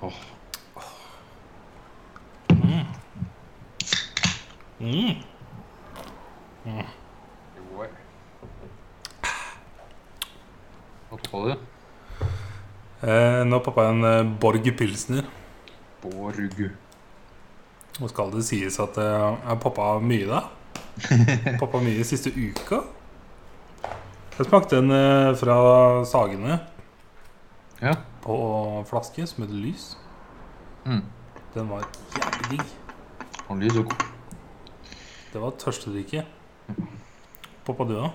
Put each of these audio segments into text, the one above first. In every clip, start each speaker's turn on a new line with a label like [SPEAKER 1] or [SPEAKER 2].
[SPEAKER 1] Åh.
[SPEAKER 2] Mm.
[SPEAKER 1] Joe. Hva sa du?
[SPEAKER 2] Eh, nå poppa en eh, Borg Pilsner.
[SPEAKER 1] Borg.
[SPEAKER 2] Nå skal det sies at eh, jeg poppa mye da. Poppa mye siste uka. Jeg smakte en eh, fra Sagene
[SPEAKER 1] Ja.
[SPEAKER 2] på flaske som heter Lys.
[SPEAKER 1] Mm.
[SPEAKER 2] Den var jævlig digg.
[SPEAKER 1] Han lyser godt.
[SPEAKER 2] Det var tørstedrikke.
[SPEAKER 1] Mm.
[SPEAKER 2] Poppa du da?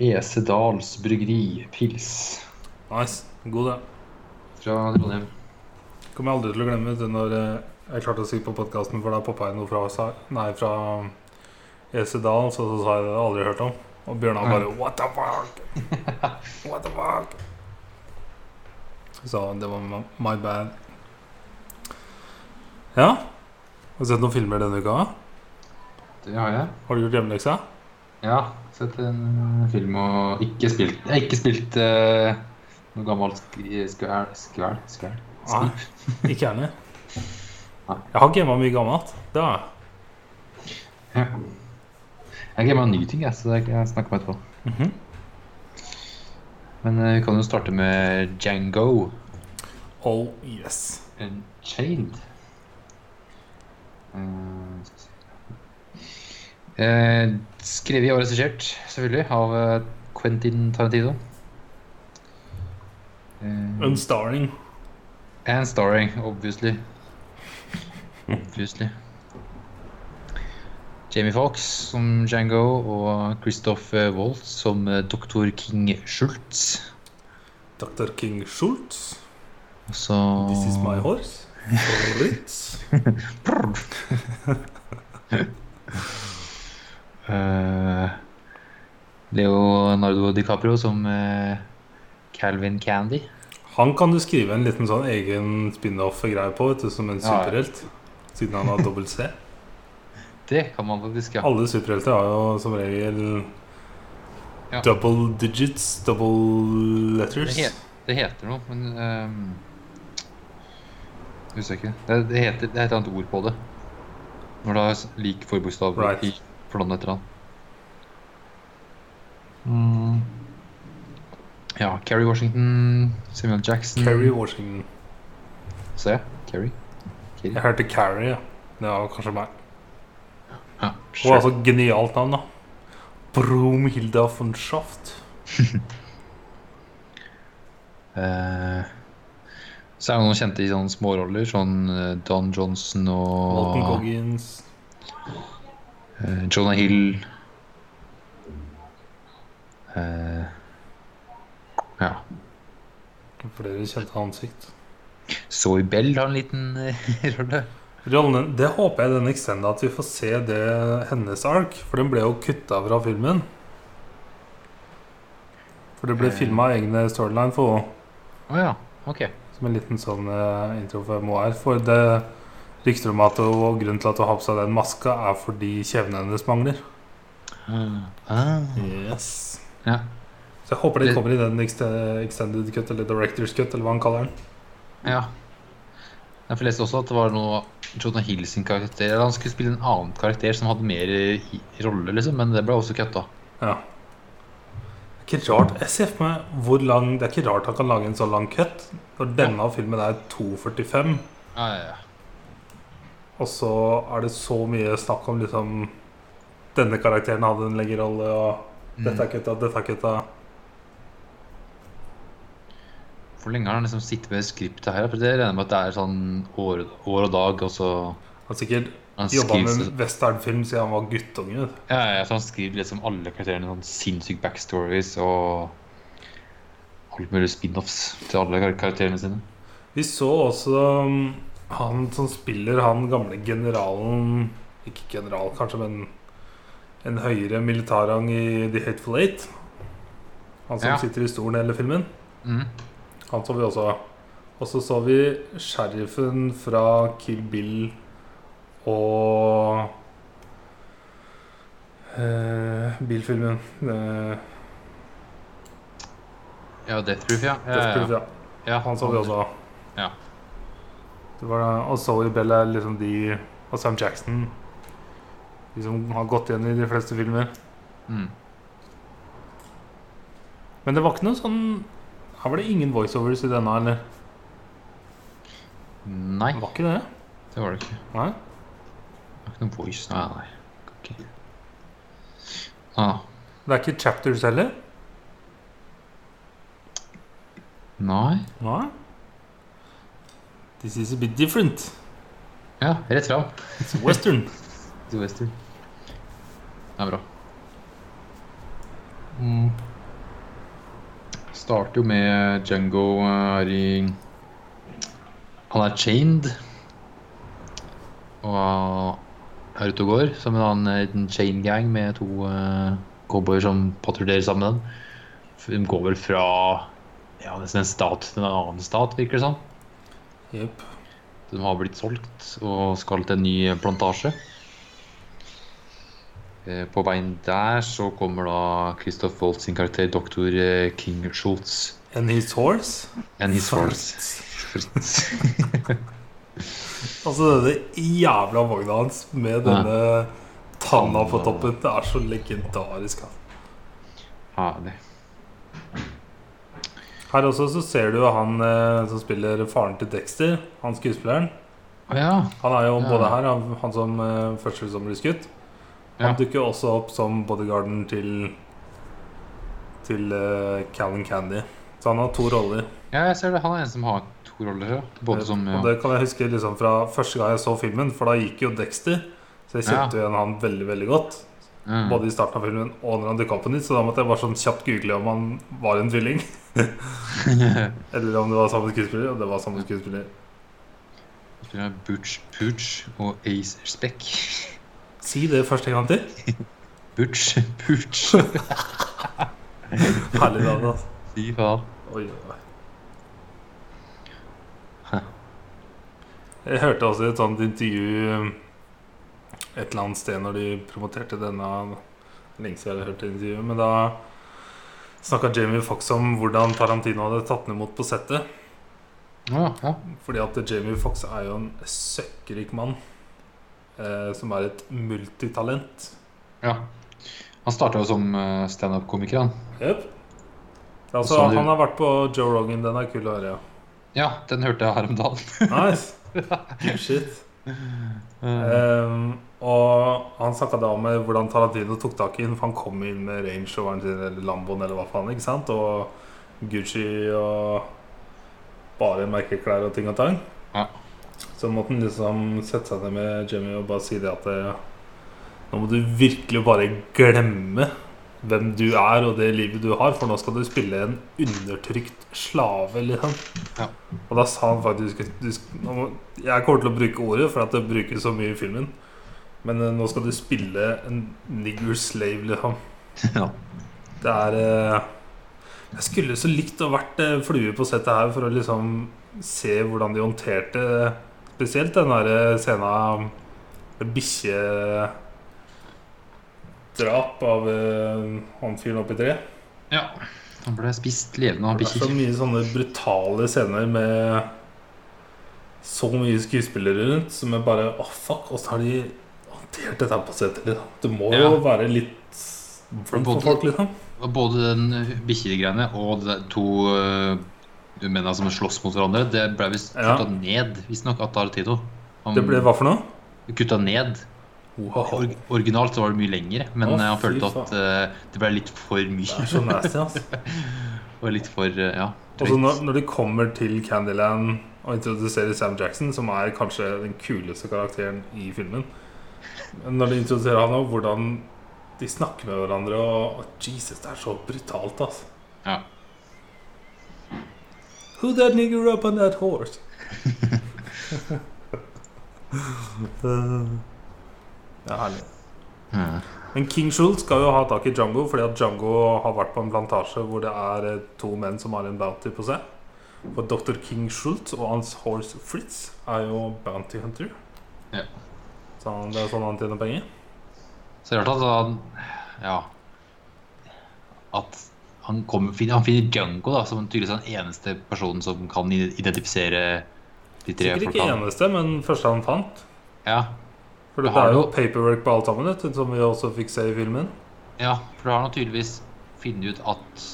[SPEAKER 1] Esedals bryggeri pils
[SPEAKER 2] Nice. God, det.
[SPEAKER 1] fra Trondheim.
[SPEAKER 2] Kommer jeg aldri til å glemme det når eh, jeg klarte å si på podkasten, for da poppa jeg noe fra, Sa- nei, fra EC Dahl, så, så sa jeg det hadde jeg aldri hørt om. Og Bjørnar bare What the fuck? What the fuck? Så det var ma- my bad. Ja. Har du sett noen filmer denne uka?
[SPEAKER 1] Det har jeg.
[SPEAKER 2] Har du gjort hjemmeleksa?
[SPEAKER 1] Ja, sett en eh, film og ikke spilt Jeg har ikke spilt eh, noe gammelt sk- skvæl Skvæl? skvæl.
[SPEAKER 2] Nei. Ikke jeg heller.
[SPEAKER 1] Nei.
[SPEAKER 2] Jeg har gama mye gammelt. Det har jeg.
[SPEAKER 1] Ja. Jeg glemmer en ny ting, jeg, så det kan jeg snakke om etterpå.
[SPEAKER 2] Mhm.
[SPEAKER 1] Men eh, vi kan jo starte med Django
[SPEAKER 2] Oh yes.
[SPEAKER 1] Unchained. Eh, skal vi se. Eh, skrevet og regissert, selvfølgelig, av eh, Quentin Tarantino. Eh,
[SPEAKER 2] Unstarring.
[SPEAKER 1] And starring, obviously. Obviously. Jamie Fox som Django og Christoph eh, Waltz som eh, Dr. King Schultz.
[SPEAKER 2] Dr. King Schultz.
[SPEAKER 1] Og så
[SPEAKER 2] This is my horse. Fritz.
[SPEAKER 1] eh, Leonardo DiCaprio som eh, Calvin Candy.
[SPEAKER 2] Han kan du skrive en liten sånn egen spin-off-greie på, vet du, som en
[SPEAKER 1] Ja, ja.
[SPEAKER 2] superhelt. Siden han har dobbelt C.
[SPEAKER 1] Det kan man faktisk, ja.
[SPEAKER 2] Alle superhelter har jo som regel
[SPEAKER 1] Ja.
[SPEAKER 2] double digits, double letters.
[SPEAKER 1] Det, het, det heter noe, men ehm, Husker jeg ikke. Det, det heter det er et annet ord på det. Når det er s- lik forbokstav
[SPEAKER 2] Right.
[SPEAKER 1] i flåten etter han. Mm. Ja, Kerry Washington, Samuel Jackson
[SPEAKER 2] Carrie Washington.
[SPEAKER 1] Se, Kerry. Kerry.
[SPEAKER 2] Jeg hørte Carrie, ja. Det var kanskje meg.
[SPEAKER 1] Ja,
[SPEAKER 2] Og
[SPEAKER 1] sure.
[SPEAKER 2] altså genialt navn, da. Brumhilda von Schaft.
[SPEAKER 1] Eh, så er det noen kjente i sånne småroller, sånn eh, Don Johnson
[SPEAKER 2] Walton
[SPEAKER 1] og
[SPEAKER 2] Goggins.
[SPEAKER 1] Eh, Jonah Hill eh, Ja.
[SPEAKER 2] Flere kjente ansikt.
[SPEAKER 1] Zoe Bell har en liten eh, rolle.
[SPEAKER 2] Rollen, det håper jeg den extenda at vi får se det hennes ark, for den ble jo kutta fra filmen. For det ble
[SPEAKER 1] Eh.
[SPEAKER 2] filma egne storyline for henne,
[SPEAKER 1] Å ja. Ok.
[SPEAKER 2] som en liten sånn eh, intro for Moir. For det rykter om at hun, og grunnen til at hun har på seg den maska, er fordi kjevene hennes mangler.
[SPEAKER 1] Ah. Ja.
[SPEAKER 2] Så jeg håper det
[SPEAKER 1] Det-
[SPEAKER 2] kommer i den ext- extended cut, eller director's cut, eller hva han kaller den.
[SPEAKER 1] ja. Jeg leste også at det var noe Jonah Hill sin karakter Eller han skulle spille en annen karakter som hadde mer eh, i- rolle, liksom, men det ble også kutta.
[SPEAKER 2] Ja. Det er ikke rart Jeg ser for meg hvor lang Det er ikke rart han kan lage en så lang cut, når denne filmen er 2.45.
[SPEAKER 1] Ja, ja, ja.
[SPEAKER 2] Og så er det så mye snakk om liksom Denne karakteren hadde en lengre rolle, og
[SPEAKER 1] Mm.
[SPEAKER 2] dette er kutta, dette er kutta.
[SPEAKER 1] Hvor lenge har han liksom sittet med skriptet her? For det regner jeg med at det er sånn år, år og dag, og så
[SPEAKER 2] Han sikkert
[SPEAKER 1] han
[SPEAKER 2] jobba
[SPEAKER 1] skriver
[SPEAKER 2] med
[SPEAKER 1] så-
[SPEAKER 2] en westernfilm siden han var guttunge.
[SPEAKER 1] Ja, ja, så han skriver liksom alle karakterene sånn sinnssyke backstories og alt mulig spin-offs til alle kar- karakterene sine.
[SPEAKER 2] Vi så også um, han som spiller han gamle generalen Ikke general, kanskje, men en høyere militærrang i The Hateful Eight. Han som
[SPEAKER 1] Ja.
[SPEAKER 2] sitter i stolen i hele filmen.
[SPEAKER 1] Mhm.
[SPEAKER 2] Han så vi også. Og så så vi sheriffen fra Kill Bill og eh, Bilfilmen. Eh,
[SPEAKER 1] Ja, Death Proof, ja. Ja,
[SPEAKER 2] Death Proof,
[SPEAKER 1] ja.
[SPEAKER 2] ja.
[SPEAKER 1] ja.
[SPEAKER 2] Han så vi også.
[SPEAKER 1] Ja.
[SPEAKER 2] Det var, og Zoe Bell er liksom de Og Sam Jackson. De som har gått igjen i de fleste filmer.
[SPEAKER 1] Mm.
[SPEAKER 2] Men det var ikke noe sånn Her var det ingen voiceovers i denne, eller?
[SPEAKER 1] Nei,
[SPEAKER 2] Det var ikke det?
[SPEAKER 1] det var det ikke.
[SPEAKER 2] Nei?
[SPEAKER 1] Det var ikke noen voice. Nei, nei. Kan ikke. Ah,
[SPEAKER 2] Det er ikke chapters heller?
[SPEAKER 1] nei.
[SPEAKER 2] Nei? This is a bit different.
[SPEAKER 1] Ja, rett fram.
[SPEAKER 2] It's western.
[SPEAKER 1] Til Wester. Det er bra. Mm. Starter jo med Django er i Han er chained. Og eh, er ute og går som eh, en annen liten chain gang med to eh, cowboyer som patruljerer sammen. De går vel fra ja, nesten en stat til en annen stat, virker det som.
[SPEAKER 2] Jepp.
[SPEAKER 1] De har blitt solgt og skal til en ny plantasje. Eh, På veien der så kommer da Christoph Waltz sin karakter doktor eh, King Schultz
[SPEAKER 2] And his horse?
[SPEAKER 1] and his horse. Fritz.
[SPEAKER 2] Altså denne jævla vogna hans med denne tanna på toppen. Det er så legendarisk. ass.
[SPEAKER 1] Herlig.
[SPEAKER 2] Her også så ser du han eh, som spiller faren til Dexter, han skuespilleren.
[SPEAKER 1] Å ja.
[SPEAKER 2] Han er jo
[SPEAKER 1] Ja.
[SPEAKER 2] både her, han, han som eh, første som ble skutt. Han
[SPEAKER 1] Ja.
[SPEAKER 2] dukker også opp som bodyguarden til Til eh, Callan Candy. Så han har to roller.
[SPEAKER 1] ja, jeg ser det. Han er en som har to roller. ja. Både som
[SPEAKER 2] Eh, Og
[SPEAKER 1] ja.
[SPEAKER 2] det kan jeg huske liksom fra første gang jeg så filmen, for da gikk jo Dexter. Så jeg kjente jo igjen han veldig, veldig godt.
[SPEAKER 1] Mm.
[SPEAKER 2] Både i starten av filmen og når han dukka opp på nytt, så da måtte jeg bare sånn kjapt google om han var en tvilling. Eller om det var samme skuespiller, og det var samme skuespiller.
[SPEAKER 1] Spiller med Butch Pooch og Ace Speck.
[SPEAKER 2] Si det første gang til.
[SPEAKER 1] Butch Pooch.
[SPEAKER 2] Herlig navn, altså.
[SPEAKER 1] Fy faen.
[SPEAKER 2] Oi, oi, oi. Jeg hørte også i et sånt intervju um, et eller annet sted når de promoterte denne Lenge siden jeg har hørt det intervjuet, men da snakka Jamie Fox om hvordan Tarantino hadde tatt den imot på settet.
[SPEAKER 1] Ja, ja.
[SPEAKER 2] Fordi at Jamie Fox er jo en søkkrik mann. Eh, som er et multitalent.
[SPEAKER 1] ja. Han starta jo som eh, standup-komiker, han.
[SPEAKER 2] Jep. Altså,
[SPEAKER 1] Så du-
[SPEAKER 2] han har vært på Joe Rogan. Den er kul å høre.
[SPEAKER 1] Ja, den hørte jeg her om dagen.
[SPEAKER 2] ja. Nice. Good shit.
[SPEAKER 1] Eh,
[SPEAKER 2] Ehm, og han snakka da om eh, hvordan Tarantino tok tak i den. For han kom inn med Range Roveren sin, sånn, eller Lamboen, eller hva faen. ikke sant? Og Gucci og bare merkeklær og ting og tang.
[SPEAKER 1] Ja.
[SPEAKER 2] Så måtte han liksom sette seg ned med Jimmy og bare si det at eh, nå må du virkelig bare glemme hvem du er og det livet du har, for nå skal du spille en undertrykt slave, liksom.
[SPEAKER 1] Ja.
[SPEAKER 2] Og da sa han faktisk at du sk- nå må- Jeg kommer til å bruke ordet, for at det brukes så mye i filmen. Men eh, nå skal du spille en nigger slave, liksom.
[SPEAKER 1] Ja.
[SPEAKER 2] Det er eh, Jeg skulle så likt å vært eh, flue på settet her for å liksom se hvordan de håndterte spesielt den der eh, scenen med bikkjedrap av eh, han fyren oppi treet.
[SPEAKER 1] ja. Han ble spist levende av
[SPEAKER 2] Det er så
[SPEAKER 1] bikkjer.
[SPEAKER 2] mye sånne brutale scener med så mye skuespillere rundt som jeg bare Å, fuck! Åssen har de håndtert dette her på settet? Liksom? Det må
[SPEAKER 1] Ja. Mm.
[SPEAKER 2] jo være litt vondt for folk, liksom.
[SPEAKER 1] Og Både den eh, bikkjegreiene og de to uh, mennene som slåss mot hverandre, det ble visst
[SPEAKER 2] Ja.
[SPEAKER 1] kutta ned, visstnok, av Tarantino. Han
[SPEAKER 2] Det ble hva for noe?
[SPEAKER 1] kutta ned.
[SPEAKER 2] Wow.
[SPEAKER 1] Or originalt så var det mye lenger, men
[SPEAKER 2] Å,
[SPEAKER 1] eh, han
[SPEAKER 2] fy
[SPEAKER 1] følte
[SPEAKER 2] faen.
[SPEAKER 1] at eh, det ble litt for
[SPEAKER 2] Det
[SPEAKER 1] mye.
[SPEAKER 2] er så nasty, altså.
[SPEAKER 1] Og litt for eh, ja,
[SPEAKER 2] Og så
[SPEAKER 1] drøyt.
[SPEAKER 2] Altså, når, når de kommer til Candyland og introduserer Sam Jackson, som er kanskje den kuleste karakteren i filmen Men Når de introduserer han og hvordan de snakker med hverandre og, og Jesus, det er så brutalt, altså.
[SPEAKER 1] Ja.
[SPEAKER 2] Who that nigger up on that horse? det er herlig.
[SPEAKER 1] Mm.
[SPEAKER 2] Men King Schultz skal jo ha tak i Django, fordi at Django har vært på en plantasje hvor det er eh, to menn som har en bounty på seg. For Dr. King Schultz og hans horse Fritz er jo bounty hunter.
[SPEAKER 1] Ja.
[SPEAKER 2] Så han, det er sånn han tjener penger.
[SPEAKER 1] Så det er rart at han Ja. At han, kommer, finner, han finner Django da, som tydeligvis er den eneste personen som kan i- identifisere de de tre
[SPEAKER 2] Sikkert ikke
[SPEAKER 1] folka.
[SPEAKER 2] eneste, men første han fant.
[SPEAKER 1] Ja,
[SPEAKER 2] For
[SPEAKER 1] Det
[SPEAKER 2] det
[SPEAKER 1] har
[SPEAKER 2] er jo
[SPEAKER 1] noe.
[SPEAKER 2] paperwork på alt sammen, vet du, som vi også fikk se i filmen.
[SPEAKER 1] ja, for da har han tydeligvis funnet ut at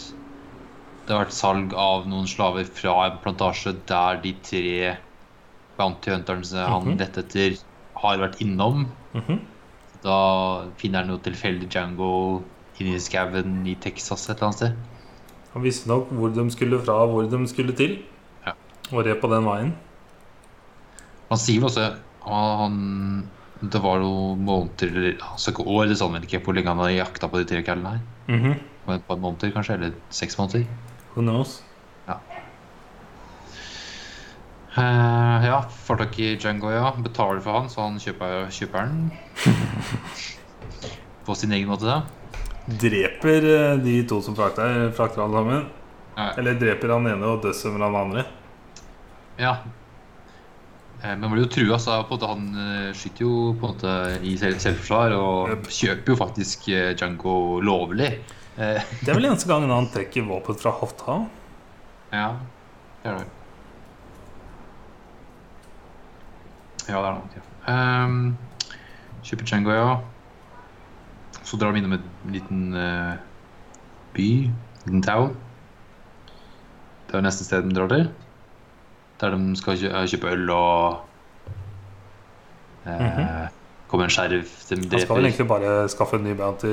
[SPEAKER 1] det har vært salg av noen slaver fra en plantasje der de tre bounty hunterne han
[SPEAKER 2] Mhm.
[SPEAKER 1] lette etter, har vært innom.
[SPEAKER 2] Mhm.
[SPEAKER 1] Da finner han jo tilfeldig Django inni skauen i Texas et eller annet sted.
[SPEAKER 2] Han visste nok hvor de skulle fra, hvor de skulle til.
[SPEAKER 1] Ja.
[SPEAKER 2] Og red på den veien.
[SPEAKER 1] Han sier vel også han, Det var jo måneder eller altså ikke år, det sa han vel ikke, hvor lenge han hadde jakta på de tre kallene her.
[SPEAKER 2] Mhm.
[SPEAKER 1] Men Et par måneder kanskje, eller seks måneder.
[SPEAKER 2] Who knows?
[SPEAKER 1] Eh, ja, får tak i Django, ja. Betaler for han, så han kjøper, kjøper den. på sin egen måte, da.
[SPEAKER 2] Dreper eh, de to som frakter, frakter han sammen.
[SPEAKER 1] Ja.
[SPEAKER 2] Eller dreper han ene og dødsdømmer han andre.
[SPEAKER 1] Ja. Eh, Men blir jo trua, så på en måte han eh, skyter jo på en måte i selv selvforsvar og
[SPEAKER 2] Yep.
[SPEAKER 1] kjøper jo faktisk eh, Django lovlig. Eh,
[SPEAKER 2] Det er vel eneste gangen han trekker våpen fra hofta.
[SPEAKER 1] ja, det er det. Ja, det er nok det. Ehm, kjøper Django, ja. Så drar de innom en liten eh, by, en liten town. Det er neste sted de drar til. Der de skal kjø eh, kjøpe øl og eh,
[SPEAKER 2] Mhm.
[SPEAKER 1] Kommer en sheriff de
[SPEAKER 2] Han skal vel
[SPEAKER 1] dreper.
[SPEAKER 2] egentlig bare skaffe en ny bounty.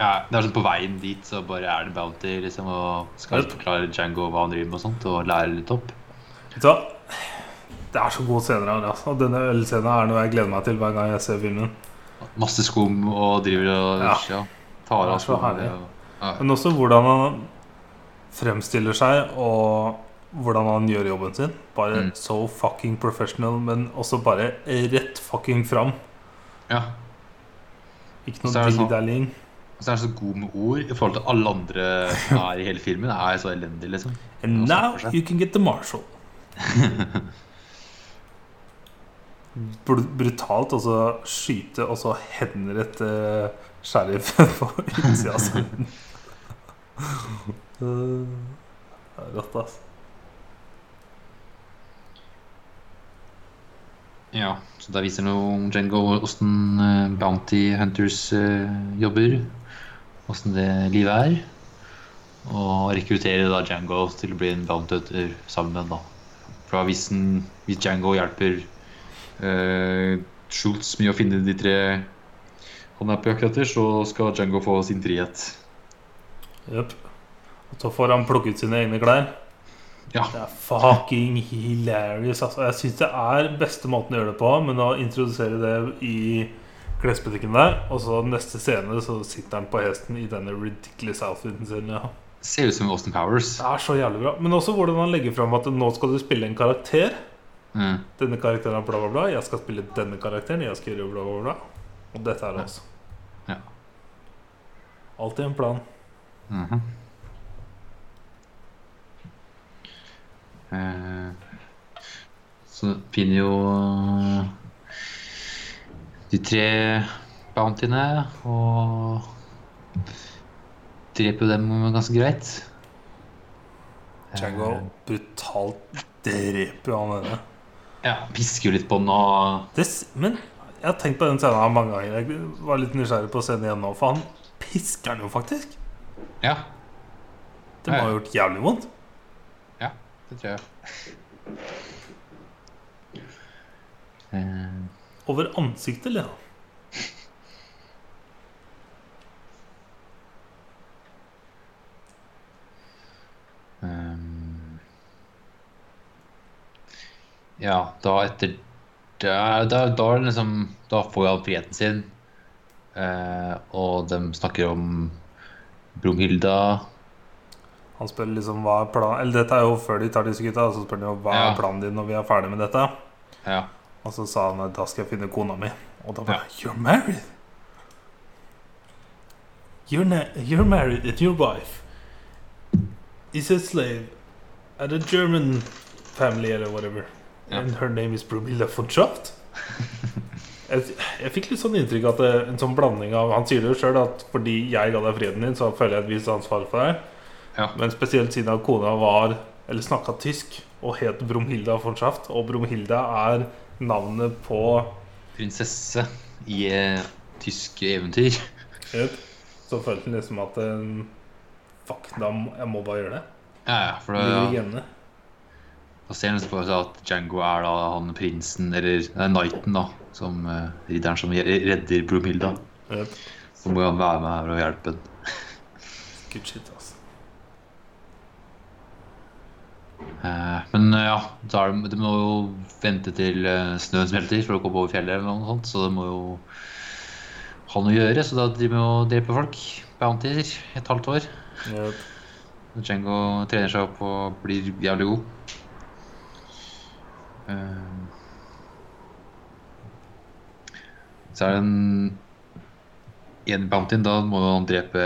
[SPEAKER 1] Ja, det er sånn På veien dit så bare er det Bounty liksom, og skal forklare Django hva han driver med og sånt, og lære litt opp.
[SPEAKER 2] Vet du hva? Det er så gode scener her. Altså. Og Denne ølscenen er noe jeg gleder meg til hver gang jeg ser filmen.
[SPEAKER 1] Masse skum og driver og
[SPEAKER 2] Ja.
[SPEAKER 1] ja. tar
[SPEAKER 2] Det er
[SPEAKER 1] av
[SPEAKER 2] så herlig.
[SPEAKER 1] skoene. og- Ja.
[SPEAKER 2] Men også hvordan han fremstiller seg, og hvordan han gjør jobben sin. Bare
[SPEAKER 1] Mm.
[SPEAKER 2] so fucking professional, men også bare rett fucking fram.
[SPEAKER 1] ja. Så
[SPEAKER 2] Ikke
[SPEAKER 1] er
[SPEAKER 2] noe
[SPEAKER 1] det sånn-
[SPEAKER 2] dildaling.
[SPEAKER 1] Og så er han så god med ord i forhold til alle andre som er i hele filmen. Det er så elendig, liksom.
[SPEAKER 2] And
[SPEAKER 1] Og
[SPEAKER 2] now
[SPEAKER 1] snakker seg.
[SPEAKER 2] you can get the marshal. Br brutalt altså skyte altså, og så henrette eh, sheriff på utsida av siden. Det er Rått, ass.
[SPEAKER 1] Ja, så der viser noe om Django åssen eh, Bounty Hunters eh, jobber. Åssen det livet er. Og rekrutterer da Django til å bli en Bounty Hunter sammen med han, da. For da hvis, han- hvis Django hjelper eh, Schultz med å finne de tre han er på jakt etter, så skal Django få sin frihet.
[SPEAKER 2] Jep. Og så får han plukke ut sine egne klær.
[SPEAKER 1] Ja.
[SPEAKER 2] Det er fucking hilarious. Altså. Jeg syns det er beste måten å gjøre det på, men å introdusere det i klesbutikken der, og så neste scene så sitter han på hesten i denne ridiculous outfiten sin. Ja.
[SPEAKER 1] Ser ut som Austin Powers.
[SPEAKER 2] Det er så jævlig bra. Men også hvordan han legger fram at nå skal du spille en karakter.
[SPEAKER 1] Mm.
[SPEAKER 2] Denne karakteren er bla, bla, bla. Jeg skal spille denne karakteren. Jeg skal gjøre bla, bla, bla. Og dette er det også.
[SPEAKER 1] Ja.
[SPEAKER 2] Alltid en plan.
[SPEAKER 1] Mhm. Eh, Så finner jo eh, de tre bountyene og dreper jo dem ganske greit.
[SPEAKER 2] Django brutalt dreper jo han ene.
[SPEAKER 1] Eh, Ja, pisker jo litt på den og
[SPEAKER 2] Det, s- men jeg har tenkt på den scenen her mange ganger. Jeg var litt nysgjerrig på å se den igjen nå, for han pisker den jo faktisk.
[SPEAKER 1] Ja,
[SPEAKER 2] Det må ha gjort jævlig vondt.
[SPEAKER 1] det tror jeg. Eh,
[SPEAKER 2] Over ansiktet, eller?
[SPEAKER 1] Ehm. Ja, da etter Da, da, da er det liksom Da får han friheten sin. Eh, og de snakker om Brunhilda.
[SPEAKER 2] Han spør liksom hva er planen Eller dette er jo før de tar disse gutta, og så spør de jo hva
[SPEAKER 1] Ja.
[SPEAKER 2] er planen din når vi er ferdig med dette.
[SPEAKER 1] Ja.
[SPEAKER 2] Og så sa han at da skal jeg finne kona mi. Og da
[SPEAKER 1] Ja.
[SPEAKER 2] bare You're married! You're, na you're married and your wife is a slave at a German family eller whatever.
[SPEAKER 1] Ja.
[SPEAKER 2] And her name is Brumilla von Schaft. Jeg, jeg fikk litt sånn inntrykk at det, en sånn blanding av Han sier det jo sjøl at fordi jeg ga deg freden din, så føler jeg et visst ansvar for deg.
[SPEAKER 1] Ja.
[SPEAKER 2] Men spesielt siden at kona var eller snakka tysk og het Brumhilda von Schaft. Og Brumhilda er navnet på
[SPEAKER 1] Prinsesse i eh, tyske eventyr.
[SPEAKER 2] Yep. Så følte han liksom at eh, Fuck, da må, jeg må bare gjøre det.
[SPEAKER 1] Ja, ja, for
[SPEAKER 2] Ligger i
[SPEAKER 1] da,
[SPEAKER 2] genene.
[SPEAKER 1] da ser han liksom for seg at Django er da han prinsen, eller nei, knighten, da. Som eh, ridderen som redder Brumhilda.
[SPEAKER 2] Yep.
[SPEAKER 1] Så må han være med her og hjelpe ham.
[SPEAKER 2] Good shit, altså.
[SPEAKER 1] Eh, Men eh, ja, så er det, de må jo vente til eh, snøen smelter for å komme over fjellet, eller noe sånt, så det må jo ha noe å gjøre. Så da driver de og dreper folk. Bounties et halvt år.
[SPEAKER 2] Yep.
[SPEAKER 1] Django trener seg opp og blir jævlig god. Ehm. Så er det en En Bountin, da må han drepe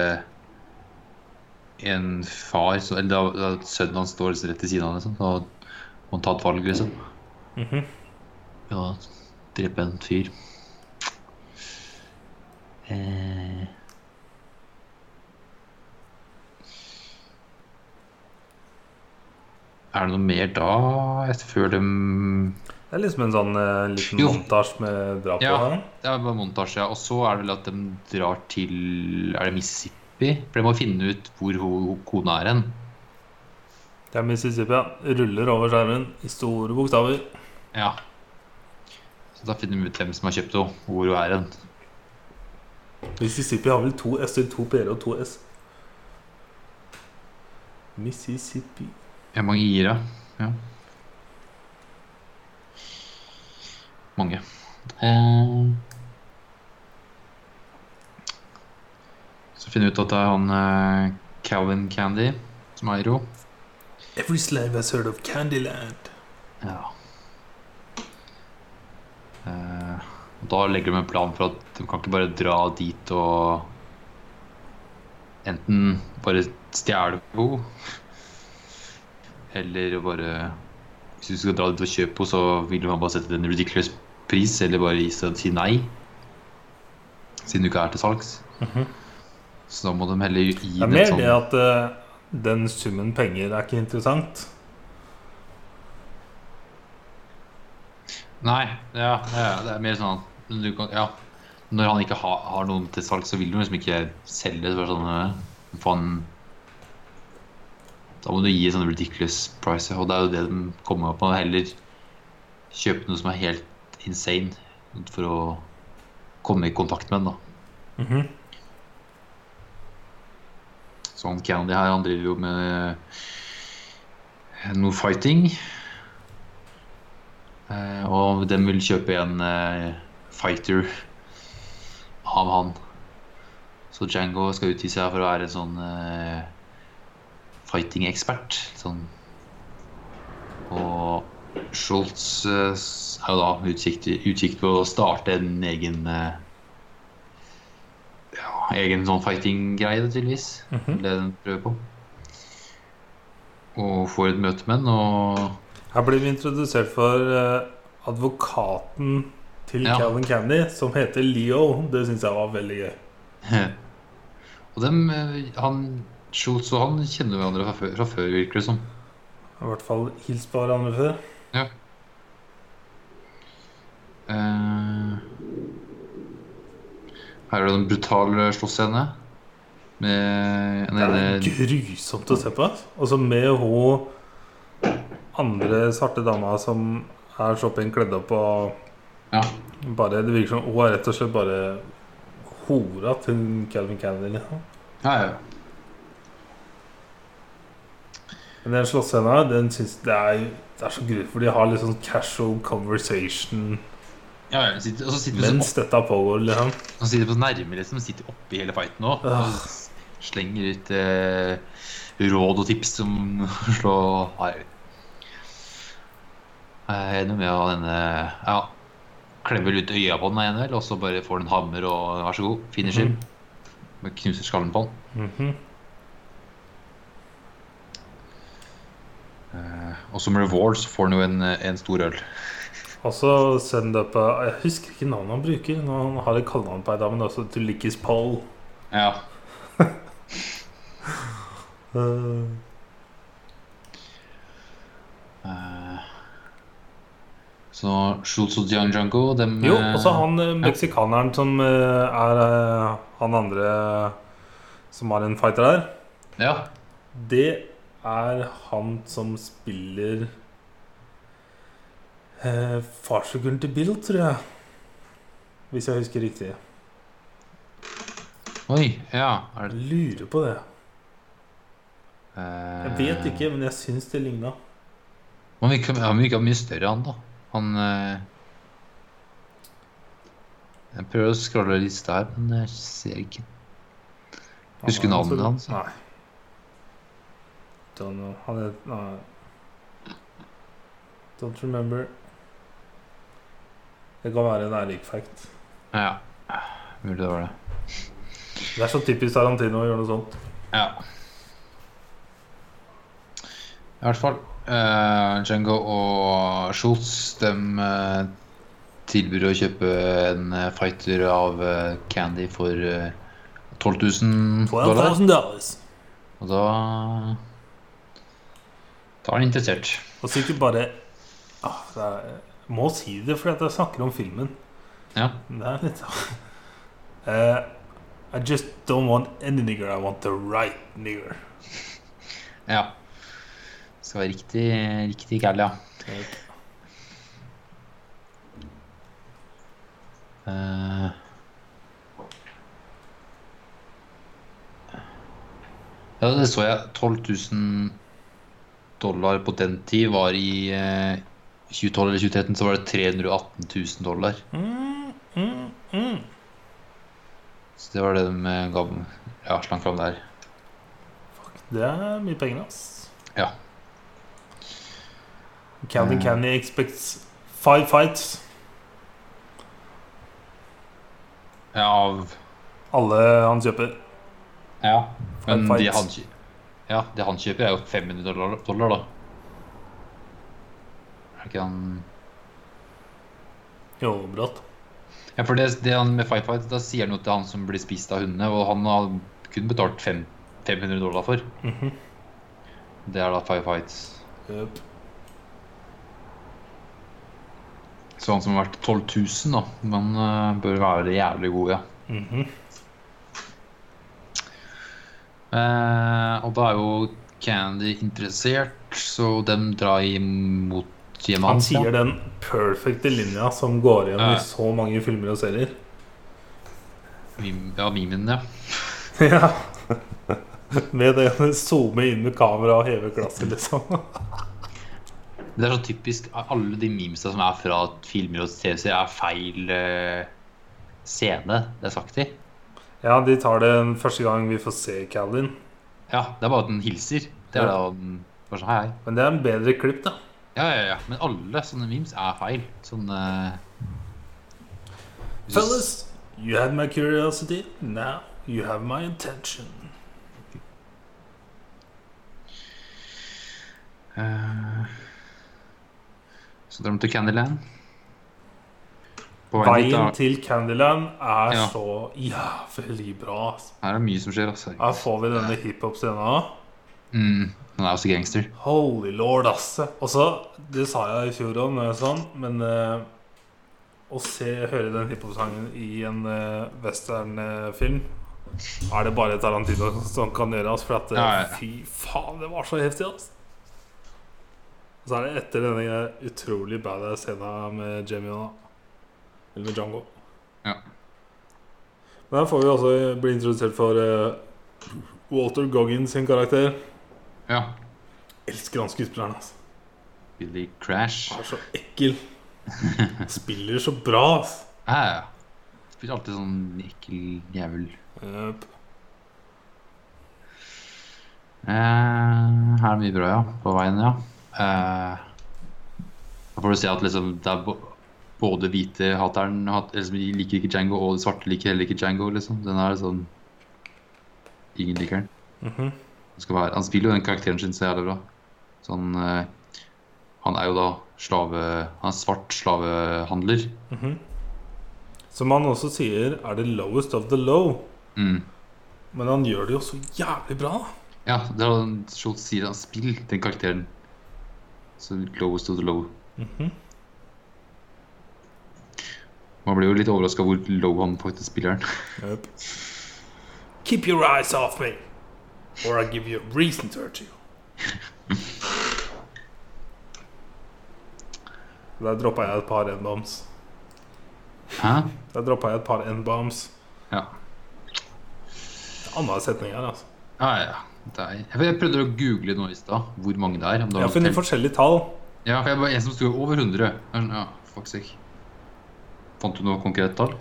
[SPEAKER 1] en far så, Eller da, da sønnen hans står rett til siden av, liksom. Da må han ta et valg, liksom.
[SPEAKER 2] Mhm.
[SPEAKER 1] Ja, drepe en fyr. Eh. Er det noe mer da, etter før de
[SPEAKER 2] Det er liksom en sånn eh, liten
[SPEAKER 1] Jo.
[SPEAKER 2] montasje med drap på
[SPEAKER 1] Ja.
[SPEAKER 2] her.
[SPEAKER 1] Det er bare montasje, ja. Og så er det vel at de drar til Er det Mississippi? For de må finne ut hvor ho- kona er hen.
[SPEAKER 2] Det er Mississippi, ja. Ruller over skjermen i store bokstaver.
[SPEAKER 1] Ja. Så da finner de ut hvem som har kjøpt henne, og hvor hun er hen.
[SPEAKER 2] Mississippi har vel to S-er, to P-er og to S. Mississippi
[SPEAKER 1] Ja, mange i-er, ja. ja. Mange. Eh, Så finner vi ut at det er han eh, Calvin Candy som eier henne.
[SPEAKER 2] Every slave has heard of Candyland.
[SPEAKER 1] Ja. Eh, og da legger de en plan for at de kan ikke bare dra dit og enten bare stjele henne, eller å bare Hvis du skal dra dit og kjøpe henne, så vil man bare sette en ridiculous pris, eller bare gi seg- si nei. Siden du ikke er til salgs.
[SPEAKER 2] Mhm.
[SPEAKER 1] Så da må de heller gi
[SPEAKER 2] Det er
[SPEAKER 1] dem
[SPEAKER 2] mer
[SPEAKER 1] sånn
[SPEAKER 2] det at eh, den summen penger er ikke interessant.
[SPEAKER 1] Nei, ja, ja, det er mer sånn at du kan, ja. Når han ikke har, har noen til salg, så vil du liksom ikke selge. Så bare sånn, eh, faen, da må du gi sånn ridiculous price, ja, og det er jo det de kommer opp med. Heller kjøpe noe som er helt insane for å komme i kontakt med den. da.
[SPEAKER 2] Mhm.
[SPEAKER 1] Så han Sånn, Candy her, han driver jo med noe fighting. Eh, Og den vil kjøpe en eh, fighter av han. Så Django skal utgi seg for å være en sånn eh, fighting-ekspert. Sånn. Og Schultz eh, s- er jo da utkikk utkikk på å starte en egen eh, ja, egen sånn fighting-greie, tydeligvis
[SPEAKER 2] Mhm.
[SPEAKER 1] det den prøver på. Og får et møte med den, og
[SPEAKER 2] Her blir vi introdusert for eh, advokaten til
[SPEAKER 1] Ja.
[SPEAKER 2] Calvin Candy, som heter Leo. Det syns jeg var veldig gøy.
[SPEAKER 1] Og dem, eh, han Schultz og han kjenner hverandre fra før, fra før virker det som.
[SPEAKER 2] I hvert fall hils på hverandre før.
[SPEAKER 1] Eh, her er det en brutal slåssscene med en
[SPEAKER 2] Det er
[SPEAKER 1] ene
[SPEAKER 2] grusomt å se på. ass. Og så med hun andre svarte dama som er så pent kledd opp og
[SPEAKER 1] Ja.
[SPEAKER 2] bare Det virker som hun er rett og slett bare hora til Calvin Candy. Liksom.
[SPEAKER 1] Ja, ja.
[SPEAKER 2] Men den slåssscenen her, den syns det er, det er så grusomt, for de har litt sånn casual conversation
[SPEAKER 1] ja, ja. Sitter, og så sitter vi sånn
[SPEAKER 2] mens dette pågår, liksom.
[SPEAKER 1] opp- han sitter på nærme, liksom. Sitter oppi hele fighten òg. Slenger ut eh, råd og tips som slår Nei. Jeg er enig med han ene Ja, klemmer vel ut øya på den ene, vel, og så bare får han en hammer og vær så god, finisher.
[SPEAKER 2] Mhm.
[SPEAKER 1] Bare Knuser skallen på han.
[SPEAKER 2] Mhm.
[SPEAKER 1] Og som reward så får han jo en, eh, en stor øl.
[SPEAKER 2] Og så send up Jeg husker ikke navnet han bruker. Nå han har et kallenavn på ei dame, men det er også Tulikis Pole.
[SPEAKER 1] Ja.
[SPEAKER 2] Eh,
[SPEAKER 1] Så Schultz og Jiangjango dem,
[SPEAKER 2] Jo, også han eh, meksikaneren som eh, er eh, han andre som har en fighter der.
[SPEAKER 1] eh, Ja,
[SPEAKER 2] Det er han som spiller eh, farsfiguren til Bill, tror jeg. Hvis jeg husker riktig.
[SPEAKER 1] Oi, ja. Er
[SPEAKER 2] Jeg
[SPEAKER 1] det,
[SPEAKER 2] lurer på det.
[SPEAKER 1] eh,
[SPEAKER 2] Jeg vet ikke, men jeg syns det ligna.
[SPEAKER 1] Han virka han virka mye større, han, da. Han eh, Jeg prøver å scrolle lista her, men jeg ser ikke Husker navnet hans?
[SPEAKER 2] Nei. Don't know. Han het Nei. Don't remember. Det kan være en ærlig fact.
[SPEAKER 1] Ja, mulig det var det.
[SPEAKER 2] Det er så typisk Tarantino å gjøre noe sånt.
[SPEAKER 1] Ja. I hvert fall. eh, Django og Schultz de eh, tilbyr å kjøpe en eh, fighter av eh, Candy for eh, 12 000 dollar.
[SPEAKER 2] dollars.
[SPEAKER 1] Og da Da er han interessert.
[SPEAKER 2] Og så ikke bare ah, det er, jeg Må si det fordi at jeg snakker om filmen.
[SPEAKER 1] Ja.
[SPEAKER 2] Men Det er litt sånn. Eh, I just don't want any nigger. I want the right nigger.
[SPEAKER 1] ja. Skal være riktig, riktig gæren, ja. Eh. Ja, det så jeg. 12 000 dollar på den tid var i eh, 2012 eller 2013 så var det 318 000 dollar.
[SPEAKER 2] Mm, mm, mm.
[SPEAKER 1] Så det var det de eh, ga ja, slank fram der.
[SPEAKER 2] Det er mye penger, ass.
[SPEAKER 1] Ja.
[SPEAKER 2] Calvin
[SPEAKER 1] Mm.
[SPEAKER 2] Candy expects five fights.
[SPEAKER 1] Ja, av
[SPEAKER 2] Alle han kjøper.
[SPEAKER 1] Ja,
[SPEAKER 2] Five
[SPEAKER 1] men de
[SPEAKER 2] fights.
[SPEAKER 1] han, kjø- ja, det han kjøper, er jo 500 dollar, dollar da. Er ikke han
[SPEAKER 2] Jo, brått.
[SPEAKER 1] Ja, for det, det han med Fight Fight, da sier han jo til han som blir spist av hundene, og han har kun betalt fem, 500 dollar for.
[SPEAKER 2] Mhm.
[SPEAKER 1] Det er da Five Fights.
[SPEAKER 2] Yep.
[SPEAKER 1] Så han som har vært 12 000, da, men eh, bør være jævlig god, ja.
[SPEAKER 2] Mhm.
[SPEAKER 1] Eh, og da er jo Candy interessert, så dem drar imot hjemmet
[SPEAKER 2] Han
[SPEAKER 1] hans. ja.
[SPEAKER 2] sier den perfekte linja som går igjen
[SPEAKER 1] Ja.
[SPEAKER 2] i så mange filmer og serier.
[SPEAKER 1] Mim- Ja, mimen, ja.
[SPEAKER 2] ja. Med det å zoome inn med kamera og heve glasset, liksom.
[SPEAKER 1] Det er så typisk alle de memesa som er fra filmer og TV-serier, er feil eh, scene. Det er sagt i.
[SPEAKER 2] Ja, de tar det en første gang vi får se Calvin.
[SPEAKER 1] Ja, det er bare at den hilser. Det er
[SPEAKER 2] Ja.
[SPEAKER 1] da den bare sånn hei, hei.
[SPEAKER 2] Men det er en bedre klipp, da.
[SPEAKER 1] Ja, ja, ja. Men alle sånne memes er feil. Sånne eh, Hvis du s-
[SPEAKER 2] Fellas, you had my curiosity. Now you have my attention.
[SPEAKER 1] eh, Så drar de til Candyland. På veien dit
[SPEAKER 2] Veien
[SPEAKER 1] da-
[SPEAKER 2] til Candyland er
[SPEAKER 1] Ja.
[SPEAKER 2] så jævlig bra. ass.
[SPEAKER 1] her er det mye som skjer, altså.
[SPEAKER 2] Her får vi denne hiphop-scenen.
[SPEAKER 1] Mm, han er også gangster.
[SPEAKER 2] Holy lord, ass. Og så, det sa jeg i fjor òg, sånn, men eh, å se, høre den hiphop-sangen i en eh, western-film er det bare Tarantino som kan gjøre, ass. For at eh,
[SPEAKER 1] Ja, ja.
[SPEAKER 2] fy faen, det var så heftig, ass. Og så er det etter denne utrolig badass scenen med Jamie og Eller med Django.
[SPEAKER 1] Ja.
[SPEAKER 2] Men her får vi også bli introdusert for eh, Walter Goggins sin karakter.
[SPEAKER 1] Ja.
[SPEAKER 2] Elsker han skuespilleren, altså.
[SPEAKER 1] Billy Crash.
[SPEAKER 2] Han er så ekkel. Spiller så bra, ass.
[SPEAKER 1] Ja, ja, ja. Spiller alltid sånn ekkel jævel.
[SPEAKER 2] Yep.
[SPEAKER 1] Eh, her er mye bra, ja. På veien, ja. Eh, da får du se at liksom, det er bo- både hvite hateren hat, eller som liker ikke Django, og de svarte liker heller ikke Django. Liksom. Den er sånn Ingen liker den.
[SPEAKER 2] Mhm.
[SPEAKER 1] Han, skal være, han spiller jo den karakteren sin så jævlig bra. Så han, eh, han er jo da slave... Han er svart slavehandler.
[SPEAKER 2] Mhm. Som han også sier, er det lowest of the low.
[SPEAKER 1] Mm.
[SPEAKER 2] Men han gjør det jo så jævlig bra. da.
[SPEAKER 1] Ja, det er han Schultz sier. Han spiller den karakteren. Så lowest of the low.
[SPEAKER 2] Mhm.
[SPEAKER 1] Man blir jo litt overraska hvor low han faktisk spiller den.
[SPEAKER 2] Yep. Keep your eyes off me, or I give you a reason to hurt you. Der droppa jeg et par n-bombs.
[SPEAKER 1] Hæ?
[SPEAKER 2] Der droppa jeg et par n-bombs.
[SPEAKER 1] Ja.
[SPEAKER 2] Annenhver setning her, altså.
[SPEAKER 1] Ja, ja, ja. Det er, Jeg- jeg prøvde å google nå i stad hvor mange det er. Om det
[SPEAKER 2] Jeg
[SPEAKER 1] var
[SPEAKER 2] har funnet
[SPEAKER 1] telt.
[SPEAKER 2] forskjellige tall.
[SPEAKER 1] Ja, for jeg var en som sto over 100. Jeg er sånn, Ja, fuck sake. Fant du noe konkret tall?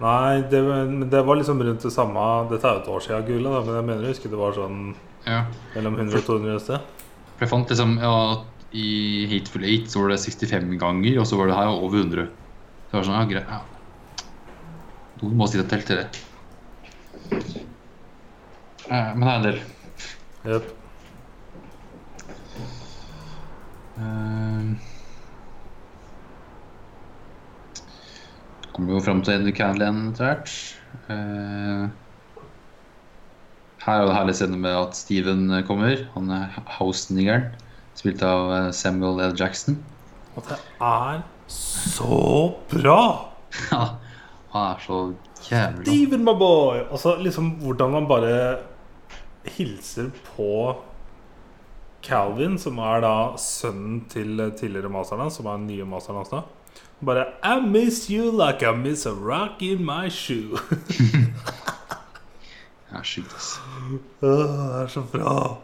[SPEAKER 2] Nei, det, var- men det var liksom rundt det samme Dette er jo et år siden gullet, da, men jeg mener jeg husker det var sånn
[SPEAKER 1] Ja.
[SPEAKER 2] mellom 100 og 200 et sted.
[SPEAKER 1] For jeg fant liksom ja, at i Hateful Eight så var det 65 ganger, og så var det her over 100. Så jeg var sånn, ja, greit. Ja. Du må sitte og telle til det. Eh, Men det er en del.
[SPEAKER 2] Jep.
[SPEAKER 1] Eh, Kommer vi jo frem til Eddie Canlan etter hvert. Eh, Her er det herlig scene med at Steven kommer. Han er house-niggeren. Spilt av eh, Samuel L. Jackson.
[SPEAKER 2] At det er så bra!
[SPEAKER 1] Ja, han er så jævlig
[SPEAKER 2] Steven, my boy! Altså liksom hvordan man bare hilser på Calvin, som er da sønnen til tidligere masteren hans, som er den nye masteren hans nå. Bare I miss you like I miss a rock in my shoe.
[SPEAKER 1] Det er sjukt, ass.
[SPEAKER 2] Åh, det er så bra.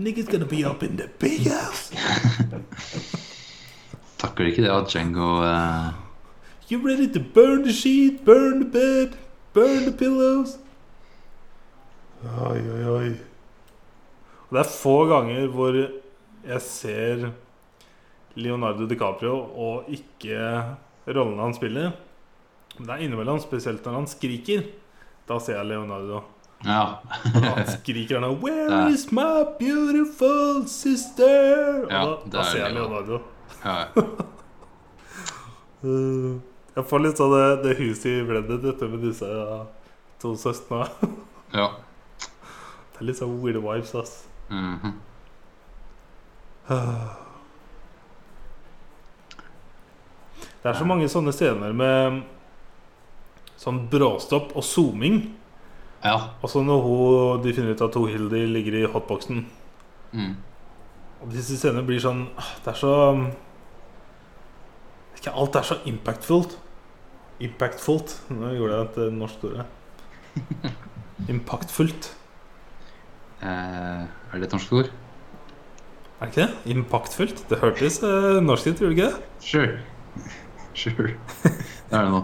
[SPEAKER 2] Niggas gonna be up in the big house.
[SPEAKER 1] Takler ikke det at Django eh,
[SPEAKER 2] You ready to burn the sheet, burn the bed, burn the pillows? Oi, oi, oi. Og det er få ganger hvor jeg ser Leonardo DiCaprio og ikke rollene han spiller. Men det er innimellom, spesielt når han skriker. Da ser jeg Leonardo.
[SPEAKER 1] Ja.
[SPEAKER 2] Han skriker han 'Where
[SPEAKER 1] Der.
[SPEAKER 2] is my beautiful sister?' Og
[SPEAKER 1] Ja,
[SPEAKER 2] da,
[SPEAKER 1] det
[SPEAKER 2] da
[SPEAKER 1] er
[SPEAKER 2] ser jeg
[SPEAKER 1] det, ja.
[SPEAKER 2] Leonardo.
[SPEAKER 1] ja.
[SPEAKER 2] Uh, Jeg får litt sånn det, det huset i Reddit, dette med disse ja, to søstrene.
[SPEAKER 1] ja.
[SPEAKER 2] Det er litt sånn weird vibes, ass.
[SPEAKER 1] Mhm.
[SPEAKER 2] Det er så mange sånne scener med sånn bråstopp og zooming.
[SPEAKER 1] Ja.
[SPEAKER 2] Og så når hun, de finner ut at hun Hildy ligger i hotboxen.
[SPEAKER 1] Mm.
[SPEAKER 2] Og disse scenene blir sånn ah, Det er så Ikke alt er så impactfullt. Impactfullt. Nå gjorde jeg et eh, norsk ord. jeg. Impactfullt.
[SPEAKER 1] Eh, er det et norsk ord?
[SPEAKER 2] Er det ikke det? Impactfullt? Det hørtes eh, norsk ut, gjorde det ikke det?
[SPEAKER 1] Sure. Sure. Det er det nå.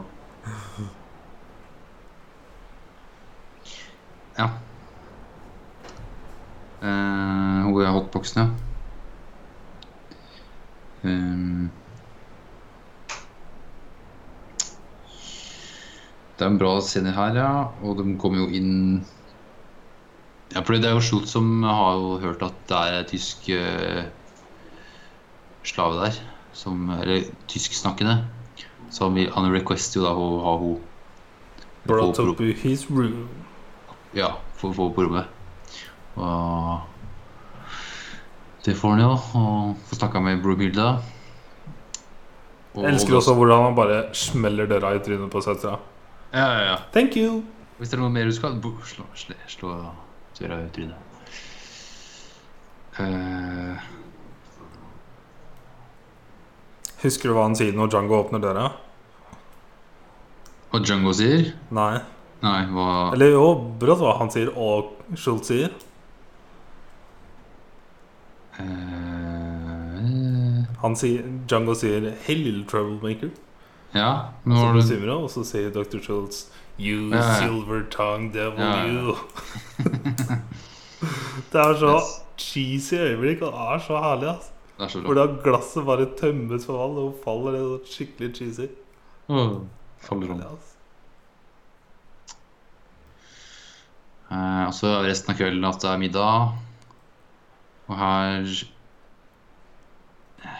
[SPEAKER 1] Ja. Eh, hun er hotboxen, ja. Ehm. det er en bra scene her, ja. Og de kommer jo inn Ja, for det er jo Schultz som har jo hørt at det er en tysk eh, slave der som Eller tysksnakkende. Så han, vil- han requester jo da å ha henne
[SPEAKER 2] Brought
[SPEAKER 1] Håper
[SPEAKER 2] up in his room.
[SPEAKER 1] ja, for å få på rommet. Og det får han jo. Og får snakka med Brumhilda. Og-
[SPEAKER 2] Jeg elsker også hvordan han bare smeller døra i trynet på søstera.
[SPEAKER 1] Ja, ja, ja.
[SPEAKER 2] Thank you!
[SPEAKER 1] Hvis det er noe mer du skal, bo- slå, slå, slå døra i trynet. Eh,
[SPEAKER 2] Husker du hva han sier når Django åpner døra?
[SPEAKER 1] hva Django sier?
[SPEAKER 2] Nei.
[SPEAKER 1] Nei, hva
[SPEAKER 2] Eller jo, brått hva han sier og Schultz sier.
[SPEAKER 1] eh,
[SPEAKER 2] Han sier, Django sier 'Hey, little troublemaker'.
[SPEAKER 1] Ja, men
[SPEAKER 2] Så
[SPEAKER 1] hva var det
[SPEAKER 2] besvimer hun, og så Altså, sier dr. Schultz 'You
[SPEAKER 1] Ja, ja.
[SPEAKER 2] silver tongue devil,
[SPEAKER 1] Ja, ja.
[SPEAKER 2] you'. det er så
[SPEAKER 1] Yes.
[SPEAKER 2] cheesy øyeblikk, og det er så herlig, ass.
[SPEAKER 1] Det er så bra.
[SPEAKER 2] Hvordan glasset bare tømmes for vann, og hun faller det er skikkelig cheesy.
[SPEAKER 1] Åh, Faller om.
[SPEAKER 2] Herlig, ass.
[SPEAKER 1] Eh, og så er resten av kvelden at det er middag. Og her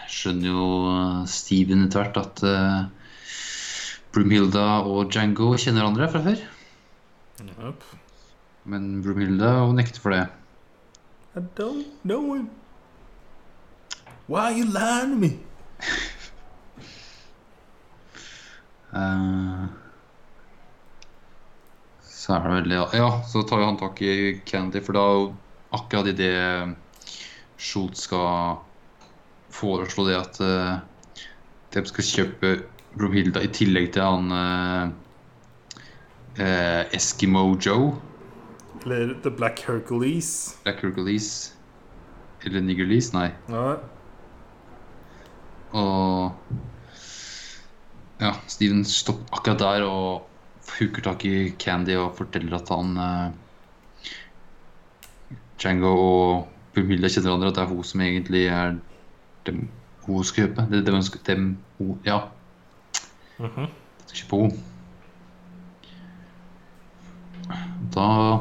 [SPEAKER 1] skjønner jo eh, Steven etter hvert at eh, Brumhilda og Django kjenner hverandre fra før.
[SPEAKER 2] Yep.
[SPEAKER 1] Men Brumhilda hun nekter for det.
[SPEAKER 2] I don't know him. Why you lying to me?
[SPEAKER 1] Eh, Så er det veldig Ja, så tar jo han tak i Kennedy, for da er jo akkurat idet Schultz skal foreslå det at eh, de skal kjøpe Bromhilda i tillegg til han eh, eh, Eskimo Joe,
[SPEAKER 2] Eller The Black Hercules.
[SPEAKER 1] Black Hercules Eller Niggerlees, nei.
[SPEAKER 2] Ja.
[SPEAKER 1] Og ja, Steven stopper akkurat der og huker tak i Candy og forteller at han eh, Django og Brumilda kjenner hverandre, at det er hun som egentlig er dem hun skal kjøpe. Det er dem, hun skal- dem hun Ja,
[SPEAKER 2] Mhm.
[SPEAKER 1] skal kjøpe henne. Da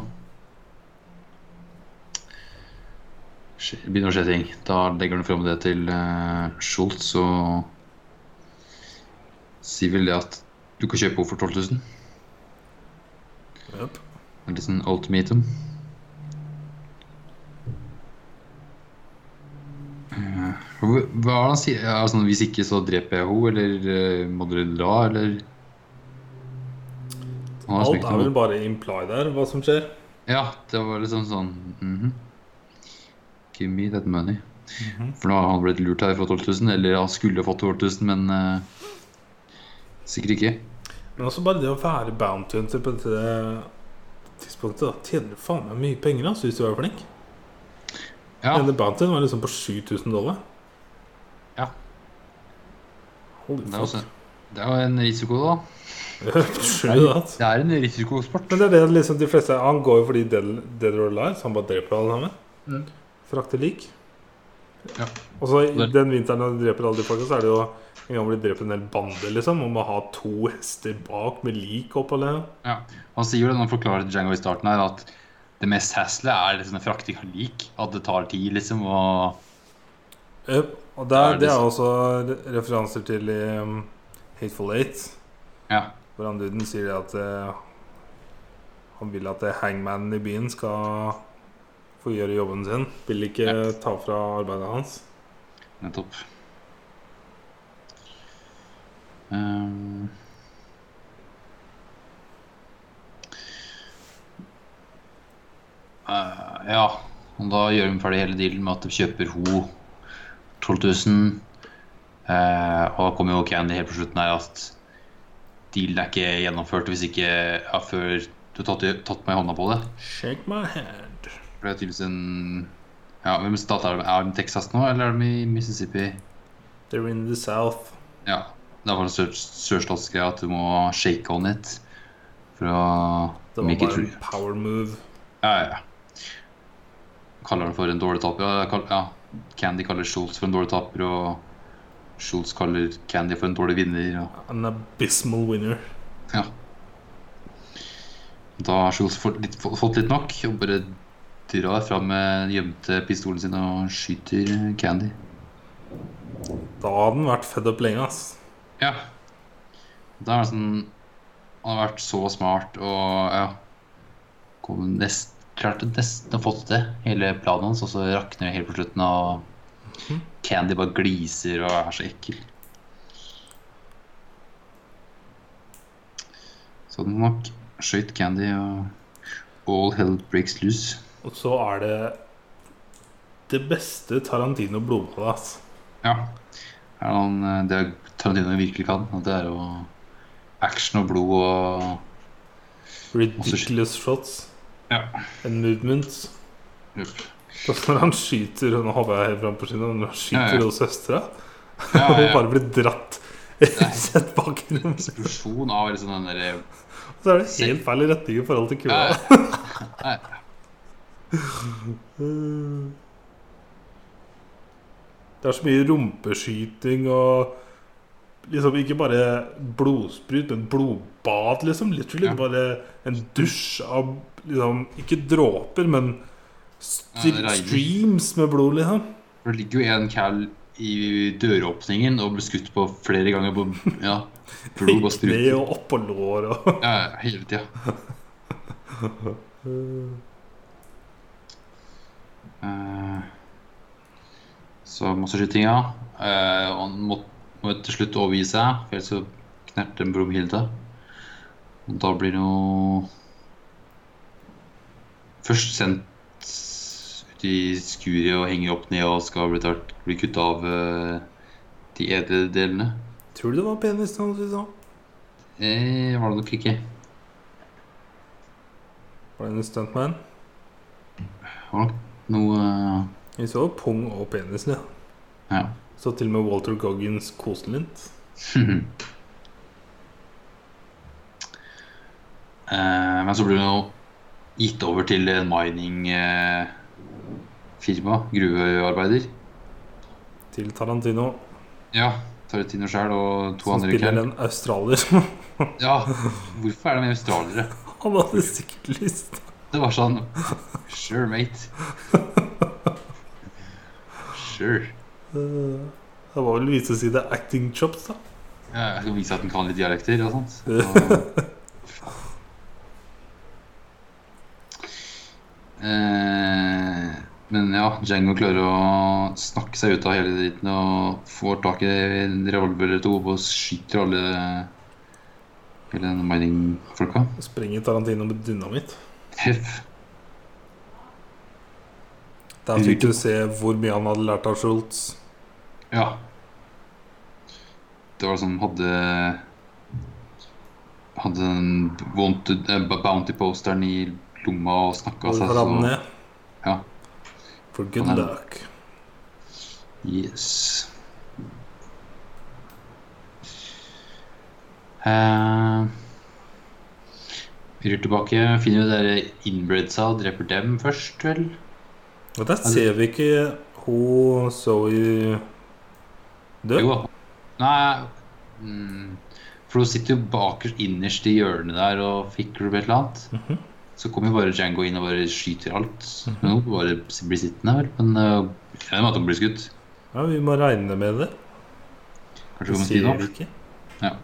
[SPEAKER 1] skje- begynner det å skje ting. Da legger han fram det til eh, Schultz og sier vel det at du kan kjøpe henne for 12 000.
[SPEAKER 2] Jep.
[SPEAKER 1] En liten sånn ultimatum. Eh, Hva hva er det han sier? Er det sånn, Hvis ikke, så dreper jeg henne, eller eh, må dere dra, eller Han har liksom
[SPEAKER 2] Alt
[SPEAKER 1] ikke
[SPEAKER 2] er
[SPEAKER 1] noe-
[SPEAKER 2] vel bare imply der, hva som skjer.
[SPEAKER 1] Ja, det var liksom sånn mhm. Give me that money. For nå har han blitt lurt her for 12 000, eller han skulle fått 12 000, men eh, sikkert ikke.
[SPEAKER 2] Men også bare det å være bounty hunter på dette tidspunktet, da tjener du faen meg mye penger altså, hvis du er flink.
[SPEAKER 1] Ja,
[SPEAKER 2] Denne bountyen var liksom på 7000 dollar.
[SPEAKER 1] Ja.
[SPEAKER 2] Holy
[SPEAKER 1] det er, også,
[SPEAKER 2] fuck.
[SPEAKER 1] det er jo en risiko, da.
[SPEAKER 2] Skjønner du det? altså?
[SPEAKER 1] Det er en risikosport.
[SPEAKER 2] Men det er det liksom de fleste Han går jo for de dead, dead or alive, så han bare dreper alle sammen.
[SPEAKER 3] Mm.
[SPEAKER 2] Frakter lik.
[SPEAKER 1] Ja.
[SPEAKER 2] Og så i
[SPEAKER 1] Det-
[SPEAKER 2] den vinteren når de dreper alle de folka, så er det jo en gang hvor de dreper en hel bande, liksom. Og må ha to hester bak med lik liksom. opp og ned.
[SPEAKER 1] Han sier jo det når han forklarer til Django i starten her, at det mest hassle er liksom frakting av lik. At det tar tid, liksom. Og
[SPEAKER 2] Yep. Og
[SPEAKER 1] Da er det
[SPEAKER 2] der, det er
[SPEAKER 1] så-
[SPEAKER 2] også re- referanser til i um, Hateful Eight.
[SPEAKER 1] Ja.
[SPEAKER 2] Hvor han duden sier at eh, han vil at eh, hangmanen i byen skal få gjøre jobben sin. Vil ikke ta fra arbeidet hans.
[SPEAKER 1] nettopp. Ehm. Eh, ja. Og da gjør de ferdig hele dealen med at de kjøper ho 12 000. Eh, og da kommer jo Candy helt på slutten her at dealen er ikke gjennomført hvis ikke ja, før du har tatt, tatt meg i hånda på det.
[SPEAKER 2] Shake my hand.
[SPEAKER 1] For det er tydeligvis en Ja, hvem stat er det? Er de i Texas nå, eller er de i Mississippi?
[SPEAKER 2] They're in the south.
[SPEAKER 1] Ja. Det er bare en sør- sørstatsgreie at du må shake on it for å
[SPEAKER 2] Det var
[SPEAKER 1] make it
[SPEAKER 2] bare en
[SPEAKER 1] real.
[SPEAKER 2] power move.
[SPEAKER 1] Ja, ja, ja. Kaller han for en dårlig taper. Ja, kall- ja. Candy kaller Schultz for en dårlig taper, og Schultz kaller Candy for en dårlig vinner. Og
[SPEAKER 2] An abysmal winner.
[SPEAKER 1] da har Schultz fått litt, få- fått litt nok og bare drar fra med den gjemte pistolen sin og skyter Candy.
[SPEAKER 2] Da hadde han vært fed up lenge, ass.
[SPEAKER 1] Ja. Da er det sånn Han har vært så smart og ja kom nest, Klarte nesten å få til det, hele planen hans, og så rakner det helt på slutten. Og Candy bare gliser og er så ekkel. Så den nok skøyt Candy, og all hell breaks loose.
[SPEAKER 2] Og så er det det beste Tarantino-blodbadet, ass.
[SPEAKER 1] Ja. Er det han, eh, det Tarantino virkelig kan, at det er å action og blod og
[SPEAKER 2] Ridiculous shots.
[SPEAKER 1] Ja.
[SPEAKER 2] And movements.
[SPEAKER 1] Jupp.
[SPEAKER 2] Og så når han skyter Nå hopper jeg helt fram på skinnet. men Når han
[SPEAKER 1] Ja,
[SPEAKER 2] skyter
[SPEAKER 1] ja.
[SPEAKER 2] hos søstera,
[SPEAKER 1] Ja,
[SPEAKER 2] og
[SPEAKER 1] ja, ja.
[SPEAKER 2] bare blir dratt sett bak i rommet,
[SPEAKER 1] eksplosjon av liksom den derre
[SPEAKER 2] så er det helt feil retning i forhold til kula.
[SPEAKER 1] Ja, ja.
[SPEAKER 2] Mm. Det er så mye rumpeskyting og Liksom ikke bare blodsprut, men blodbad, liksom. Literally
[SPEAKER 1] Ja.
[SPEAKER 2] bare en dusj av liksom Ikke dråper, men
[SPEAKER 1] Ja,
[SPEAKER 2] stri
[SPEAKER 1] det regner.
[SPEAKER 2] streams med blod, liksom.
[SPEAKER 1] For det ligger jo en cal i døråpningen og blir skutt på flere ganger på ja, blod og
[SPEAKER 2] I kne
[SPEAKER 1] spruter.
[SPEAKER 2] og oppå lår og
[SPEAKER 1] Ja, ja, hele tida. Eh, Så masse skytinga. Eh, og han må, må til slutt overgi seg, for ellers så knerter en Bromhilde. Og da blir han jo først sendt ut i skuret og henger opp ned og skal bli, tatt- bli kutta av eh, de edle delene.
[SPEAKER 2] Tror du det var penisen hans vi så?
[SPEAKER 1] Eh, var det nok ikke.
[SPEAKER 2] Var det en stuntman?
[SPEAKER 1] Det var nok noe eh,
[SPEAKER 2] Vi så pung og penisen, ja.
[SPEAKER 1] Ja.
[SPEAKER 2] Så til og med Walter Goggins koselint.
[SPEAKER 1] Eh, men så blir det jo gitt over til en mining-firma, gruvearbeider.
[SPEAKER 2] Til Tarantino,
[SPEAKER 1] Ja, Tarantino sjøl og to
[SPEAKER 2] som
[SPEAKER 1] andre
[SPEAKER 2] spiller
[SPEAKER 1] kjær.
[SPEAKER 2] en australier.
[SPEAKER 1] Ja, hvorfor er de australiere?
[SPEAKER 2] Han hadde sikkert lyst.
[SPEAKER 1] Det var sånn Sure, mate. Sure.
[SPEAKER 2] Eh, Det var vel vise å si det er acting chops, da.
[SPEAKER 1] Ja, jeg skal vise at den kan litt dialekter og sånt. Og... Eh, men ja, Django klarer å snakke seg ut av hele dritten og får tak i en revolver eller to og skyter alle hele denne mining-folka.
[SPEAKER 2] Og Sprenger Tarantino med dynamitt.
[SPEAKER 1] Treff.
[SPEAKER 2] Der fikk du se hvor mye han hadde lært av Schultz.
[SPEAKER 1] Ja. Det var sånn hadde Hadde den wanted, eh, bounty-posteren i lomma og snakka
[SPEAKER 2] Og
[SPEAKER 1] seg
[SPEAKER 2] har han ned.
[SPEAKER 1] Ja.
[SPEAKER 2] For good
[SPEAKER 1] Han er-
[SPEAKER 2] luck.
[SPEAKER 1] Yes. Uh, vi rir tilbake, finner vi der innbredsa og dreper dem først, vel?
[SPEAKER 2] Og
[SPEAKER 1] Altså-
[SPEAKER 2] der ser vi ikke hun Zoe dø.
[SPEAKER 1] Jo da. Nei mm, For hun sitter jo bakerst innerst i hjørnet der og fikler på et eller annet.
[SPEAKER 2] Mhm.
[SPEAKER 1] Så kommer jo bare Django inn og bare skyter alt. Men hun bare blir sittende, vel. Men eh, jeg regner med at hun blir skutt.
[SPEAKER 2] Ja, vi må regne med det.
[SPEAKER 1] Kanskje
[SPEAKER 2] Det
[SPEAKER 1] hun må si
[SPEAKER 2] sier
[SPEAKER 1] noe.
[SPEAKER 2] vi ikke.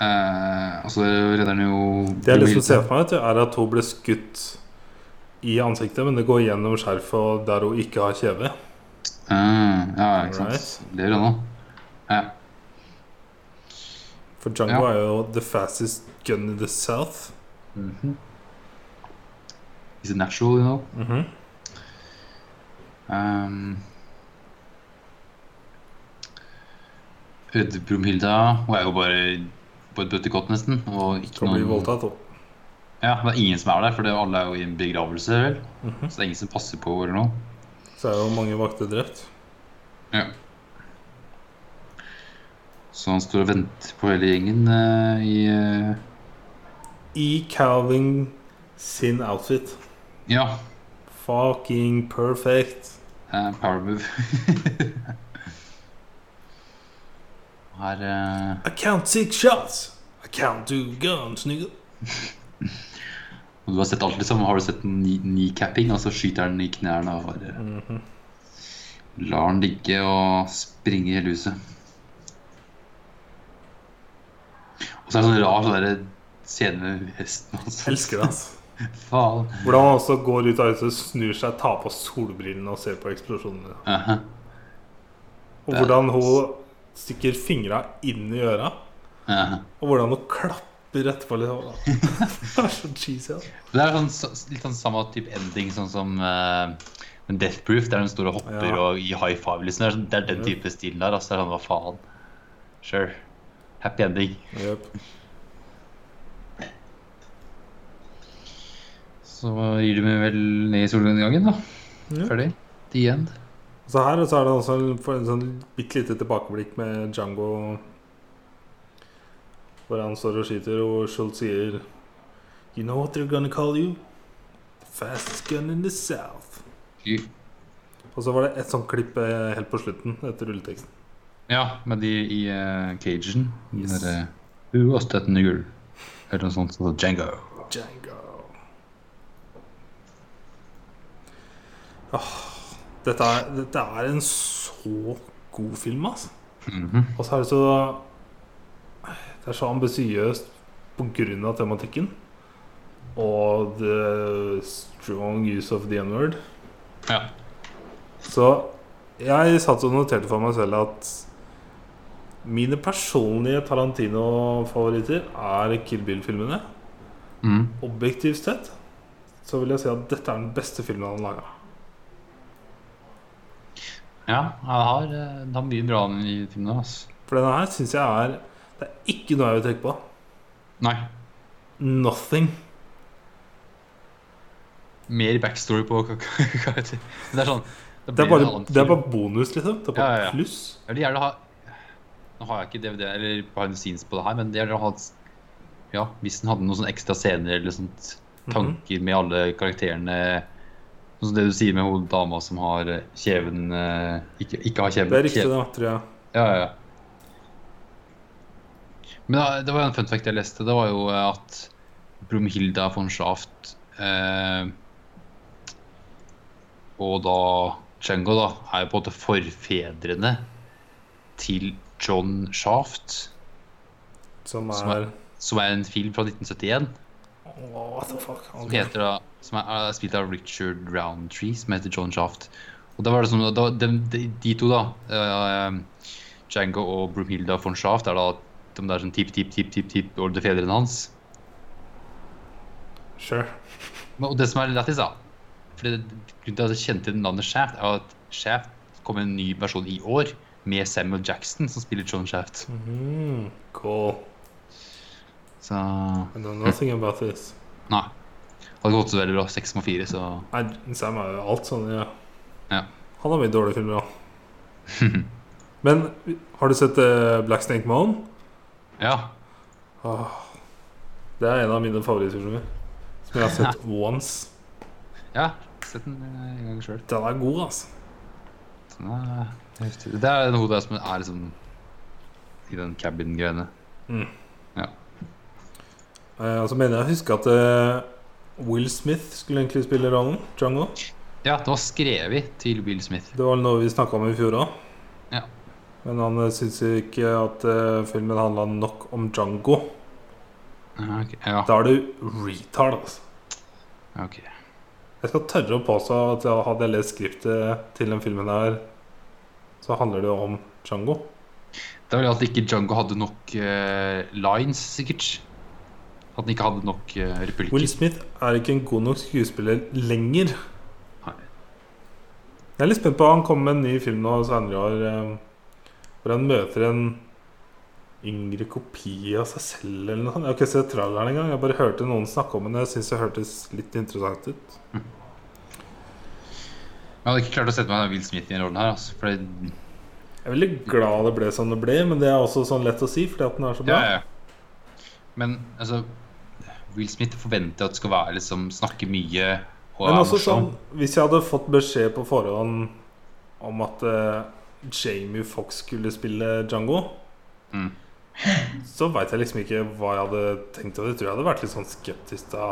[SPEAKER 1] Eh, altså, redder han jo
[SPEAKER 2] Det jeg liksom ser for meg, vet du, er at hun ble skutt i ansiktet, men det går gjennom skjerfet og der hun ikke har kjeve.
[SPEAKER 1] Ah, ja, ikke sant.
[SPEAKER 2] Alright.
[SPEAKER 1] Lever ennå.
[SPEAKER 2] For Django
[SPEAKER 1] Ja.
[SPEAKER 2] er jo the fastest gun in the south.
[SPEAKER 1] Is it natural, you know?
[SPEAKER 2] Mhm.
[SPEAKER 1] Um, Rødde Brumhilda Hun er jo bare på et bøttekott, nesten. Og ikke
[SPEAKER 2] Kan bli
[SPEAKER 1] noen,
[SPEAKER 2] voldtatt hun.
[SPEAKER 1] ja, det er ingen som er der, for det, alle er jo i en begravelse, vel?
[SPEAKER 2] Mhm.
[SPEAKER 1] Så det er ingen som passer på eller noe.
[SPEAKER 2] Så er jo mange vakter drept.
[SPEAKER 1] Så han står og venter på hele gjengen eh, i eh,
[SPEAKER 2] I Calvin sin outfit.
[SPEAKER 1] Ja,
[SPEAKER 2] Fucking perfect.
[SPEAKER 1] eh, power move. Her eh,
[SPEAKER 2] I count six shots. I count two guns, nigga.
[SPEAKER 1] Og Du har sett alt, liksom. Har du sett kni- kneecapping? Altså skyter han i knærne og bare
[SPEAKER 2] Mhm.
[SPEAKER 1] lar han ligge og springe i hele huset. Og så er det sånn rar sånn der scene med hesten hans.
[SPEAKER 2] Elsker det, altså.
[SPEAKER 1] Faen.
[SPEAKER 2] Hvordan han også går ut av huset, snur seg, tar på solbrillene og ser på eksplosjonene.
[SPEAKER 1] Aha.
[SPEAKER 2] Og
[SPEAKER 1] Det er-
[SPEAKER 2] hvordan hun stikker fingra inn i øra.
[SPEAKER 1] Aha.
[SPEAKER 2] Og hvordan hun klapper etterpå. Liksom. Det er så cheesy. Altså.
[SPEAKER 1] Det er sånn, s- litt sånn samme type ending sånn som eh, men Death Proof, der de står og hopper
[SPEAKER 2] Ja.
[SPEAKER 1] og gir high five. Liksom. Det, er sånn, det er den type stilen der. Altså, det er sånn, hva faen. Sure. Happy ending. Så gir de meg vel ned i solnedgangen, da.
[SPEAKER 2] Ja.
[SPEAKER 1] Ferdig. The end.
[SPEAKER 2] Så her så er det også en, for en sånn bitte lite tilbakeblikk med Django. Hvor han står og skyter, og Schultz sier You know what they're gonna call you? The fastest gun in the south.
[SPEAKER 1] Fy.
[SPEAKER 2] Og så var det et sånt klipp eh, helt på slutten etter rulleteksten.
[SPEAKER 1] Ja, med de i uh, cagen. Den
[SPEAKER 2] Yes.
[SPEAKER 1] derre Who was that nigger? Eller noe sånt som så Django.
[SPEAKER 2] Django. Åh, dette, er, dette er en så god film, altså.
[SPEAKER 1] Mhm.
[SPEAKER 2] Og så er det så Det er så ambisiøst pga. tematikken. Og the strong use of the n-word.
[SPEAKER 1] Ja.
[SPEAKER 2] Så jeg satt og noterte for meg selv at mine personlige Tarantino-favoritter er Kill Bill-filmene.
[SPEAKER 1] Mm.
[SPEAKER 2] Objektivt sett så vil jeg si at dette er den beste filmen han laga.
[SPEAKER 1] Ja, han har, eh, det er mye bra i filmen. Altså.
[SPEAKER 2] For denne her syns jeg er Det er ikke noe jeg vil trekke på.
[SPEAKER 1] Nei.
[SPEAKER 2] Nothing.
[SPEAKER 1] Mer backstory på hva hva heter det? Men Det er sånn
[SPEAKER 2] Det er
[SPEAKER 1] blir en
[SPEAKER 2] bare,
[SPEAKER 1] annen
[SPEAKER 2] det er
[SPEAKER 1] film.
[SPEAKER 2] bare bonus, liksom. Det er bare
[SPEAKER 1] Ja, ja, ja.
[SPEAKER 2] pluss.
[SPEAKER 1] Jeg vil gjerne ha Nå har jeg ikke DVD eller behind the scenes på det her, men det gjerne ha Ja, hvis den hadde noen sånne ekstra scener eller sånt tanker med alle karakterene Sånn som det du sier med hun dama som har eh, kjeven eh, Ikke, ikke har kjeven.
[SPEAKER 2] Det er riktig,
[SPEAKER 1] kjeven.
[SPEAKER 2] det, tror jeg.
[SPEAKER 1] Ja, ja, ja. Men eh, det var en fun fact jeg leste. Det var jo eh, at Brumhilda von Schaft eh, og da Django da, er jo på en måte forfedrene til John Shaft,
[SPEAKER 2] Som
[SPEAKER 1] Som
[SPEAKER 2] er
[SPEAKER 1] er- som er en film fra 1971
[SPEAKER 2] Åh, What the fuck?
[SPEAKER 1] som,
[SPEAKER 2] Ok.
[SPEAKER 1] heter, da- som er, er spilt av Richard Roundtree, som heter John Shaft. Og da var det sånn, da, de, de, de to, da, uh, Django og Brumhilda von Shaft, er da de der som tipp-tipp-tipp-tipp-oldefedrene hans.
[SPEAKER 2] Sure.
[SPEAKER 1] Men, og det som er litt lættis, da for det, Grunnen til at jeg kjente navnet Shaft, er at Shaft kom med en ny versjon i år med Samuel Jackson, som spiller John Shaft. Mm.
[SPEAKER 2] Mhm, cool.
[SPEAKER 1] Så
[SPEAKER 2] I know nothing about this.
[SPEAKER 1] Nei. Det hadde gått så veldig bra. 6,4, så
[SPEAKER 2] Nei, Sam er jo alt sånn, ja.
[SPEAKER 1] Ja.
[SPEAKER 2] Han har mye dårlige filmer òg. Men har du sett eh, Black Snake Moan?
[SPEAKER 1] Ja.
[SPEAKER 2] Åh, det er en av mine favorittfilmer. Som jeg har sett once.
[SPEAKER 1] ja. Sett den eh, en gang sjøl.
[SPEAKER 2] Den er god, altså.
[SPEAKER 1] Nei, det er riktig. Det er noe der som er liksom i den cabin-greiene.
[SPEAKER 2] Eh, Og så mener jeg å huske at eh, Will Smith skulle egentlig spille rollen. Django.
[SPEAKER 1] Ja, det var skrevet til Will Smith.
[SPEAKER 2] Det var noe vi snakka om i fjor òg.
[SPEAKER 1] Ja.
[SPEAKER 2] Men han eh, syntes ikke at eh, filmen handla nok om Django.
[SPEAKER 1] Ja, ok. Ja,
[SPEAKER 2] Da er du retard, altså.
[SPEAKER 1] ok.
[SPEAKER 2] Jeg skal tørre å påstå at jeg hadde jeg lest skriptet til den filmen her, så handler det jo om Django.
[SPEAKER 1] Det var jo at ikke Django hadde nok eh, lines, sikkert. At han ikke hadde nok uh,
[SPEAKER 2] Will
[SPEAKER 1] replikker.
[SPEAKER 2] Smith er ikke en god nok skuespiller lenger.
[SPEAKER 1] Nei.
[SPEAKER 2] Jeg er litt spent på Han kommer med en ny film nå senere i år eh, hvor han møter en yngre kopi av seg selv eller noe sånt. Jeg har ikke sett traileren engang. Jeg bare hørte noen snakke om den. Jeg syns det hørtes litt interessant ut.
[SPEAKER 1] Jeg hadde ikke klart å sette meg Will Smith i den rollen her. Altså, for det,
[SPEAKER 2] Jeg er veldig glad det ble som det ble, men det er også sånn lett å si fordi at den er
[SPEAKER 1] ja,
[SPEAKER 2] så bra.
[SPEAKER 1] ja. Men altså Will Smith forventer at det skal være liksom snakke mye og
[SPEAKER 2] Men
[SPEAKER 1] er
[SPEAKER 2] også sånn,
[SPEAKER 1] morsom.
[SPEAKER 2] hvis jeg hadde fått beskjed på forhånd om at eh, Jamie Fox skulle spille Django,
[SPEAKER 1] Mm.
[SPEAKER 2] så veit jeg liksom ikke hva jeg hadde tenkt over. Jeg tror jeg hadde vært litt sånn skeptisk da.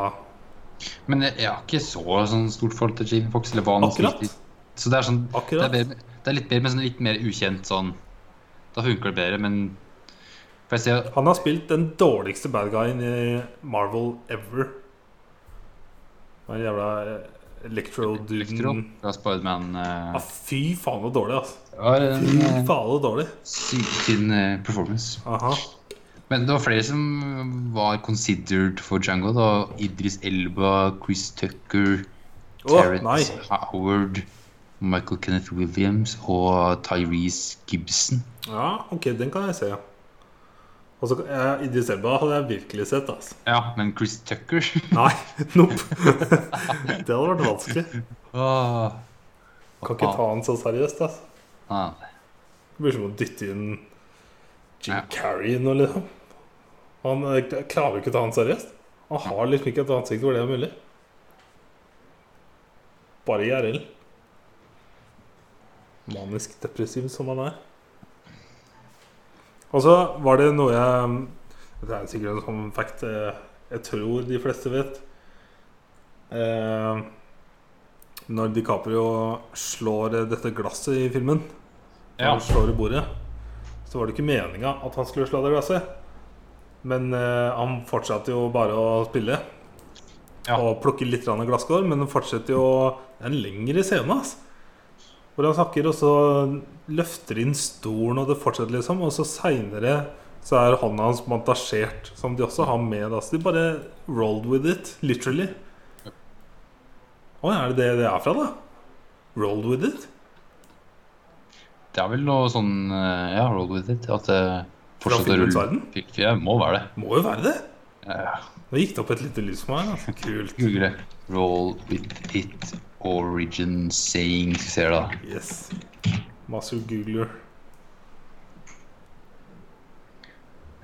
[SPEAKER 1] Men jeg, jeg har ikke så sånn stort forhold til Jamie Fox eller hva han
[SPEAKER 2] Akkurat.
[SPEAKER 1] spilte i. Så det er sånn Det
[SPEAKER 2] Akkurat.
[SPEAKER 1] er, bedre, det er litt bedre med sånn litt mer ukjent sånn Da funker det bedre, men For jeg ser
[SPEAKER 2] Han har spilt den dårligste bad guyen i Marvel ever. Den jævla eh,
[SPEAKER 1] Electro
[SPEAKER 2] Electro-duden.
[SPEAKER 1] fra Spiderman
[SPEAKER 2] Ja,
[SPEAKER 1] uh,
[SPEAKER 2] fy faen så dårlig, altså.
[SPEAKER 1] var
[SPEAKER 2] Fy
[SPEAKER 1] en uh,
[SPEAKER 2] faen så dårlig.
[SPEAKER 1] sykt fin eh, performance.
[SPEAKER 2] Aha.
[SPEAKER 1] Men det var flere som var considered for Django. da Idris Elba, Chris Tucker,
[SPEAKER 2] Å, nei.
[SPEAKER 1] Terence Howard, Michael Kenneth Williams og Tyrese Gibson.
[SPEAKER 2] Ja, ok, den kan jeg se. Og så eh, Idris Elba hadde jeg virkelig sett, altså.
[SPEAKER 1] Ja, men Chris Tucker
[SPEAKER 2] Nei, nope. det hadde vært vanskelig. Ah.
[SPEAKER 1] Åh.
[SPEAKER 2] Kan ikke ta han så seriøst, altså.
[SPEAKER 1] Ah,
[SPEAKER 2] Det blir som å dytte inn Jim
[SPEAKER 1] Ja.
[SPEAKER 2] Carrey nå, liksom. Han eh, klarer jo ikke å ta han seriøst. Han har liksom ikke et ansikt hvor det er mulig. Bare IRL. Manisk depressiv som han er. Og så var det noe jeg mm, Det er sikkert en sånn fact eh, jeg tror de fleste vet. Eh, når DiCaprio slår eh, dette glasset i filmen når
[SPEAKER 1] Ja.
[SPEAKER 2] han slår i bordet, så var det ikke meninga at han skulle slå det glasset. Men eh, han fortsatte jo bare å spille
[SPEAKER 1] Ja.
[SPEAKER 2] og plukke litt grann glasskår. Men han fortsetter jo Det er en lengre scene, altså. Hvor han snakker, og så løfter inn stolen, og det fortsetter, liksom. Og så seinere så er hånda hans bandasjert, som de også har med. Da. Så de bare rolled with it, literally. Å, er det det det er fra, da? Rolled with it?
[SPEAKER 3] Det er vel noe sånn eh, Ja, roll with it. At
[SPEAKER 1] eh,
[SPEAKER 3] det fortsetter å
[SPEAKER 2] filmens
[SPEAKER 3] rulle.
[SPEAKER 2] verden?
[SPEAKER 3] Fikk- Ja, må være det.
[SPEAKER 2] Må jo være det.
[SPEAKER 3] Ja,
[SPEAKER 2] Nå gikk det opp et lite lys for meg. Da. Kult.
[SPEAKER 3] Google det. Roll with it origin saying. Ser du da.
[SPEAKER 2] Yes. Massive googler.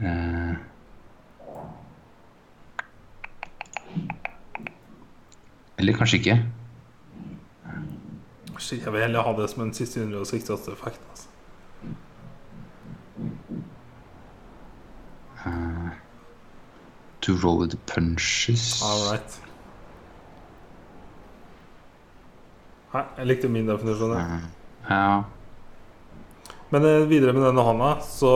[SPEAKER 3] Eh, Eller kanskje ikke.
[SPEAKER 2] Shit, Jeg vil heller ha det som en siste 168-fact. Altså.
[SPEAKER 3] To roll with the punches.
[SPEAKER 2] All right. Nei, jeg likte min definisjon. jeg.
[SPEAKER 1] Eh,
[SPEAKER 3] Ja.
[SPEAKER 2] Men eh, videre med denne hånda, så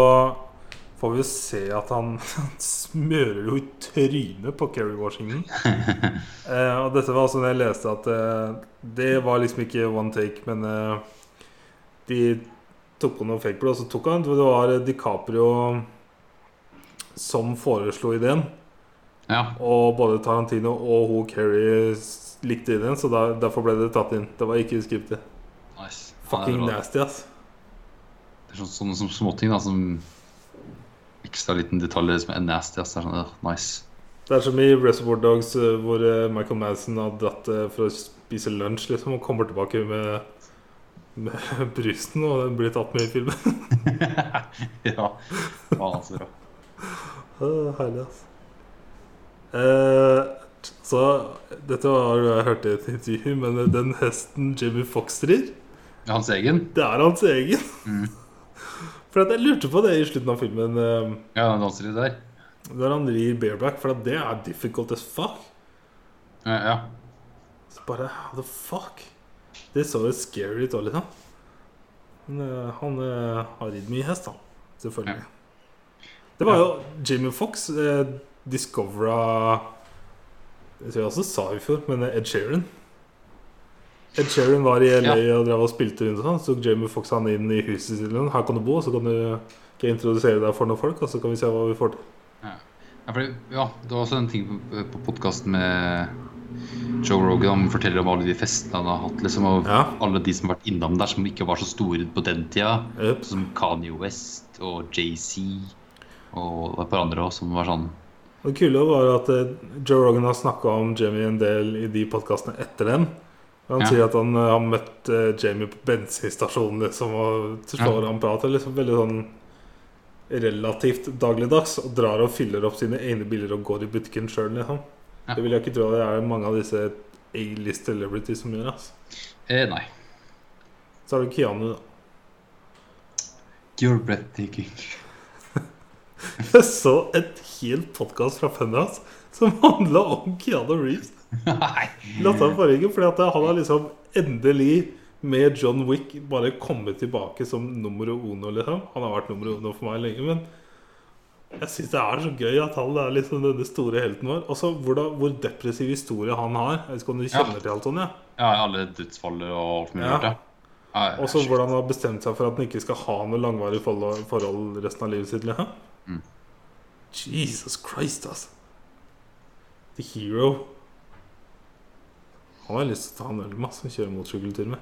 [SPEAKER 2] får vi jo se at han, han smører jo i trynet på Kerry Washington. Eh, og dette var altså når jeg leste at eh, det var liksom ikke one take, men eh, de tok på noe fake blod, og så tok han. Det var eh, DiCaprio som foreslo ideen.
[SPEAKER 1] Ja.
[SPEAKER 2] Og både Tarantino og hun Kerry s- likte ideen, så der, derfor ble det tatt inn. Det var ikke i skriptet.
[SPEAKER 1] Nice. ja,
[SPEAKER 2] Fucking
[SPEAKER 1] det, er bra.
[SPEAKER 2] nasty, ass.
[SPEAKER 1] det er sånn- sånne som småting, da, som ekstra liten detalj som er nasty. ass. Det er sånn, øh, nice.
[SPEAKER 2] Det er som i Reservoir Dogs, eh, hvor eh, Michael Madsen har dratt eh, for å spise lunsj, liksom, og kommer tilbake med, med brusen, og den blir tatt med i filmen.
[SPEAKER 1] Ja. Faen, så bra.
[SPEAKER 2] Ah, Herlig, ass. Eh, t- så dette var jo jeg hørte i et intervju, men eh, den hesten Jimmy Fox rir,
[SPEAKER 1] Hans egen?
[SPEAKER 2] det er hans egen.
[SPEAKER 1] Mm.
[SPEAKER 2] For at jeg lurte på det i slutten av filmen. eh,
[SPEAKER 1] Ja, han danser litt der.
[SPEAKER 2] Når han rir bareback, for at det er difficult as fuck.
[SPEAKER 1] Ja, ja.
[SPEAKER 2] Så bare how the fuck? Det så jo scary ut òg, liksom. Men eh, han eh, har ridd mye hest, han. Selvfølgelig. Det var jo Jimmy Fox eh, discovera Det tror jeg også sa i fjor, men eh, Ed Sheeran. Ed Sheeran var i LA og drev og spilte rundt og sånn. Så tok Jamie Fox han inn i huset sitt. eller noe. Her kan du bo, så kan du kan jeg introdusere deg for noen folk, og så kan vi se hva vi får til.
[SPEAKER 1] Ja, fordi, ja, det var også en ting på, på podkasten med Joe Rogan. Han forteller om alle de festene han har hatt, liksom, og
[SPEAKER 2] Ja.
[SPEAKER 1] alle de som har vært innom der, som ikke var så store på den tida.
[SPEAKER 2] Yep.
[SPEAKER 1] Som Kanye West og JC og et par andre også, som var sånn
[SPEAKER 2] Det kule var at eh, Joe Rogan har snakka om Jamie en del i de podkastene etter den. Og Han
[SPEAKER 1] Ja.
[SPEAKER 2] sier at han eh, har møtt eh, Jamie på bensinstasjonen, liksom, og så slår han prater liksom veldig sånn relativt dagligdags. Og drar og fyller opp sine egne biler og går i butikken sjøl, liksom.
[SPEAKER 1] Ja.
[SPEAKER 2] Det vil jeg ikke tro det er mange av disse A-list celebrities som gjør. Altså.
[SPEAKER 1] eh, Nei.
[SPEAKER 2] Så er det Keanu, da.
[SPEAKER 1] You're breathtaking.
[SPEAKER 2] Jeg så et helt podkast fra Funhouse som handla om Keanu Reeves.
[SPEAKER 1] nei.
[SPEAKER 2] Latta han forrige uke, fordi at han har liksom endelig med John Wick bare kommet tilbake som nummer uno, liksom. Han har vært nummer uno for meg lenge, men jeg syns det er så gøy at han er liksom denne store helten vår. Og så hvordan- hvor depressiv historie han har. Jeg vet ikke om du kjenner til alt sånt, ja.
[SPEAKER 1] Ja, alle dødsfallet og alt mulig
[SPEAKER 2] Ja.
[SPEAKER 1] rart, ja. ja. ja,
[SPEAKER 2] Og så
[SPEAKER 1] shit.
[SPEAKER 2] hvordan han har bestemt seg for at han ikke skal ha noe langvarig forhold forhold resten av livet sitt, liksom.
[SPEAKER 1] Mm.
[SPEAKER 2] Jesus Christ, altså. The hero. Han har lyst til å ta en øl med, altså. Kjøre motorsykkeltur med.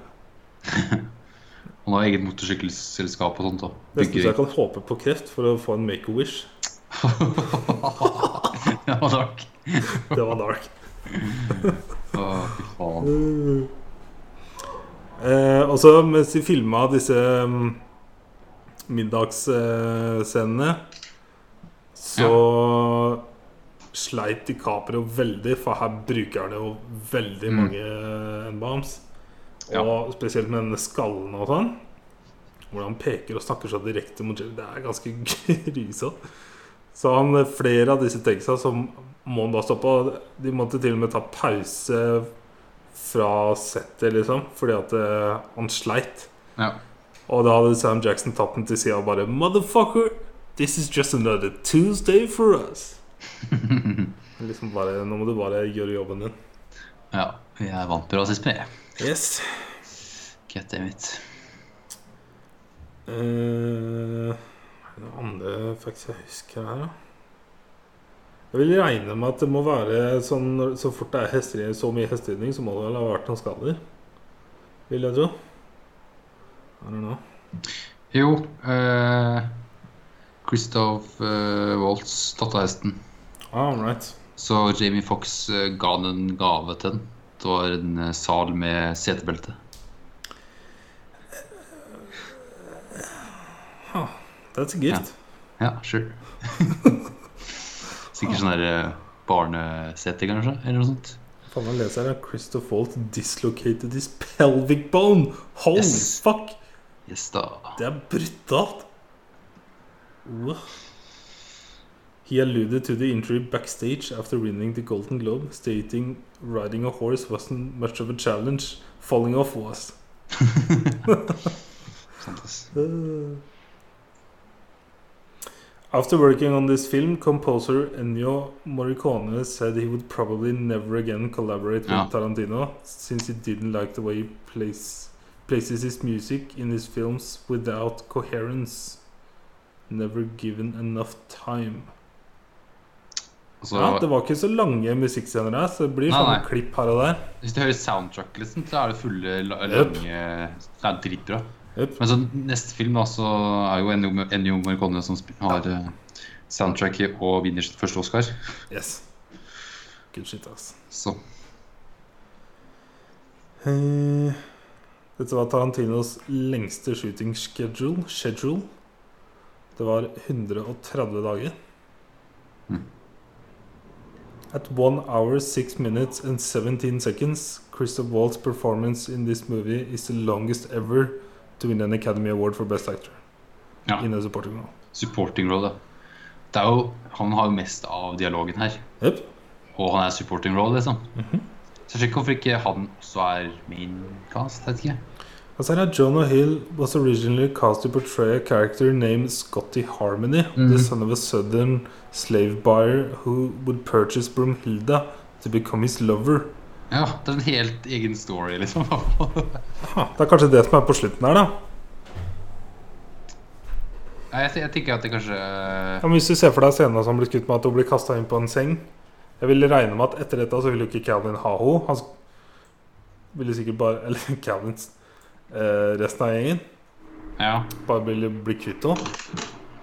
[SPEAKER 1] Han har eget motorsykkelselskap og sånt. Og
[SPEAKER 2] Nesten så jeg kan håpe på kreft for å få en make a wish.
[SPEAKER 1] ja, takk.
[SPEAKER 2] Det var dark.
[SPEAKER 1] Å, fy faen.
[SPEAKER 2] eh, og så mens de filma disse um, middagsscenene, så sleit DiCaprio veldig, for her bruker han jo veldig
[SPEAKER 1] Mm.
[SPEAKER 2] mange n-bombs. Og
[SPEAKER 1] Ja.
[SPEAKER 2] spesielt med denne skallen og sånn. Hvor han peker og snakker så direkte mot Jerry. Det er ganske grusomt. Så han, flere av disse teksta som må han da stoppe. og De måtte til og med ta pause fra settet, liksom, fordi at eh, han sleit.
[SPEAKER 1] Ja.
[SPEAKER 2] Og da hadde Sam Jackson tatt den til sida og bare Motherfucker, this is just another Tuesday for us. liksom bare Nå må du bare gjøre jobben din.
[SPEAKER 1] ja. Jeg vant bra sist, men jeg.
[SPEAKER 2] Yes.
[SPEAKER 1] Get damn it.
[SPEAKER 2] Eh, er det noen andre facts jeg husker her, da? Jeg vil regne med at det må være sånn når- Så fort det er hester, så mye hesteridning, så må det vel ha vært noen skader? Vil jeg tro. I don't know.
[SPEAKER 1] Jo eh, Christoph eh, Waltz tatt av hesten.
[SPEAKER 2] Ah, all right.
[SPEAKER 1] Så Jamie Fox eh, ga han en gave til den. Det var en eh, sal med setebelte.
[SPEAKER 2] That's a gift.
[SPEAKER 1] Ja, sure. Sikkert sånn der eh, barnesete, kanskje? Eller noe sånt.
[SPEAKER 2] Faen meg leser her. Christoph Walt dislocated his pelvic bone. Holy
[SPEAKER 1] Yes.
[SPEAKER 2] fuck!
[SPEAKER 1] Yes da.
[SPEAKER 2] Det er brutalt. Wow. He alluded to the injury backstage after winning the Golden Globe, stating riding a horse wasn't much of a challenge, falling off was.
[SPEAKER 1] Sant, ass.
[SPEAKER 2] Uh. After working on this film, composer Ennio Morricone said he would probably never again collaborate with
[SPEAKER 1] Ja.
[SPEAKER 2] Tarantino, since he didn't like the way he plays, places his music in his films without coherence. Never given enough time.
[SPEAKER 1] Og så,
[SPEAKER 2] ja, det var ikke så lange musikkscener her, så det blir
[SPEAKER 1] Nei,
[SPEAKER 2] sånne
[SPEAKER 1] nei.
[SPEAKER 2] klipp her og der.
[SPEAKER 1] Hvis du hører soundtrack, liksom, så er det fulle, la-
[SPEAKER 2] Jep.
[SPEAKER 1] lange Det er dritbra.
[SPEAKER 2] Jep.
[SPEAKER 1] Men så neste film da, så er jo Ennio Ennio Morricone som sp- har eh, soundtracket og vinner sitt første Oscar.
[SPEAKER 2] Yes. Good shit, ass.
[SPEAKER 1] Så
[SPEAKER 2] Eh, Dette var Tarantinos lengste shooting schedule. schedule. Det var 130 dager.
[SPEAKER 1] Mm.
[SPEAKER 2] At 1 hour 6 minutes and 17 seconds, Christoph Waltz's performance in this movie is the longest ever to win an Academy Award for Best Actor.
[SPEAKER 1] Ja.
[SPEAKER 2] In a supporting role.
[SPEAKER 1] supporting role, da. Det er jo, han har jo mest av dialogen her.
[SPEAKER 2] Jep.
[SPEAKER 1] Og han er supporting role, liksom.
[SPEAKER 2] Mhm.
[SPEAKER 1] Så jeg skjønner ikke hvorfor ikke han også er main cast. Jeg vet ikke.
[SPEAKER 2] Og så er det Jonah Hill was originally cast to portray a character named Scotty Harmony, the
[SPEAKER 1] Mhm.
[SPEAKER 2] son of a southern slave buyer who would purchase Brumhilda to become his lover.
[SPEAKER 1] Ja, det er en helt egen story, liksom.
[SPEAKER 2] Ah, det er kanskje det som er på slutten her, da.
[SPEAKER 1] Nei, jeg, jeg tenker at det kanskje
[SPEAKER 2] Ja, men hvis du ser for deg scenen som blir skutt med at hun blir kasta inn på en seng Jeg vil regne med at etter dette så vil jo ikke Calvin ha henne. Han sk- ville sikkert bare Eller Calvin eh, Resten av gjengen
[SPEAKER 1] Ja.
[SPEAKER 2] bare ville bli kvitt henne.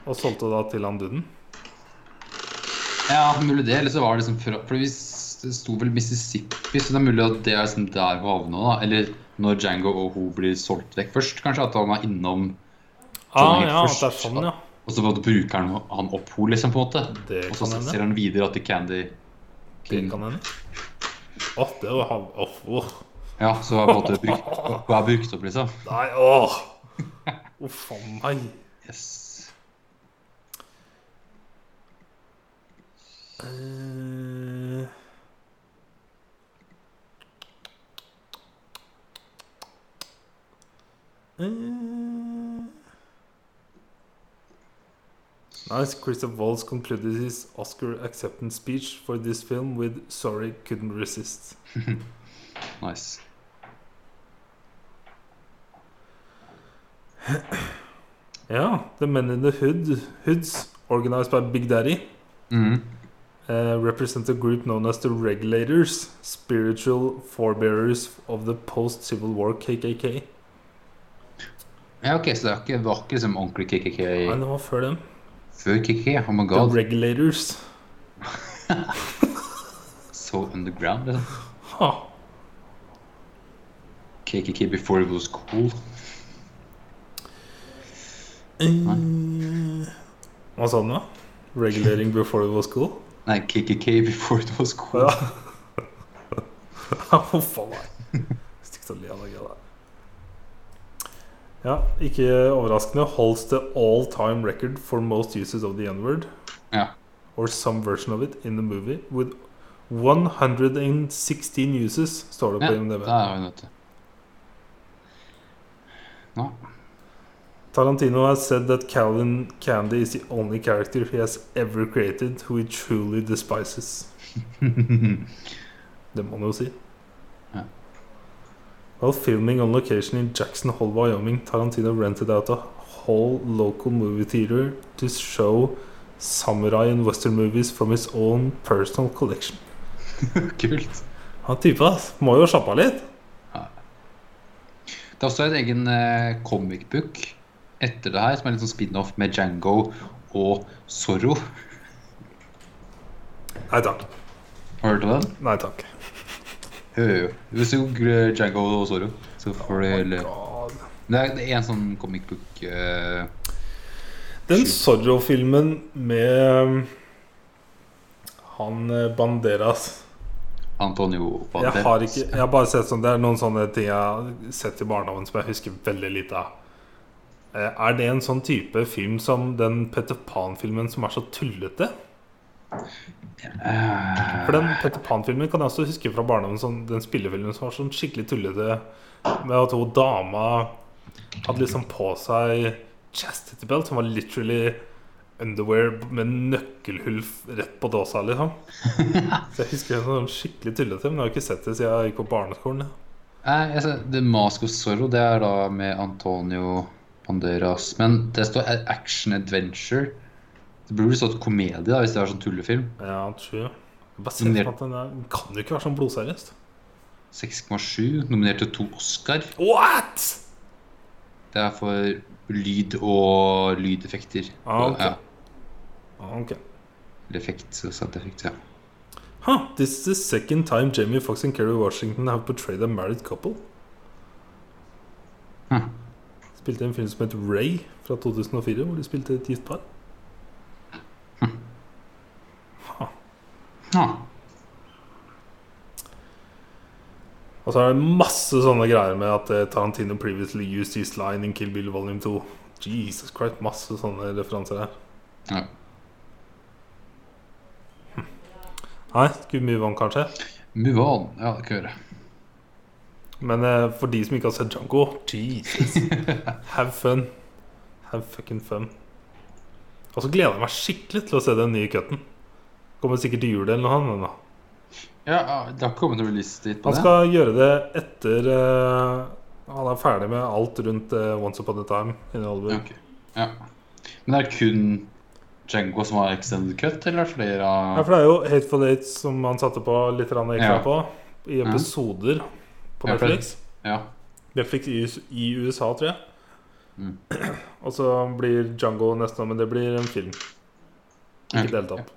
[SPEAKER 2] Og solgte da til han duden.
[SPEAKER 1] Ja, mulig det. Eller så var det liksom fra For hvis det sto vel Mississippi, så det er mulig at det er liksom der hvor havna, da. Eller når Django og hun blir solgt vekk først, kanskje. At han er innom
[SPEAKER 2] Ah,
[SPEAKER 1] Hill
[SPEAKER 2] ja,
[SPEAKER 1] først.
[SPEAKER 2] at det er sånn, ja.
[SPEAKER 1] Og så på en måte bruker han, han opp henne, liksom, på en måte.
[SPEAKER 2] Det
[SPEAKER 1] Og så
[SPEAKER 2] kan hende.
[SPEAKER 1] ser han videre at det er Candy
[SPEAKER 2] Det
[SPEAKER 1] King.
[SPEAKER 2] kan hende. Åh, det var han Åh, åh.
[SPEAKER 1] Ja, så er på en måte brukt, hun er brukt opp, liksom.
[SPEAKER 2] Nei, åh! Uff a meg.
[SPEAKER 1] Yes.
[SPEAKER 2] Eh, eh. Nice. Christoph Waltz concluded his Oscar acceptance speech for this film with "Sorry, couldn't resist."
[SPEAKER 1] Nice.
[SPEAKER 2] Ja, The Men in the Hood, Hoods, organized by Big Daddy,
[SPEAKER 1] Mhm.
[SPEAKER 2] uh, represent a group known as the Regulators, spiritual forebearers of the post-Civil War KKK.
[SPEAKER 1] Ja, OK, så det er ikke, det var ikke liksom ordentlig KKK
[SPEAKER 2] Nei, det var før dem.
[SPEAKER 1] før KKK? Oh my
[SPEAKER 2] The
[SPEAKER 1] god.
[SPEAKER 2] Regulators.
[SPEAKER 1] So underground, liksom.
[SPEAKER 2] Ha.
[SPEAKER 1] KKK before it was cool.
[SPEAKER 2] Eh, Hva sa den da? Regulating before it was cool?
[SPEAKER 1] Nei, KKK before it was cool.
[SPEAKER 2] Ja. Huff a meg. Stikk til å le av det greia der. Ja, ikke overraskende holds the all time record for most uses of the N-word.
[SPEAKER 1] Ja.
[SPEAKER 2] Or some version of it in the movie with 116 uses, står det
[SPEAKER 1] Ja,
[SPEAKER 2] på IMDb.
[SPEAKER 1] Der har vi nødt til. Nå.
[SPEAKER 2] Tarantino has said that Calvin Candy is the only character he has ever created who he truly despises. Det må han jo si.
[SPEAKER 1] Ja.
[SPEAKER 2] While filming on location in Jackson Hole, Wyoming, Tarantino rented out a whole local movie theater to show samurai and western movies from his own personal collection.
[SPEAKER 1] Kult.
[SPEAKER 2] Han typen ass, må jo ha sjappa litt.
[SPEAKER 1] Det er også en egen eh, comic book etter det her, som er litt sånn spin-off med Django og Zorro.
[SPEAKER 2] Nei takk.
[SPEAKER 1] Har du hørt om den?
[SPEAKER 2] Nei takk.
[SPEAKER 1] Jo, jo, jo. Hvis du googler eh, Django og Zorro, så får du hele
[SPEAKER 2] Oh God.
[SPEAKER 1] Det er, det er en sånn comic book eh,
[SPEAKER 2] Den Zorro-filmen med um, han eh, Banderas
[SPEAKER 1] Antonio
[SPEAKER 2] Jeg har ikke Jeg har bare sett sånn Det er noen sånne ting jeg har sett i barndommen som jeg husker veldig lite av. Eh, Er det en sånn type film som den Petter Pan-filmen som er så tullete?
[SPEAKER 1] Eh,
[SPEAKER 2] For den Petter Pan-filmen kan jeg også huske fra barndommen. Sånn, den spillefilmen som var sånn skikkelig tullete, med at hun dama hadde liksom på seg chastity belt, som var literally underwear med nøkkelhull f- rett på dåsa, liksom. Så jeg husker den sånn skikkelig tullete, men jeg har ikke sett det siden jeg gikk på barneskolen. jeg.
[SPEAKER 1] Nei, jeg ser, The Mask of Zorro, det er da med Antonio Banderas. Men det står a- action adventure. Det burde vel stått komedie da, hvis det er sånn tullefilm.
[SPEAKER 2] Ja, true. Jeg bare ser for meg at den er, den kan jo ikke være sånn blodseriøst.
[SPEAKER 1] 6,7, nominert til to Oscar.
[SPEAKER 2] What?!
[SPEAKER 1] Det er for lyd og lydeffekter.
[SPEAKER 2] Ah, ok.
[SPEAKER 1] Ja,
[SPEAKER 2] Ah, Ok.
[SPEAKER 1] eller effekt, så sant effekt, ja.
[SPEAKER 2] Huh, this is the second time Jamie Foxx and Kerry Washington have portrayed a married couple.
[SPEAKER 1] Hm.
[SPEAKER 2] Spilte i en film som het Ray fra 2004, hvor de spilte et gift par.
[SPEAKER 1] Ja.
[SPEAKER 2] Og så er det masse sånne greier med at eh, Tarantino previously used his line in Kill Bill volume 2. Jesus Christ, masse sånne referanser her.
[SPEAKER 1] Ja.
[SPEAKER 2] Hm. Nei, skulle mye vann, kanskje.
[SPEAKER 1] Move on. Ja, det kan jeg gjøre.
[SPEAKER 2] Men eh, for de som ikke har sett Django Jesus. Have fun. Have fucking fun. Og så gleder jeg meg skikkelig til å se den nye cutten. Kommer sikkert til jul eller noe annet. da.
[SPEAKER 1] Ja, ja, det har ikke kommet noen release dit på
[SPEAKER 2] Han
[SPEAKER 1] det.
[SPEAKER 2] skal gjøre det etter eh, han er ferdig med alt rundt eh, Once Upon a Time. In Hollywood.
[SPEAKER 1] Ja, ok. Ja. Men det er kun Django som har extended cut, eller er det flere av...
[SPEAKER 2] Ja, for det er jo Hateful Eight som han satte på litt grann ekstra
[SPEAKER 1] Ja. Mm.
[SPEAKER 2] på i episoder på
[SPEAKER 1] Ja, for-
[SPEAKER 2] Netflix.
[SPEAKER 1] Ja.
[SPEAKER 2] Netflix i, US- i USA, tror jeg.
[SPEAKER 1] Mm.
[SPEAKER 2] Og så blir Django neste år, men det blir en film. Ikke
[SPEAKER 1] Ok.
[SPEAKER 2] delt opp.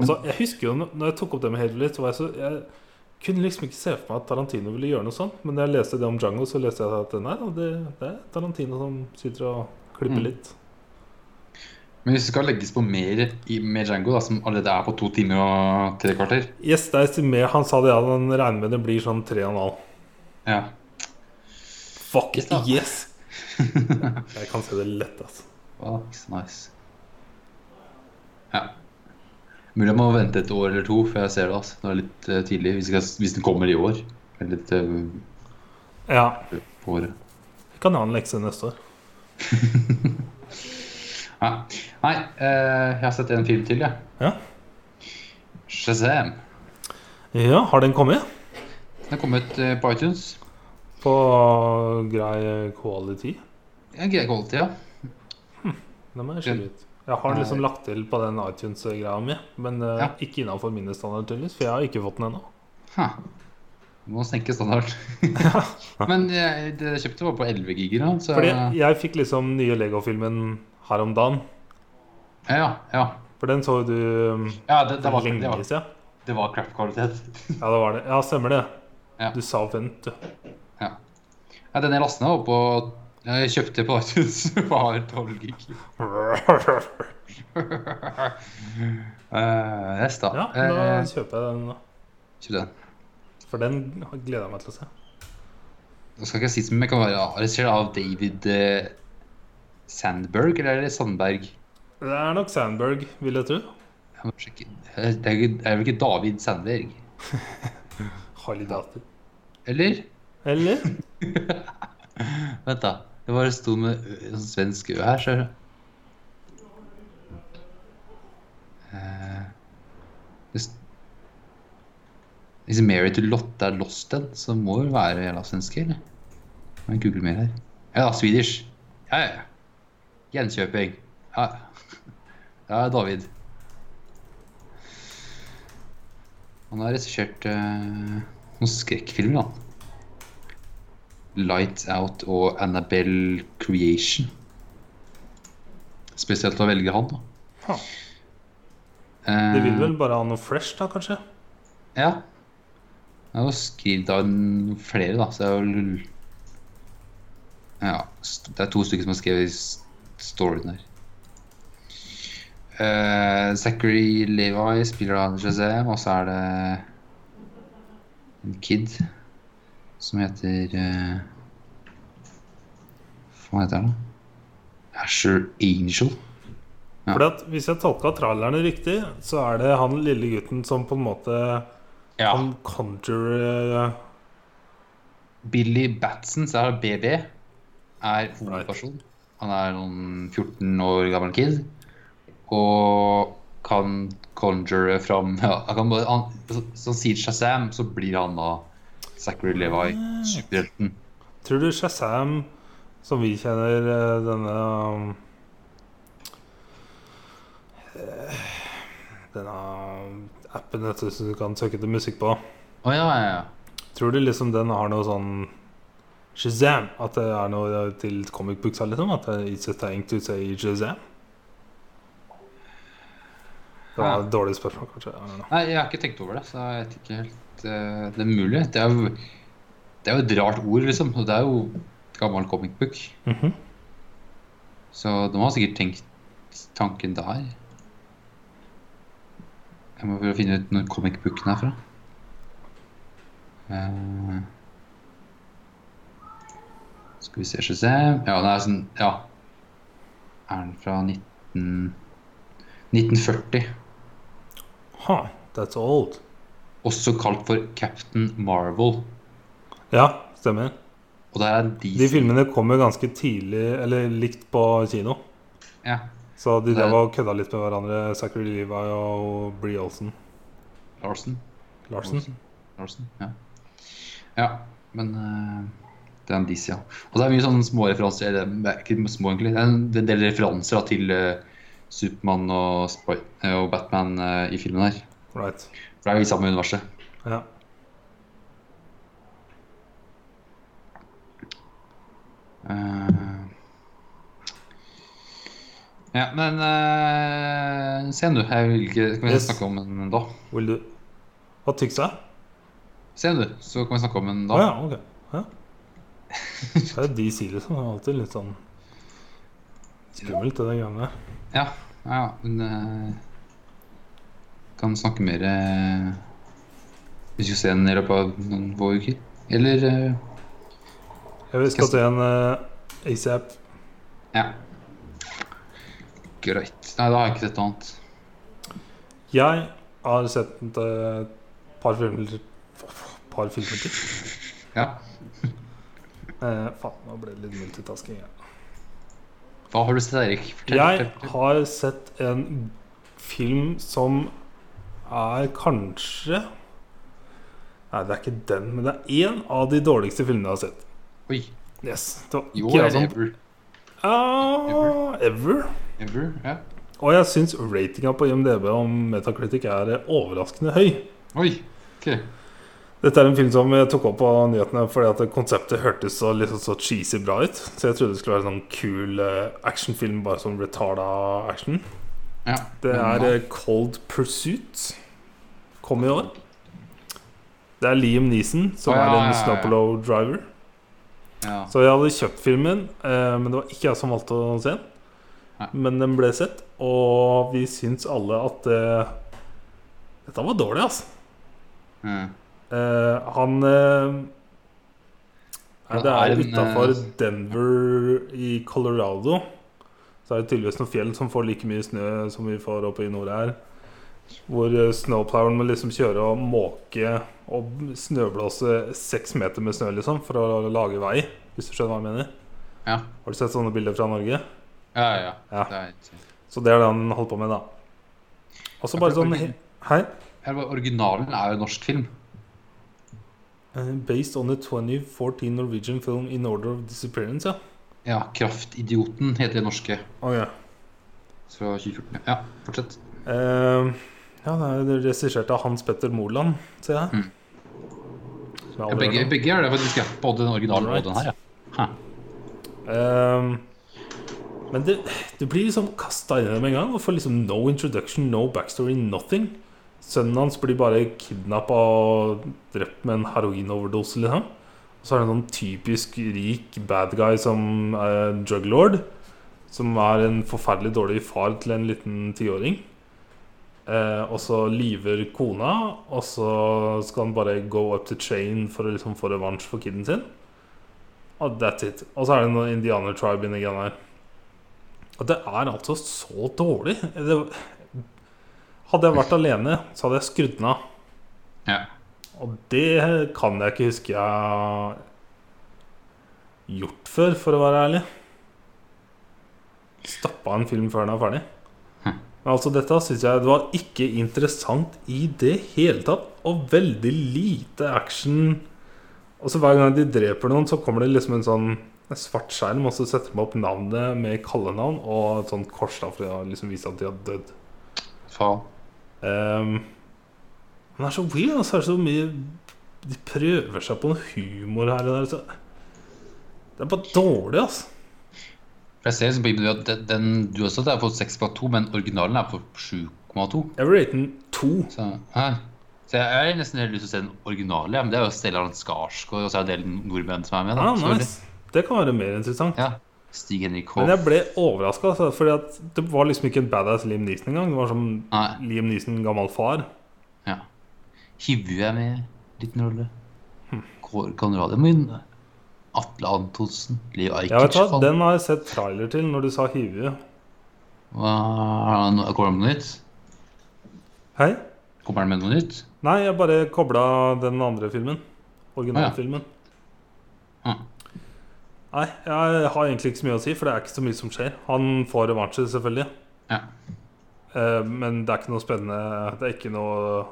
[SPEAKER 2] Altså, jeg husker jo når jeg tok opp det med Hateful Eight, så var jeg så Jeg kunne liksom ikke se for meg at Tarantino ville gjøre noe sånt, men da jeg leste det om Django, så leste jeg at nei, da, det, det er Tarantino som sitter og klipper
[SPEAKER 1] Mm.
[SPEAKER 2] litt.
[SPEAKER 1] Men hvis det skal legges på mer i, med Django, da, som allerede er på to timer og tre kvarter
[SPEAKER 2] Yes, det er estimert. Han sa det, ja, han regner med det blir sånn 3,5.
[SPEAKER 1] ja.
[SPEAKER 2] Fuck
[SPEAKER 1] Yes, da.
[SPEAKER 2] yes! jeg kan se det lett, altså.
[SPEAKER 1] Wow, ikke så nice. Ja. Mulig jeg må vente et år eller to før jeg ser det. altså. Nå er det litt eh, tidlig, hvis, jeg, hvis den kommer i år. Eller litt eh,
[SPEAKER 2] Ja.
[SPEAKER 1] på året.
[SPEAKER 2] Jeg kan ha en lekse neste år.
[SPEAKER 1] Nei, Nei eh, jeg har sett en film til, jeg.
[SPEAKER 2] Ja.
[SPEAKER 1] Shazam.
[SPEAKER 2] Ja, har den kommet?
[SPEAKER 1] Den er kommet eh, på iTunes.
[SPEAKER 2] På grei quality?
[SPEAKER 1] Ja, Grei kvalitet, ja.
[SPEAKER 2] Den må jeg sjekke ut. Jeg har liksom lagt til på den iTunes-greia mi, men eh,
[SPEAKER 1] Ja.
[SPEAKER 2] ikke innafor mine standarder, tydeligvis, for jeg har ikke fått den ennå.
[SPEAKER 1] Ha. Du må senke standarden. Men jeg, det jeg kjøpte var på 11 giger. da, Så
[SPEAKER 2] Fordi jeg fikk liksom nye Lego-filmen her om dagen,
[SPEAKER 1] Ja, ja.
[SPEAKER 2] for den så jo du um,
[SPEAKER 1] ja det, det,
[SPEAKER 2] for
[SPEAKER 1] var, det,
[SPEAKER 2] lenge
[SPEAKER 1] var,
[SPEAKER 2] siden.
[SPEAKER 1] det var crap-kvalitet.
[SPEAKER 2] Ja, det var det. Ja, stemmer det.
[SPEAKER 1] Ja.
[SPEAKER 2] Du sa vent, du.
[SPEAKER 1] Ja, den jeg lastet ned var på Jeg kjøpte på iTunes, var 12 gig. Eh, yes, da.
[SPEAKER 2] Ja,
[SPEAKER 1] Eh,
[SPEAKER 2] da kjøper jeg den, da.
[SPEAKER 1] kjøpte den.
[SPEAKER 2] For den gleder jeg meg til å se.
[SPEAKER 1] Nå skal ikke jeg si som jeg kan være arrestert av David eh, Sandberg, eller er det Sandberg?
[SPEAKER 2] Det er nok Sandberg, vil jeg tro.
[SPEAKER 1] Jeg må sjekke. Eh, Det er jo ikke- det er vel ikke David Sandberg?
[SPEAKER 2] Harley Dater.
[SPEAKER 1] Eller?
[SPEAKER 2] Eller?
[SPEAKER 1] Vent, da. Det bare sto med ø- en sånn svensk ø her, ser du. Eh, det s- Hvis Mary to Lotte er lost den, så må hun være lavsvenske, eller? Må jeg google mer her. Ja, Swedish. Ja, ja, ja. Gjenkjøping. Ja, ja. Ja, David. Han har regissert eh, noen skrekkfilmer, han. Lights Out og Annabelle Creation. Spesielt å velge han, da.
[SPEAKER 2] Ha.
[SPEAKER 1] Eh,
[SPEAKER 2] De vil vel bare ha noe fresh, da, kanskje?
[SPEAKER 1] ja. Jeg har jo skrevet av en- flere, da, så jeg har vel Ja. st- Det er to stykker som har skrevet s- storyen her. Eh, Zachary Levi spiller av Jazem, og så er det en kid som heter eh, Hva heter han, da? Asher Angel. Ja.
[SPEAKER 2] Fordi at Hvis jeg tolka trailerne riktig, så er det han lille gutten som på en måte Han eh, conjurer
[SPEAKER 1] Billy Batson, så er det BB, er hovedperson. Han er noen 14 år gammel kid. Og kan conjure fram ja, han kan bare, han, så, så sier Shazam, så blir han da Zachary Levi, superhelten.
[SPEAKER 2] Tror du Shazam, som vi kjenner eh, denne um, eh, Denne appen vet du, som du kan søke til musikk på
[SPEAKER 1] Å ja, ja, ja.
[SPEAKER 2] Tror du liksom den har noe sånn Shazam? At det er noe til comic books? Liksom, at det er it's a thing to say Shazam? Det var et dårlig spørsmål, kanskje. I don't know.
[SPEAKER 1] Nei, jeg har ikke tenkt over det, så jeg vet ikke helt eh, Det er mulig. Det er, jo, det er jo et rart ord, liksom. Og det er jo et gammel comic book.
[SPEAKER 2] Mhm.
[SPEAKER 1] Så de har sikkert tenkt tanken der. Jeg må prøve å finne ut når comic booken er fra. Eh, skal vi se, skal vi se Ja, det er sånn Ja. Er den fra 19, 1940?
[SPEAKER 2] Ha, that's old.
[SPEAKER 1] Også kalt for Captain Marvel.
[SPEAKER 2] Ja, stemmer.
[SPEAKER 1] Og der er DC.
[SPEAKER 2] De filmene kom jo ganske tidlig, eller likt på kino.
[SPEAKER 1] Ja.
[SPEAKER 2] Så de
[SPEAKER 1] Nei.
[SPEAKER 2] drev og kødda litt med hverandre, Zachary Levi og Bree Olsen.
[SPEAKER 1] Larsen.
[SPEAKER 2] Larsen.
[SPEAKER 1] Larsen, ja. ja men eh, det er en DC, ja. Og så er det mye sånne små referanser eller, det er ikke små egentlig, det er en- det er en del referanser da, til eh, Supermann og, Spy- eh, og Batman eh, i filmen her.
[SPEAKER 2] Right.
[SPEAKER 1] For det er jo i samme universet.
[SPEAKER 2] Ja.
[SPEAKER 1] Eh, ja, men eh, se nå. Jeg vil ikke Skal vi
[SPEAKER 2] Yes.
[SPEAKER 1] snakke om den da?
[SPEAKER 2] Vil du Hva tykk seg?
[SPEAKER 1] Se nå, så kan vi snakke om den
[SPEAKER 2] Å
[SPEAKER 1] da.
[SPEAKER 2] ja, ok. Ja. Det er jo de sier liksom. Det er alltid litt sånn skummelt, det der greiene der.
[SPEAKER 1] Ja, ja men eh, Kan snakke mer eh, Vi skal se den i løpet av noen få uker. Eller eh,
[SPEAKER 2] Jeg vil skal se en eh, ASAP.
[SPEAKER 1] Ja. Greit. Nei, da har jeg ikke sett noe annet.
[SPEAKER 2] Jeg har sett et eh, par filmer til. Par filmer til.
[SPEAKER 1] Ja.
[SPEAKER 2] Eh, faen, nå ble det litt multitasking. Ja.
[SPEAKER 1] Hva har du sett, Erik? Fortell.
[SPEAKER 2] Jeg
[SPEAKER 1] fortell.
[SPEAKER 2] har sett en film som er kanskje Nei, det er ikke den, men det er én av de dårligste filmene jeg har sett.
[SPEAKER 1] Oi.
[SPEAKER 2] Yes, det var
[SPEAKER 1] I
[SPEAKER 2] ikke
[SPEAKER 1] år
[SPEAKER 2] jeg sånn.
[SPEAKER 1] er
[SPEAKER 2] som-
[SPEAKER 1] det ever.
[SPEAKER 2] Ah, ever.
[SPEAKER 1] Ever, ja.
[SPEAKER 2] Og jeg syns ratinga på IMDb om Metacritic er overraskende høy.
[SPEAKER 1] Oi. Ok.
[SPEAKER 2] Dette er en film som jeg tok opp på nyhetene fordi at konseptet hørtes så, liksom, så cheesy bra ut. Så jeg trodde det skulle være en sånn kul eh, actionfilm, bare sånn retarda action.
[SPEAKER 1] Ja.
[SPEAKER 2] Det er
[SPEAKER 1] ja.
[SPEAKER 2] eh, Cold Pursuit. Kom i år. Det er Liam Neeson, som
[SPEAKER 1] Å, ja,
[SPEAKER 2] er en
[SPEAKER 1] ja, ja, ja.
[SPEAKER 2] Snapolo driver.
[SPEAKER 1] ja.
[SPEAKER 2] Så jeg hadde kjøpt filmen, eh, men det var ikke jeg som valgte å se den.
[SPEAKER 1] Nei.
[SPEAKER 2] Men den ble sett, og vi syns alle at eh, Dette var dårlig, altså.
[SPEAKER 1] Ja.
[SPEAKER 2] Eh, han eh, nei,
[SPEAKER 1] Ja,
[SPEAKER 2] Det
[SPEAKER 1] det
[SPEAKER 2] er
[SPEAKER 1] er en,
[SPEAKER 2] utafor
[SPEAKER 1] eh,
[SPEAKER 2] Denver i Colorado. Så er det tydeligvis noen fjell som får like mye snø som vi får oppe i nord her. Hvor eh, snowploweren må liksom kjøre og måke og snøblåse seks meter med snø liksom for å lage vei. Hvis du skjønner hva jeg mener.
[SPEAKER 1] Ja.
[SPEAKER 2] Har du sett sånne bilder fra Norge?
[SPEAKER 1] Ja, ja.
[SPEAKER 2] Ja.
[SPEAKER 1] Det er ikke-
[SPEAKER 2] Så det er det han holdt på med, da. Og så bare sånn he- Hei?
[SPEAKER 1] Her var Originalen er jo en norsk film.
[SPEAKER 2] Eh, Based on the 2014 Norwegian film In Order of Disappearance, ja.
[SPEAKER 1] Ja, 'Kraftidioten' heter det norske.
[SPEAKER 2] Ok.
[SPEAKER 1] Fra 2014. Ja, fortsett.
[SPEAKER 2] Eh, ja, det er regissert av Hans Petter Moland, ser jeg.
[SPEAKER 1] Mm.
[SPEAKER 2] Som jeg
[SPEAKER 1] Ja,
[SPEAKER 2] aldri
[SPEAKER 1] begge,
[SPEAKER 2] hørte om.
[SPEAKER 1] begge er det faktisk. Ja. Både den originale og
[SPEAKER 2] Alright.
[SPEAKER 1] den her. Ja.
[SPEAKER 2] Ehm, men det, du blir liksom kasta inn i det med en gang og får liksom no introduction, no backstory, nothing. Sønnen hans blir bare kidnappa og drept med en heroinoverdose, liksom. Og så er det en sånn typisk rik bad guy som er en drug lord. Som er en forferdelig dårlig far til en liten tiåring. Eh, og så lyver kona, og så skal han bare go up the chain for å liksom få revansj for kiden sin. Og Ah, that's it. Og så er det noen indianertribe inni greiene her. Og det er altså så dårlig. Det, hadde jeg vært alene, så hadde jeg skrudd den av.
[SPEAKER 1] Ja.
[SPEAKER 2] Og det kan jeg ikke huske jeg har gjort før, for å være ærlig. Stappa en film før den er ferdig. Men altså, dette syns jeg det var ikke interessant i det hele tatt. Og veldig lite action. Og så hver gang de dreper noen, så kommer det liksom en sånn en svart skjerm, og så setter de opp navnet med kallenavn og et sånt kors da, for å liksom vise at de har dødd.
[SPEAKER 1] Faen.
[SPEAKER 2] Ehm, Han er så weird, og så er det så mye De prøver seg på noe humor her og der. Så. Det er bare dårlig, altså.
[SPEAKER 1] For Jeg ser liksom på IMDb at den, den du har satt, er på 6,2, men originalen er på 7,2.
[SPEAKER 2] Jeg vil rate den to.
[SPEAKER 1] Så, hæ? så jeg jeg har nesten helt lyst til å se den originale, ja, men det er jo Stellan Skarsgård og så er det en del nordmenn som er med. da.
[SPEAKER 2] Ah,
[SPEAKER 1] selvfølgelig.
[SPEAKER 2] nice. Det kan være mer interessant.
[SPEAKER 1] Ja. Stig-Henrik Hov.
[SPEAKER 2] Men jeg ble overraska, altså, Fordi at det var liksom ikke en badass Liam Neeson engang. Det var som
[SPEAKER 1] Nei.
[SPEAKER 2] Liam Neeson, gammel far.
[SPEAKER 1] Ja. Hivju er med i liten rolle.
[SPEAKER 2] Hm.
[SPEAKER 1] Kåre Conrad er med. Atle Antonsen. Leo
[SPEAKER 2] Jeg vet
[SPEAKER 1] Ajkic.
[SPEAKER 2] hva,
[SPEAKER 1] faen.
[SPEAKER 2] Den har jeg sett trailer til når du sa hive.
[SPEAKER 1] Hva- er det noe- Kommer han med noe nytt?
[SPEAKER 2] Hei?
[SPEAKER 1] Kommer han med noe nytt?
[SPEAKER 2] Nei, jeg bare kobla den andre filmen. Originalfilmen. Mm.
[SPEAKER 1] Ah.
[SPEAKER 2] Nei, jeg har egentlig ikke så mye å si, for det er ikke så mye som skjer. Han får revansjer, selvfølgelig.
[SPEAKER 1] Ja.
[SPEAKER 2] Eh, Men det er ikke noe spennende. Det er ikke noe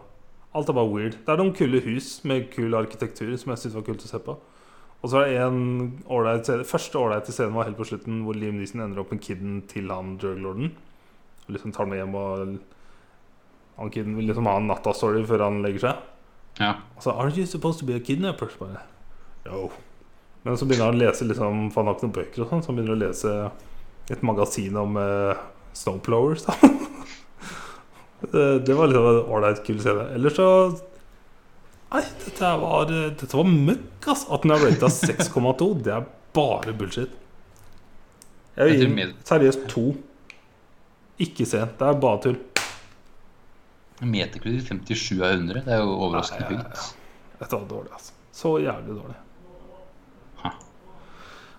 [SPEAKER 2] Alt er bare weird. Det er noen kule hus med kul arkitektur som jeg syntes var kult å se på. Og så er det en ålreit scene Første ålreite scenen var helt på slutten, hvor Liam Neeson ender opp med kiden til han druglorden. Og liksom tar den med hjem, og han kiden vil liksom ha en natta-story før han legger seg.
[SPEAKER 1] ja.
[SPEAKER 2] Og så Aren't you supposed to be a kidnapper? Så bare No. Men så begynner han å lese liksom For han har ikke noen bøker og sånn, så han begynner å lese et magasin om eh, snowblowers, da. det, det var liksom en ålreit kul scene. Ellers så Nei, dette var, eh, dette var møkk, ass. At den er rata 6,2, det er bare bullshit. Jeg
[SPEAKER 1] Jeg
[SPEAKER 2] vil gi
[SPEAKER 1] tror
[SPEAKER 2] den
[SPEAKER 1] med-
[SPEAKER 2] seriøst to. Ikke se. Det er bare tull.
[SPEAKER 1] Meterkredit 57 av 100. Det er jo overraskende
[SPEAKER 2] Nei, ja,
[SPEAKER 1] høyt.
[SPEAKER 2] Dette var dårlig, altså. Så jævlig dårlig.
[SPEAKER 1] Hæ.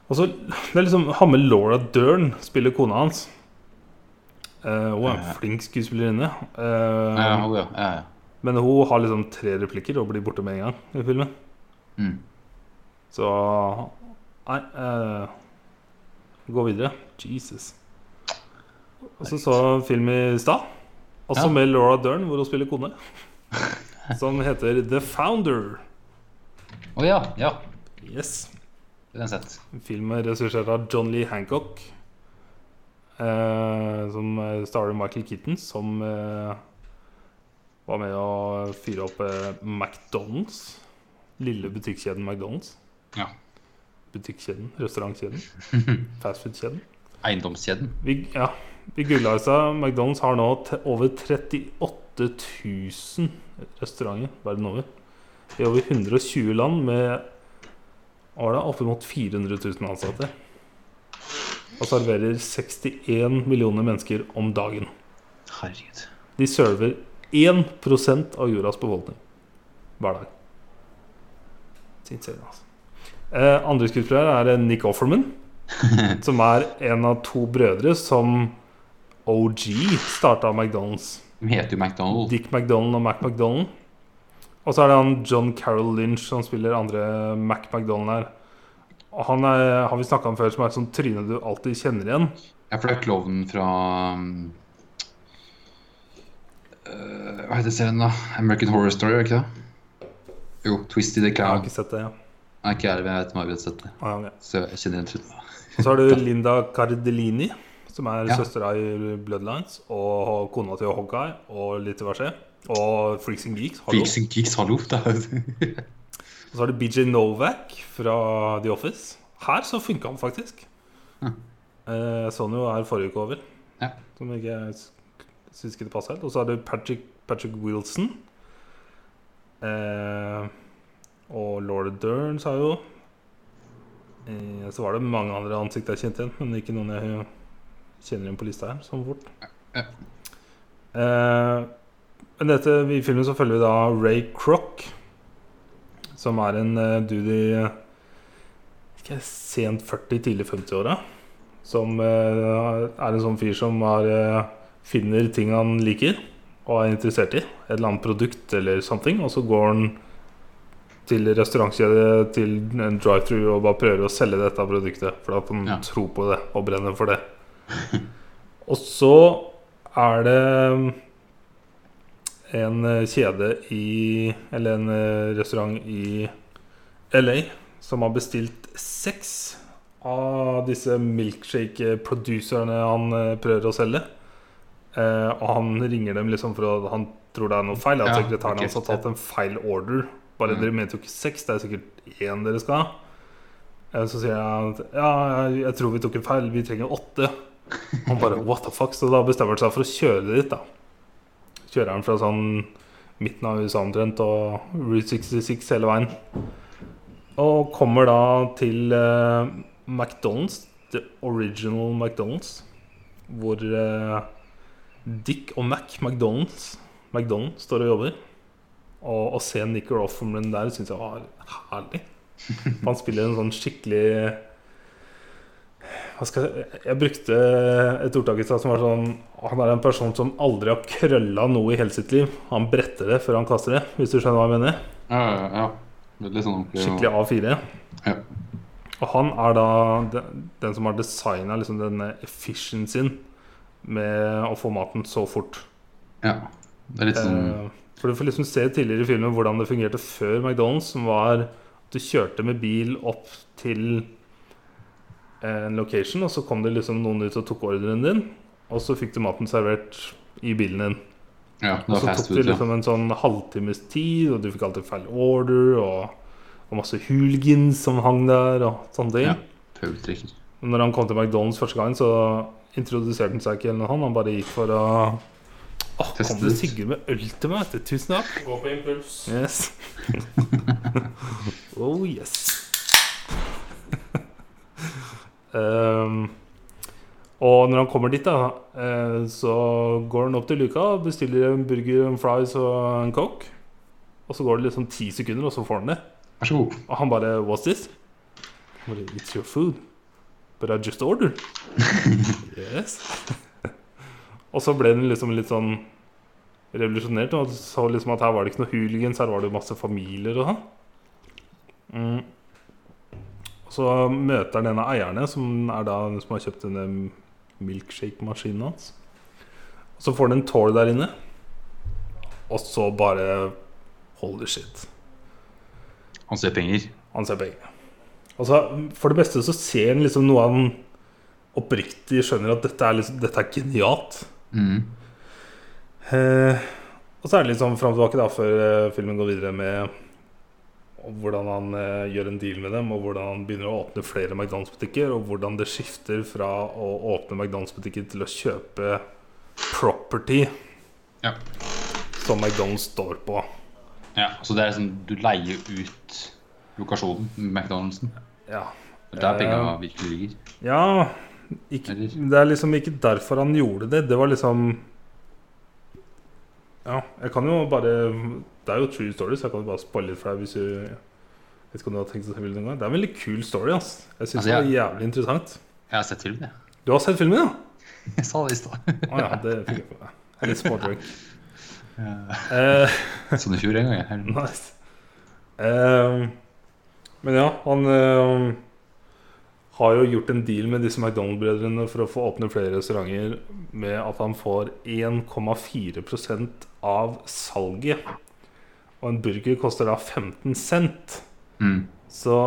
[SPEAKER 2] Og så, det er liksom Han med Laura Dern spiller kona hans. Eh, hun er en
[SPEAKER 1] Ja.
[SPEAKER 2] flink skuespillerinne. Eh,
[SPEAKER 1] Ja, jo, ja, ja, ja.
[SPEAKER 2] Men hun har liksom tre replikker og blir borte med en gang i filmen.
[SPEAKER 1] Mm.
[SPEAKER 2] Så Nei. eh, gå videre. Jesus. Og så så jeg en film i stad,
[SPEAKER 1] Ja.
[SPEAKER 2] også med Laura Dern, hvor hun spiller kone. Som heter The Founder.
[SPEAKER 1] Å ja, ja.
[SPEAKER 2] Yes.
[SPEAKER 1] Den har jeg sett.
[SPEAKER 2] Filmen ressursert av John Lee Hancock. Eh, som eh, starrer Michael Keaton, som eh, var med å fyre opp eh, McDonald's. Lille butikkjeden McDonald's.
[SPEAKER 1] Ja.
[SPEAKER 2] Butikkjeden, restaurantkjeden, fastfoodkjeden.
[SPEAKER 1] Eiendomskjeden.
[SPEAKER 2] Vi, ja, vi googla i stad. McDonald's har nå t over 38 000 restauranter verden over. I over 120 land med hva var det, oppimot 400 000 ansatte. Og serverer 61 millioner mennesker om dagen.
[SPEAKER 1] Herregud.
[SPEAKER 2] De server 1 av jordas befolkning hver dag. Sinnssykt, altså. Eh, andre skuespiller er eh, Nick Offerman, som er en av to brødre som OG starta McDonald's.
[SPEAKER 1] De heter jo McDonald.
[SPEAKER 2] Dick McDonald og Mac McDonald. Og så er det han John Carroll Lynch som spiller andre Mac McDonald her. Og han er, har vi snakka om før, som er et sånt tryne du alltid kjenner igjen.
[SPEAKER 1] Ja, for det er klovnen fra um, eh, øh, Hva heter serien, da? American Horror Story, er det ikke det? Jo, Twisted the
[SPEAKER 2] Jeg har
[SPEAKER 1] Clown.
[SPEAKER 2] ikke sett det. ja.
[SPEAKER 1] Nei, ikke jeg, men jeg vet om jeg har sett det.
[SPEAKER 2] Ah, ja, ok.
[SPEAKER 1] Så jeg kjenner igjen slutten.
[SPEAKER 2] Og så har du Linda Cardellini, som er
[SPEAKER 1] Ja.
[SPEAKER 2] søstera i Bloodlines, og kona til Hogeye, og litt diverse. Og Freaks and Geeks. Hallo.
[SPEAKER 1] Freaks and Geeks, hallo! Det er jo
[SPEAKER 2] Og så har du BJ Novak fra The Office. Her så funka han faktisk.
[SPEAKER 1] Ja.
[SPEAKER 2] Eh, Jeg så han jo her forrige uke over,
[SPEAKER 1] Hm. Ja.
[SPEAKER 2] som ikke jeg s- syns ikke det passa helt. Og så har du Patrick, Patrick Wilson. Eh, og Laura Dern sa jo eh, Så var det mange andre ansikter jeg kjente igjen, men ikke noen jeg kjenner igjen på lista her sånn fort.
[SPEAKER 1] Ja.
[SPEAKER 2] Eh, men dette, I filmen så følger vi da Ray Kroc, som er en eh, dude i eh, ikke, sent 40, tidlig 50-åra. Som eh, er en sånn fyr som har, eh, finner ting han liker og er interessert i. Et eller annet produkt eller something. Og så går han til restaurantkjede, til en drive-thru og bare prøver å selge dette produktet. For da får han
[SPEAKER 1] Ja.
[SPEAKER 2] tro på det og brenne for det. og så er det um, en eh, kjede i Eller en eh, restaurant i LA som har bestilt seks av disse milkshake-producerne han eh, prøver å selge. Eh, og han ringer dem liksom for at han tror det er noe feil. At
[SPEAKER 1] Ja,
[SPEAKER 2] sekretæren
[SPEAKER 1] ok.
[SPEAKER 2] hans har tatt en feil order. Bare
[SPEAKER 1] Mm.
[SPEAKER 2] dere mente jo ikke seks, det er sikkert én dere skal ha. Eh, så sier jeg at ja, jeg, jeg tror vi tok en feil, vi trenger åtte. Han bare what the fuck, så da bestemmer han seg for å kjøre det dit, da. Kjører han fra sånn midten av USA omtrent og Route 66 hele veien. Og kommer da til eh, McDonald's, the original McDonald's, hvor eh, Dick og Mac McDonald's McDonald står og jobber. Og å se Nick Offerman der syns jeg var herlig. For Han spiller en sånn skikkelig hva skal jeg, jeg brukte et ordtak i stad som var sånn Han er en person som aldri har krølla noe i hele sitt liv. Han bretter det før han kaster det, hvis du skjønner hva jeg mener.
[SPEAKER 1] Ja, ja, ja. Veldig sånn ordentlig. og-
[SPEAKER 2] Skikkelig A4.
[SPEAKER 1] Ja.
[SPEAKER 2] Og han er da den, den som har designa liksom denne efficiencyen med å få maten så fort.
[SPEAKER 1] Ja. Det er litt sånn
[SPEAKER 2] Eh, For du får liksom se tidligere i filmen hvordan det fungerte før McDonald's, som var at du kjørte med bil opp til eh, en location, og så kom det liksom noen ut og tok ordren din, og så fikk du maten servert i bilen din.
[SPEAKER 1] Ja, det
[SPEAKER 2] Og
[SPEAKER 1] var
[SPEAKER 2] så
[SPEAKER 1] fast
[SPEAKER 2] tok
[SPEAKER 1] food.
[SPEAKER 2] det
[SPEAKER 1] Ja.
[SPEAKER 2] liksom en sånn halvtimes tid, og du fikk alltid feil order, og, og masse hooligans som hang der, og sånne ting.
[SPEAKER 1] Ja. Pøbeltrekker.
[SPEAKER 2] Men Når han kom til McDonald's første gang, så introduserte han seg ikke eller noe, han, han bare gikk for å Åh,
[SPEAKER 1] Teste
[SPEAKER 2] kom det
[SPEAKER 1] det ut.
[SPEAKER 2] Sigurd med øl til meg? vet du? Tusen takk.
[SPEAKER 4] Gå på impuls.
[SPEAKER 2] Yes. oh yes. Ehm, og når han kommer dit, da, eh, så går han opp til luka og bestiller en burger, en fries og en coke. Og så går det liksom ti sekunder, og så får han det.
[SPEAKER 1] Vær så god.
[SPEAKER 2] Og han bare What's this? Han bare, It's your food. But I just ordered. yes. og så ble den liksom litt sånn revolusjonert. Og så liksom at her var det ikke noe hooligans, her var det jo masse familier og sånn. Mm. Og så møter han en av eierne, som er da som har kjøpt denne milkshake-maskinen hans. Og så får han en tour der inne, og så bare Holy shit.
[SPEAKER 1] Han ser penger.
[SPEAKER 2] Han ser penger. Altså, for det beste så ser han liksom noe han oppriktig skjønner at dette er, liksom, dette er genialt.
[SPEAKER 1] Mm.
[SPEAKER 2] Eh, og så er det litt sånn fram og tilbake da før eh, filmen går videre med og hvordan han eh, gjør en deal med dem, og hvordan han begynner å åpne flere McDonald's-butikker, og hvordan det skifter fra å åpne McDonald's-butikker til å kjøpe property
[SPEAKER 1] Ja.
[SPEAKER 2] som McDonald's står på.
[SPEAKER 1] ja. Så det er liksom Du leier ut lokasjonen, McDonald'sen.
[SPEAKER 2] Ja.
[SPEAKER 1] Det er der penga
[SPEAKER 2] Ja.
[SPEAKER 1] virkelig ligger.
[SPEAKER 2] Ja ikke,
[SPEAKER 1] Eller?
[SPEAKER 2] Det er liksom ikke derfor han gjorde det. Det var liksom Ja, jeg kan jo bare Det er jo true story, så jeg kan jo bare spoile litt for deg hvis du Vet ikke om du har tenkt å se filmen noen gang. Det er en veldig kul story, ass. Jeg syns
[SPEAKER 1] Altså, jeg-
[SPEAKER 2] det var jævlig interessant.
[SPEAKER 1] Jeg har sett filmen, jeg.
[SPEAKER 2] Du har sett filmen, ja?
[SPEAKER 1] Jeg sa det i stad.
[SPEAKER 2] Å ja, det fikk jeg på meg. Jeg er Litt smådrunk.
[SPEAKER 1] Ja.
[SPEAKER 2] Eh,
[SPEAKER 1] Sånn i fjor en gang, jeg. Eller noe.
[SPEAKER 2] Nice. Ehm, men ja, han ehm, har jo gjort en deal med disse McDonald-brødrene for å få åpne flere restauranter med at han får 1,4 av salget Og en burger koster da 15 cent.
[SPEAKER 1] Mm.
[SPEAKER 2] Så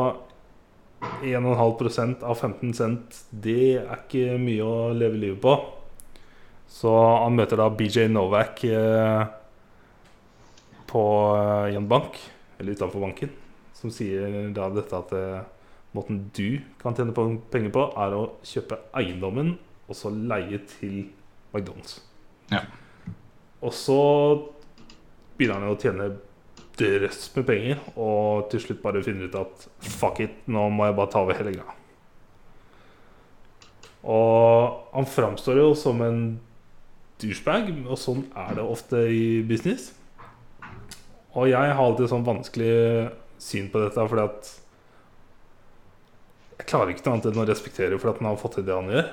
[SPEAKER 2] 1,5 av 15 cent, det er ikke mye å leve livet på. Så han møter da BJ Novak eh, på eh, i en bank, eller utenfor banken, som sier da dette at eh, måten du kan tjene på- penger på, er å kjøpe eiendommen og så leie til McDonald's.
[SPEAKER 1] Ja.
[SPEAKER 2] Og så begynner han jo å tjene drøss med penger, og til slutt bare finner ut at fuck it, nå må jeg bare ta over hele greia. Og han framstår jo som en douchebag, og sånn er det ofte i business. Og jeg har alltid sånn vanskelig syn på dette, fordi at jeg klarer ikke noe annet enn å respektere for at han har fått til det han gjør.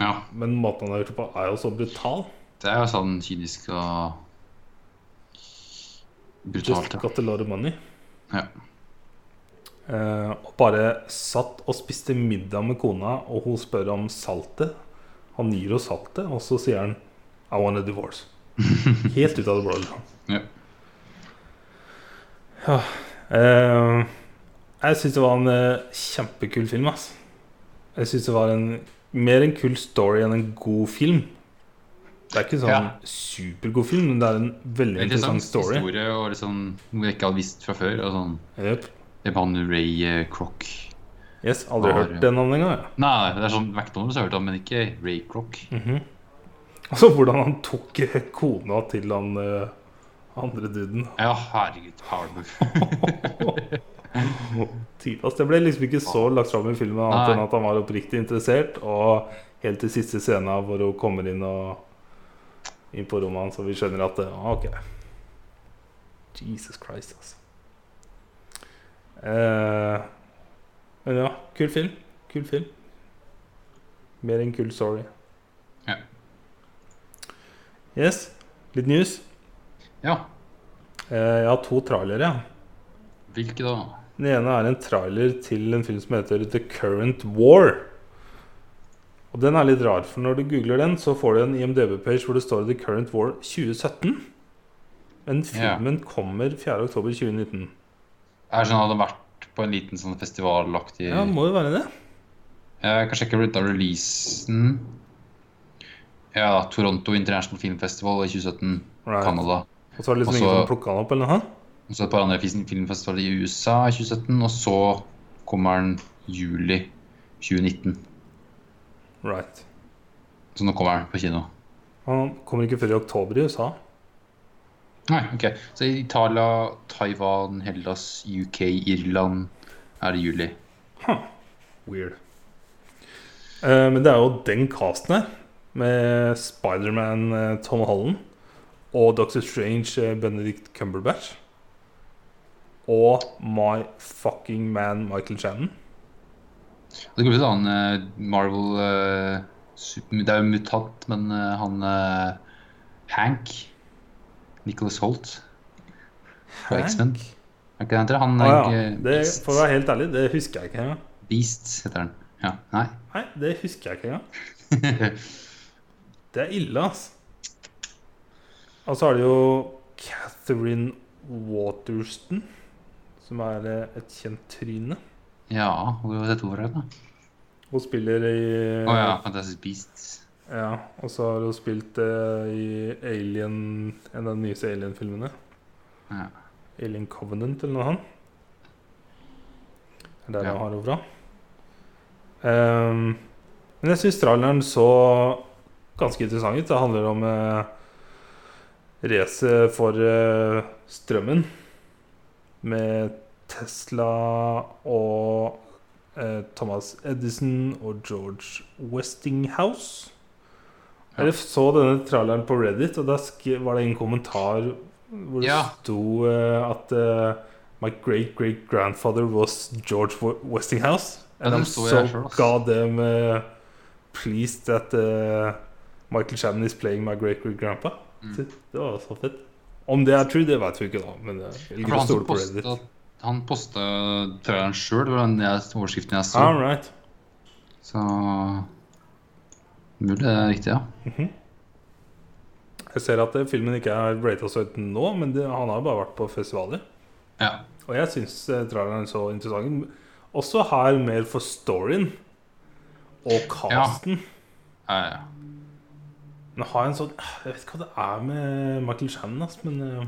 [SPEAKER 1] ja.
[SPEAKER 2] Men måten han har gjort det på, er jo så brutal.
[SPEAKER 1] Det er jo sånn kynisk og brutalt.
[SPEAKER 2] Just
[SPEAKER 1] Ja.
[SPEAKER 2] got a lot of money.
[SPEAKER 1] Ja.
[SPEAKER 2] Eh, og bare satt og spiste middag med kona, og hun spør om saltet. Han gir henne saltet, og så sier han I want a divorce. Helt ut av det blå. liksom.
[SPEAKER 1] Ja.
[SPEAKER 2] Ja, eh, jeg syns det var en eh, kjempekul film, ass. Jeg syns det var en, mer en kul story enn en god film. Det er ikke sånn
[SPEAKER 3] Ja.
[SPEAKER 2] supergod film, men det er en veldig interessant story.
[SPEAKER 1] sånn historie og litt sånn noe jeg ikke hadde visst fra før. Og sånn,
[SPEAKER 2] Jep.
[SPEAKER 1] det var han Ray eh, Kroc.
[SPEAKER 2] Yes, aldri
[SPEAKER 1] Bare-
[SPEAKER 2] hørt den navnet engang. jeg.
[SPEAKER 1] Nei, det er sånn McDonald's har jeg hørt om, men ikke Ray Kroc.
[SPEAKER 2] Mhm. Altså hvordan han tok eh, kona til han eh, andre duden.
[SPEAKER 1] Ja, herregud, power move.
[SPEAKER 2] Typ, Altså, det ble liksom ikke så lagt fram i filmen annet
[SPEAKER 1] Nei.
[SPEAKER 2] enn at han var oppriktig interessert. Og helt til siste scenen hvor hun kommer inn, og, inn på rommet hans, og vi skjønner at eh, ah, OK. Jesus Christ, altså. Eh, men ja, kul film. Kul film. Mer enn kul story.
[SPEAKER 1] Ja.
[SPEAKER 2] Yes. Litt news.
[SPEAKER 1] Ja,
[SPEAKER 2] Eh, jeg har to trailere. Ja.
[SPEAKER 1] hvilke da?
[SPEAKER 2] Den ene er en trailer til en film som heter The Current War. Og den er litt rar, for når du googler den, så får du en IMDb-page hvor det står The Current War 2017. Men filmen kommer 4.10.2019.
[SPEAKER 1] Jeg skjønner at det har vært på en liten sånn festivalaktig
[SPEAKER 2] Ja, må jo være det.
[SPEAKER 1] Jeg kan sjekke ut av releasen. Ja, Toronto International Film Festival i 2017,
[SPEAKER 2] Right.
[SPEAKER 1] Canada.
[SPEAKER 2] Og så er det liksom
[SPEAKER 1] Og så-
[SPEAKER 2] ingen som plukka den opp, eller noe?
[SPEAKER 1] Og så et par andre fis- filmfestivaler i USA i 2017, og så kommer den juli 2019.
[SPEAKER 2] Right.
[SPEAKER 1] Så nå kommer den på kino.
[SPEAKER 2] Han kommer ikke før i oktober i USA.
[SPEAKER 1] Nei, ok. Så i Italia, Taiwan, Hellas, UK, Irland er det juli.
[SPEAKER 2] Weird. Eh, men det er jo den casten her, med Spiderman eh, Tom Holland og Dr. Strange eh, Benedict Cumberbatch. Og my fucking man Michael Shannon.
[SPEAKER 1] Og Det går til han eh, Marvel eh, super, Det er jo mutant, men eh, han eh, Hank Nicholas Holt fra
[SPEAKER 2] Hank?
[SPEAKER 1] X-Men. Er ikke det han heter? Han
[SPEAKER 2] Å
[SPEAKER 1] er
[SPEAKER 2] Ah, ja.
[SPEAKER 1] ikke
[SPEAKER 2] det,
[SPEAKER 1] Beast.
[SPEAKER 2] for å være helt ærlig, det husker jeg ikke engang.
[SPEAKER 1] Beast heter han. Ja, nei.
[SPEAKER 2] Nei, det husker jeg ikke engang. Det er ille, ass. Og så er det jo Catherine Waterston, som er eh, et kjent tryne.
[SPEAKER 1] ja, og du har sett over henne?
[SPEAKER 2] Hun spiller i eh,
[SPEAKER 1] Å ja, Fantastic Beast.
[SPEAKER 2] Ja, og så har hun spilt eh, i Alien en av de nyeste Alien-filmene.
[SPEAKER 1] Ja.
[SPEAKER 2] Alien Covenant eller noe sånt. Det er der
[SPEAKER 1] Ja.
[SPEAKER 2] hun har henne fra. Ehm, men jeg syns traileren så ganske interessant ut. Det handler om uh, racet for eh, strømmen med Tesla og eh, Thomas Edison og George Westinghouse.
[SPEAKER 1] Ja.
[SPEAKER 2] Jeg så denne traileren på Reddit, og da sk- var det en kommentar hvor det
[SPEAKER 1] Ja.
[SPEAKER 2] sto eh, at eh, My great great grandfather was George Wa- Westinghouse. And
[SPEAKER 1] Ja, den
[SPEAKER 2] I'm
[SPEAKER 1] så
[SPEAKER 2] so
[SPEAKER 1] jeg selv, ass.
[SPEAKER 2] goddamn eh, pleased that eh, Michael Shannon is playing my great great grandpa.
[SPEAKER 1] Mm.
[SPEAKER 2] Det var så fett. Om det er true, det vet vi ikke, da. Men eh,
[SPEAKER 1] For
[SPEAKER 2] jeg vil ikke
[SPEAKER 1] han som
[SPEAKER 2] stole på Reddit.
[SPEAKER 1] posta- han posta traileren sjøl, det var den jeg- overskriften jeg så.
[SPEAKER 2] All Ah, right.
[SPEAKER 1] Så mulig det er riktig, ja.
[SPEAKER 2] Jeg ser at eh, filmen ikke er rata så høyt nå, men det, han har jo bare vært på festivaler.
[SPEAKER 1] Ja.
[SPEAKER 2] Og jeg syns traileren så interessant ut. Også her mer for storyen og casten.
[SPEAKER 1] Ja, ja.
[SPEAKER 2] Men har jeg en sånn Jeg vet ikke hva det er med Michael Shannon, ass, men eh,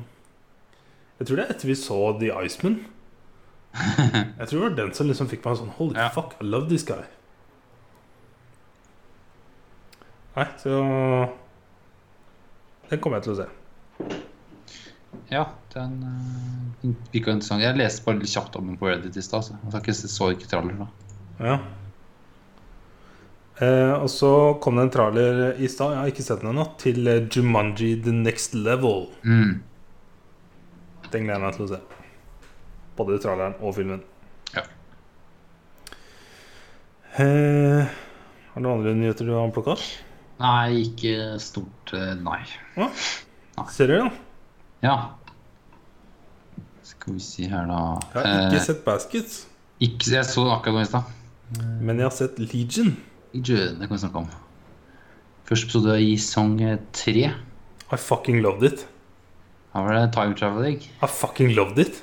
[SPEAKER 2] Jeg tror det er etter vi så The Iceman. Jeg tror det var den som liksom fikk meg sånn Holy
[SPEAKER 1] Ja.
[SPEAKER 2] fuck, I love this guy. Nei, så Den kommer jeg til å se.
[SPEAKER 1] Ja, den eh, virka interessant. Jeg leste bare litt kjapt om den på Reddit i stad. Så jeg har ikke- så ikke traller da.
[SPEAKER 2] Ja. Eh, og så kom det en trailer i stad, jeg har ikke sett den ennå, til eh, Jumanji The Next Level.
[SPEAKER 1] Mm.
[SPEAKER 2] Den gleder jeg meg til å se. Både traileren og filmen.
[SPEAKER 1] Ja.
[SPEAKER 2] Eh, har du andre nyheter du har plukka opp?
[SPEAKER 1] Nei, ikke stort eh, nei.
[SPEAKER 2] Ser du, ja?
[SPEAKER 1] Ja. Skal vi si her, da
[SPEAKER 2] Jeg har ikke
[SPEAKER 1] Eh,
[SPEAKER 2] sett Baskets,
[SPEAKER 1] ikke, Jeg så den akkurat nå i stad.
[SPEAKER 2] men jeg har sett Legion.
[SPEAKER 1] Ikke- Det kan vi snakke om. Første episode i sesong eh, tre.
[SPEAKER 2] I fucking loved it.
[SPEAKER 1] Her var det time traveling.
[SPEAKER 2] I fucking loved it.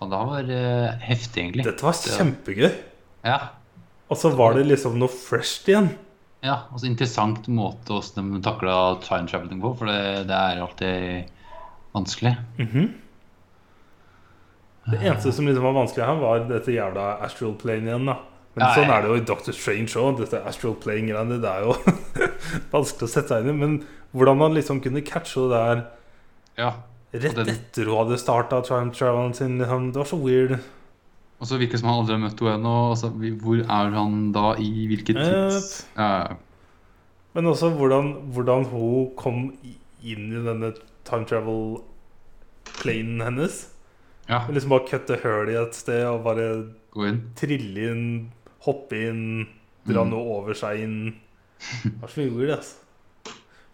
[SPEAKER 1] Faen, det her var eh, heftig, egentlig.
[SPEAKER 2] Dette var kjempegøy.
[SPEAKER 1] Ja.
[SPEAKER 2] Og så var det liksom noe fresh igjen.
[SPEAKER 1] ja, altså Interessant måte hvordan de takla time traveling på, for det, det er alltid vanskelig.
[SPEAKER 2] Det
[SPEAKER 1] Ah.
[SPEAKER 2] eneste som liksom var vanskelig her, var dette jævla astral plane igjen, da. Men
[SPEAKER 1] Ja,
[SPEAKER 2] sånn
[SPEAKER 1] Ah, ja.
[SPEAKER 2] er det jo i Doctor Strange òg. Dette astral plane-greiene, det er jo vanskelig å sette seg inn i. Men hvordan man liksom kunne catche det der
[SPEAKER 1] Ja.
[SPEAKER 2] rett
[SPEAKER 1] Og den-
[SPEAKER 2] etter hun hadde starta Time Travelen sin, liksom, det var så weird.
[SPEAKER 1] Og så virker det som han aldri har møtt henne ennå. Altså, vi- hvor er han da i hvilket
[SPEAKER 2] Eh,
[SPEAKER 1] tids... Eh, Ja,
[SPEAKER 2] Men også hvordan, hvordan hun kom i- inn i denne time travel-planen hennes.
[SPEAKER 1] ja.
[SPEAKER 2] Og liksom bare kutte høl i et sted og bare
[SPEAKER 1] Gå inn.
[SPEAKER 2] trille inn, hoppe inn, dra
[SPEAKER 1] Mm.
[SPEAKER 2] noe over seg inn. Det var så mye weird, ass.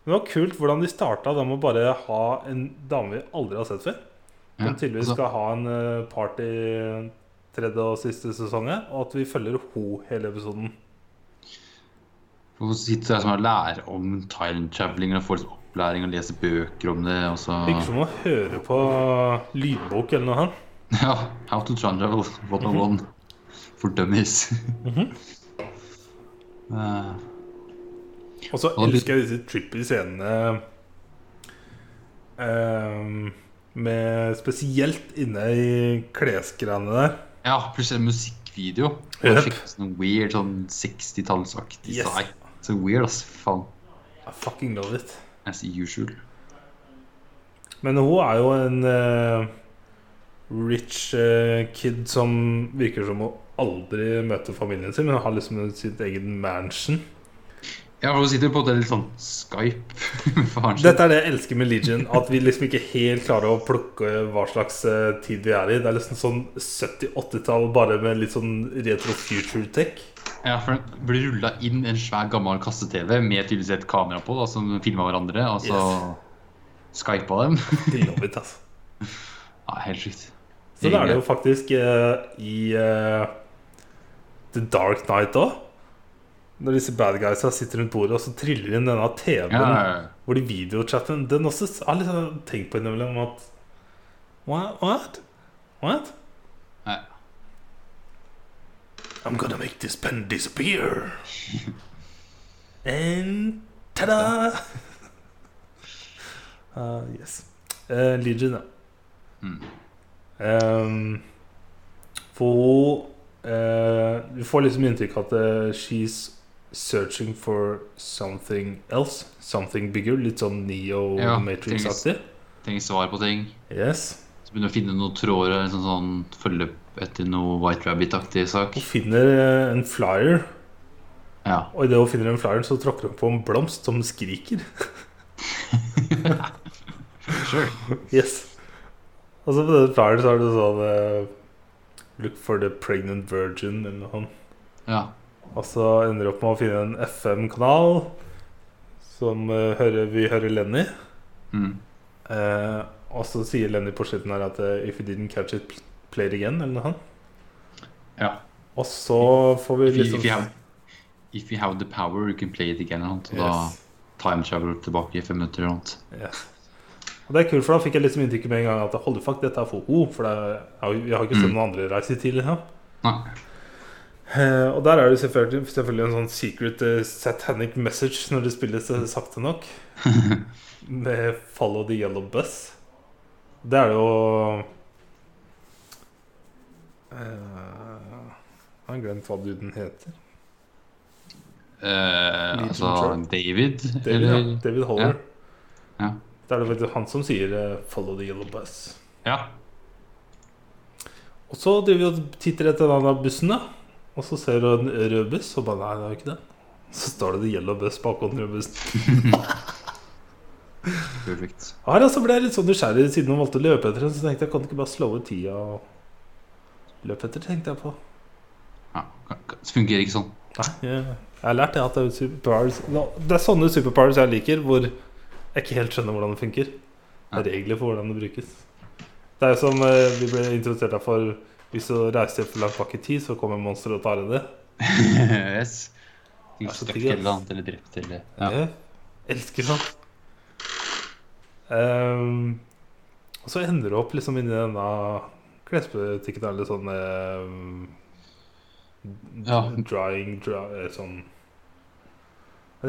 [SPEAKER 2] Men det var kult hvordan de starta da med å bare ha en dame vi aldri har sett før.
[SPEAKER 1] Ja.
[SPEAKER 2] Som tydeligvis
[SPEAKER 1] altså,
[SPEAKER 2] skal ha en eh, party tredje og siste sesongen, og at vi følger ho hele episoden.
[SPEAKER 1] for å sitte der som er lærer om time traveling og få litt opplæring og lese bøker om det. Og så,
[SPEAKER 2] Virker som å høre på lydbok eller noe sånt.
[SPEAKER 1] ja, How to time travel 101 for dummies. Eh,
[SPEAKER 2] Og så
[SPEAKER 1] Og litt-
[SPEAKER 2] elsker jeg disse trippy scenene eh, med Spesielt inne i klesgreiene der.
[SPEAKER 1] ja, plutselig en musikkvideo. Og
[SPEAKER 2] Yep.
[SPEAKER 1] skikkelig Sånn weird, sånn 60-tallsaktig.
[SPEAKER 2] Yes.
[SPEAKER 1] Yes. Så weird, ass. Faen.
[SPEAKER 2] I fucking love it.
[SPEAKER 1] As usual.
[SPEAKER 2] Men hun er jo en eh, rich eh, kid som virker som hun aldri møter familien sin, men hun har liksom sitt eget mansion.
[SPEAKER 1] Ja, for hun sitter på det litt sånn Skype med faren sin.
[SPEAKER 2] Dette er det jeg elsker med Legion, at vi liksom ikke helt klarer å plukke hva slags eh, tid vi er i. Det er liksom sånn 70-80-tall bare med litt sånn retro future tech.
[SPEAKER 1] Ja, for det blir rulla inn en svær, gammel kasse-TV med tydeligvis et kamera på, da, som filma hverandre, og så skypa dem.
[SPEAKER 2] I love it, altså.
[SPEAKER 1] Nei, helt sjukt.
[SPEAKER 2] Så da er det jo faktisk eh, i eh, The Dark Night òg. Når disse bad guysa sitter rundt bordet, og så triller inn denne TV-en.
[SPEAKER 1] ja, ja, ja.
[SPEAKER 2] Hvor de videochatten Den også s- har liksom tenkt på innimellom at What? What? What?
[SPEAKER 1] Nei.
[SPEAKER 2] I'm gonna make this pen disappear. And ta-da! Uh, yes. Eh, Legion, ja.
[SPEAKER 1] Mm.
[SPEAKER 2] Ehm, for hun eh, Du får liksom inntrykk av at eh, she's searching for something else. Something bigger. Litt sånn
[SPEAKER 1] Ja,
[SPEAKER 2] Neo-Matrix-aktig.
[SPEAKER 1] Trenger svar på ting.
[SPEAKER 2] Yes.
[SPEAKER 1] Så begynner å finne noen tråder, en sånn, sånn følge opp etter noe White Rabbit-aktig sak.
[SPEAKER 2] Hun finner eh, en flyer,
[SPEAKER 1] Ja.
[SPEAKER 2] og idet hun finner en flyer, så tråkker hun på en blomst som skriker.
[SPEAKER 1] Sure.
[SPEAKER 2] Yes. Og så på denne flyeren så er det sånn eh, Look for the pregnant virgin eller noe sånt.
[SPEAKER 1] Ja.
[SPEAKER 2] Og så ender du opp med å finne en FM-kanal som eh, hører, vi hører Lenny.
[SPEAKER 1] Mm.
[SPEAKER 2] Eh, og så sier Lenny på slutten her at eh, If you didn't catch it, play it again, eller noe sånt.
[SPEAKER 1] ja.
[SPEAKER 2] Og så får vi
[SPEAKER 1] If you,
[SPEAKER 2] liksom
[SPEAKER 1] if, you have, if you have the power, you can play it again. eller noe sånt, Og
[SPEAKER 2] Yes.
[SPEAKER 1] time travel tilbake i fem minutter eller noe.
[SPEAKER 2] Yes. Og det er kult, for da fikk jeg liksom inntrykket med en gang at holy fuck, dette er for ho, for det er, jeg har jo- jeg har ikke sett
[SPEAKER 1] Mm.
[SPEAKER 2] noen andre reise til. Liksom.
[SPEAKER 1] Nei.
[SPEAKER 2] Eh, og der er det selvfølgelig, selvfølgelig en sånn secret eh, satanic message når det spilles eh, sakte nok. med 'Follow the Yellow Bus'. Det er det jo eh, Jeg har glemt hva duden heter.
[SPEAKER 1] Eh,
[SPEAKER 2] Liten
[SPEAKER 1] altså
[SPEAKER 2] short.
[SPEAKER 1] David,
[SPEAKER 2] David, ja.
[SPEAKER 1] eller
[SPEAKER 2] David Holler.
[SPEAKER 1] Ja. Ja.
[SPEAKER 2] Det er det faktisk han som sier eh, 'Follow the Yellow Bus'.
[SPEAKER 1] Ja.
[SPEAKER 2] Og så driver vi og titter etter den der bussen, da. Og så ser du en rød buss, og bare Nei, det er jo ikke det. Så står det 'The Yellow Bus' bakom den røde bussen.
[SPEAKER 1] Perfekt.
[SPEAKER 2] Her altså ble jeg litt sånn nysgjerrig siden hun valgte å løpe etter den. Så tenkte jeg, kan du ikke bare slå ut tida og løpe etter, tenkte jeg på.
[SPEAKER 1] Ja. Det fungerer ikke sånn.
[SPEAKER 2] Nei, jeg, jeg har lært det at det er superpowers Nå, Det er sånne superpowers jeg liker, hvor jeg ikke helt skjønner hvordan det funker. Det er regler for hvordan det brukes. Det er jo som eh, vi ble introdusert her for hvis du reiser for langt bak i tid, så kommer monsteret og tar deg det.
[SPEAKER 1] yes. Du
[SPEAKER 2] Ja, så
[SPEAKER 1] stakk
[SPEAKER 2] digg, ass.
[SPEAKER 1] eller annet, eller drept, eller ja.
[SPEAKER 2] Jeg elsker sånt. Ehm, og så ender du opp liksom inni denne klesbutikken eller sånn ehm,
[SPEAKER 1] Ja.
[SPEAKER 2] Drying dry, eh, sånn Hva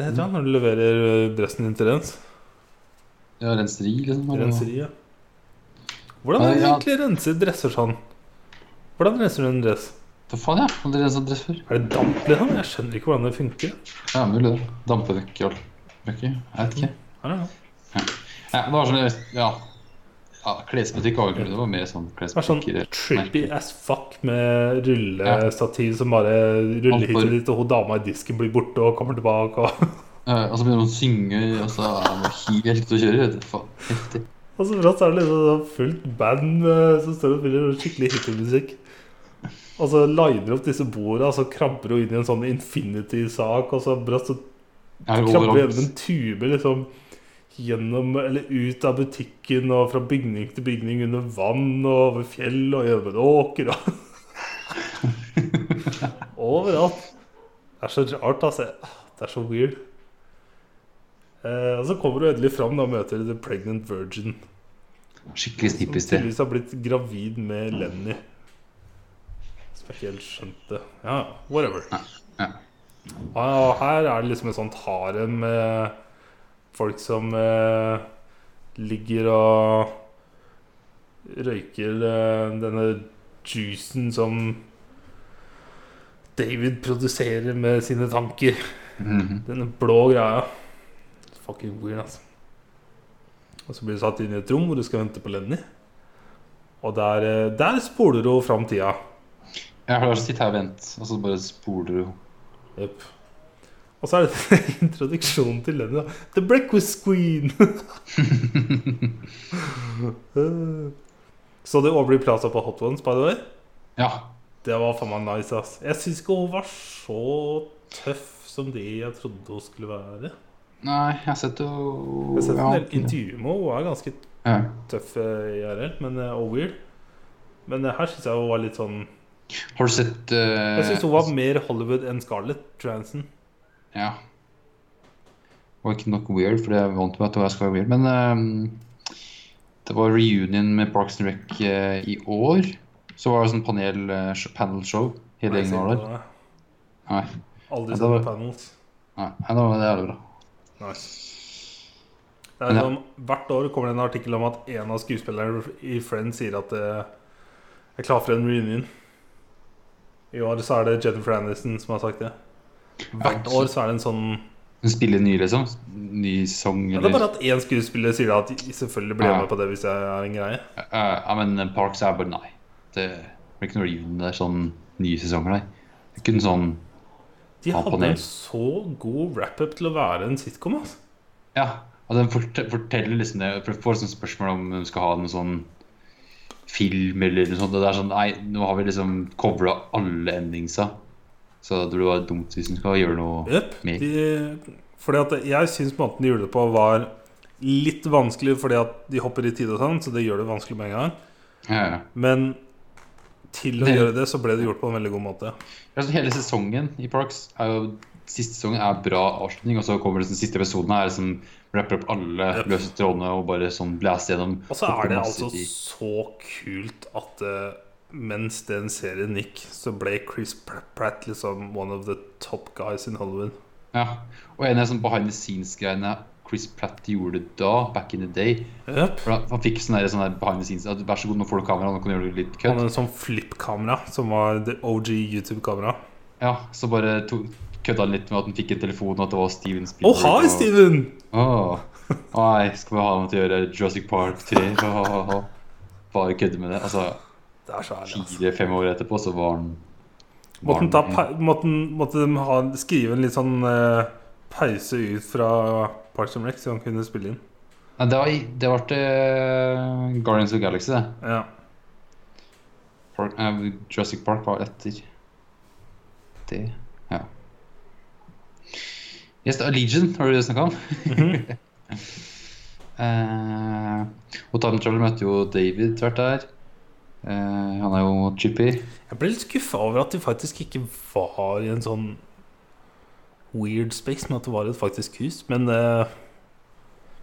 [SPEAKER 1] Mm.
[SPEAKER 2] det heter det når du leverer eh, dressen din til rens?
[SPEAKER 1] ja, renseri, liksom. eller-
[SPEAKER 2] Renseriet. Hvordan
[SPEAKER 1] Ja,
[SPEAKER 2] er det
[SPEAKER 1] ja.
[SPEAKER 2] egentlig renser dresser sånn? Hvordan renser du en dress?
[SPEAKER 1] Hva faen, ja. Aldri rensa sånn dress før.
[SPEAKER 2] Er det damp, liksom? Jeg skjønner ikke hvordan det funker.
[SPEAKER 1] Ja, mulig det. Dampe vekk og vekk. Jeg vet ikke.
[SPEAKER 2] I don't know.
[SPEAKER 1] Ja, det var sånn Ja. ja klesbutikk var jo ikke det. Det var mer sånn
[SPEAKER 2] Det er sånn
[SPEAKER 1] klesbutikk. i det.
[SPEAKER 2] trippy
[SPEAKER 1] merkelig.
[SPEAKER 2] as fuck med rullestativ som bare ruller
[SPEAKER 1] Alt
[SPEAKER 2] hit
[SPEAKER 1] for-
[SPEAKER 2] og dit, og hun dama i disken blir borte og kommer tilbake og
[SPEAKER 1] Ja, og så begynner hun å synge, og så er hun helt ute å kjøre. Vet du. Faen, heftig.
[SPEAKER 2] Og så brått så er det liksom sånn fullt band eh, som står og spiller noe skikkelig hippiemusikk. Og så liner opp disse borda, og så krabber hun inn i en sånn infinity-sak, og så brått så
[SPEAKER 1] Jeg er
[SPEAKER 2] krabber hun
[SPEAKER 1] overalt.
[SPEAKER 2] gjennom en tube, liksom. Gjennom, eller ut av butikken og fra bygning til bygning under vann og over fjell og gjennom en åker og Overalt. Det er så rart, altså. Det er så weird. Eh, og så kommer hun endelig fram da, og møter The Pregnant Virgin.
[SPEAKER 1] Skikkelig
[SPEAKER 2] Som
[SPEAKER 1] snippig sted.
[SPEAKER 2] tydeligvis har blitt gravid med Lenny. Som jeg ikke helt skjønte. Ja, whatever.
[SPEAKER 1] ja.
[SPEAKER 2] Og her er det liksom et sånt harem med folk som eh, ligger og røyker eh, denne juicen som David produserer med sine tanker.
[SPEAKER 1] Mhm.
[SPEAKER 2] Denne blå greia. Fucking weird, altså. Og så blir du satt inn i et rom hvor du skal vente på Lenny. Og der, eh, der spoler hun fram tida.
[SPEAKER 1] Jeg har sittet her og vent, og så bare spoler du.
[SPEAKER 2] Jep. Og så er det introduksjonen til Lenny. da. The Breakfast Queen! så det Aubrey Plaza på Hot Ones, by the way.
[SPEAKER 1] Ja.
[SPEAKER 2] Det var faen meg nice, ass. Jeg syns ikke hun var så tøff som det jeg trodde hun skulle være.
[SPEAKER 1] Nei, jeg har sett jo
[SPEAKER 2] Jeg har sett en
[SPEAKER 1] ja.
[SPEAKER 2] del intervjuer med henne, hun er ganske
[SPEAKER 1] Ja.
[SPEAKER 2] tøff eh, IRL men, eh, og weird. Men eh, her syns jeg hun var litt sånn
[SPEAKER 1] Har du sett eh,
[SPEAKER 2] Jeg syns hun var mer Hollywood enn Scarlett Johansson.
[SPEAKER 1] Ja. Det var ikke nok weird, for jeg er vant med at jeg skal være weird. Men eh, det var reunion med Parks and Rec eh, i år. Så var det sånn panel, eh, sh- panel show. Hele
[SPEAKER 2] Jeg
[SPEAKER 1] gjengen
[SPEAKER 2] ser
[SPEAKER 1] var der.
[SPEAKER 2] på henne.
[SPEAKER 1] Nei, Ja,
[SPEAKER 2] Aldri
[SPEAKER 1] det
[SPEAKER 2] sett
[SPEAKER 1] var-
[SPEAKER 2] på panels.
[SPEAKER 1] nei, nei, det var jævlig bra.
[SPEAKER 2] Det er
[SPEAKER 1] Men ja.
[SPEAKER 2] sånn, hvert år kommer det en artikkel om at en av skuespillerne i Friends sier at eh, jeg er klar for en reunion. I år så er det Jennifer Aniston som har sagt det. Hvert år så er det en sånn
[SPEAKER 1] Hun spiller ny, liksom? Ny sang,
[SPEAKER 2] ja, Det er
[SPEAKER 1] eller
[SPEAKER 2] bare at én skuespiller sier at selvfølgelig blir jeg med på det hvis jeg er en greie.
[SPEAKER 1] Eh, Ja, men Parks er bare nei. Det blir ikke noe reunion der, sånn nye sesonger, nei. Det er ikke en sånn
[SPEAKER 2] De
[SPEAKER 1] Ja,
[SPEAKER 2] hadde
[SPEAKER 1] panel.
[SPEAKER 2] en så god wrap-up til å være en sitcom. Altså.
[SPEAKER 1] Ja, og den fort forteller liksom det for Får sånn spørsmål om hun skal ha noen sånn film eller noe sånt. Og det er sånn Nei, nå har vi liksom covra alle endingsa. Så det blir bare dumt hvis hun skal gjøre noe
[SPEAKER 2] Jep,
[SPEAKER 1] Mer.
[SPEAKER 2] de, fordi at jeg syns måten de gjorde det på, var litt vanskelig fordi at de hopper i tid og sånn, så det gjør det vanskelig med en gang.
[SPEAKER 1] ja, ja.
[SPEAKER 2] Men til å
[SPEAKER 1] Det-
[SPEAKER 2] gjøre det, så ble det gjort på en veldig god måte.
[SPEAKER 1] Ja, så Hele sesongen i Parks er jo siste sesongen er bra avslutning, og så kommer den siste episoden her som rapper opp alle
[SPEAKER 2] Yep.
[SPEAKER 1] løse trådene og bare sånn blæser gjennom.
[SPEAKER 2] Og så er det altså
[SPEAKER 1] i-
[SPEAKER 2] så kult at eh, mens den serien gikk, så ble Chris Pratt liksom one of the top guys in Hollywood.
[SPEAKER 1] Ja. Og en av de sånn behind the scenes-greiene Chris Pratt gjorde da, back in the day
[SPEAKER 2] Yep.
[SPEAKER 1] For Han han fikk sånn der- sånn der behind the scenes at vær så god, nå får du kamera, nå kan du gjøre det litt
[SPEAKER 2] Han
[SPEAKER 1] kødd.
[SPEAKER 2] hadde en sånn flip-kamera, som var the OG YouTube-kamera.
[SPEAKER 1] Ja, så bare to- kødda han litt med at han fikk en telefon, og at det var Steven
[SPEAKER 2] Å,
[SPEAKER 1] Spielberg.
[SPEAKER 2] hi,
[SPEAKER 1] og-
[SPEAKER 2] Steven!
[SPEAKER 1] Åh, Nei, skal vi ha noe til å gjøre Jurassic Park 3? Åh, Bare kødde med det. Altså,
[SPEAKER 2] Det er så ærlig. altså.
[SPEAKER 1] fire-fem år etterpå så var han var
[SPEAKER 2] Måtte, den ta,
[SPEAKER 1] han-
[SPEAKER 2] pau- måtte, den- måtte de ha, skrive en litt sånn eh, pause ut fra Parks and Rec, så han kunne spille inn?
[SPEAKER 1] Nei, det var, i- det var til eh, Guardians of the Galaxy, det.
[SPEAKER 2] Ja.
[SPEAKER 1] Park, eh, Jurassic Park var etter det. Ja. Yes, det er Legion, har du det snakka om? Eh, og Time Traveler møtte jo David tvert der. Eh, han er jo chippy.
[SPEAKER 2] Jeg ble litt skuffa over at de faktisk ikke var i en sånn weird space, men at det var et faktisk hus. Men eh,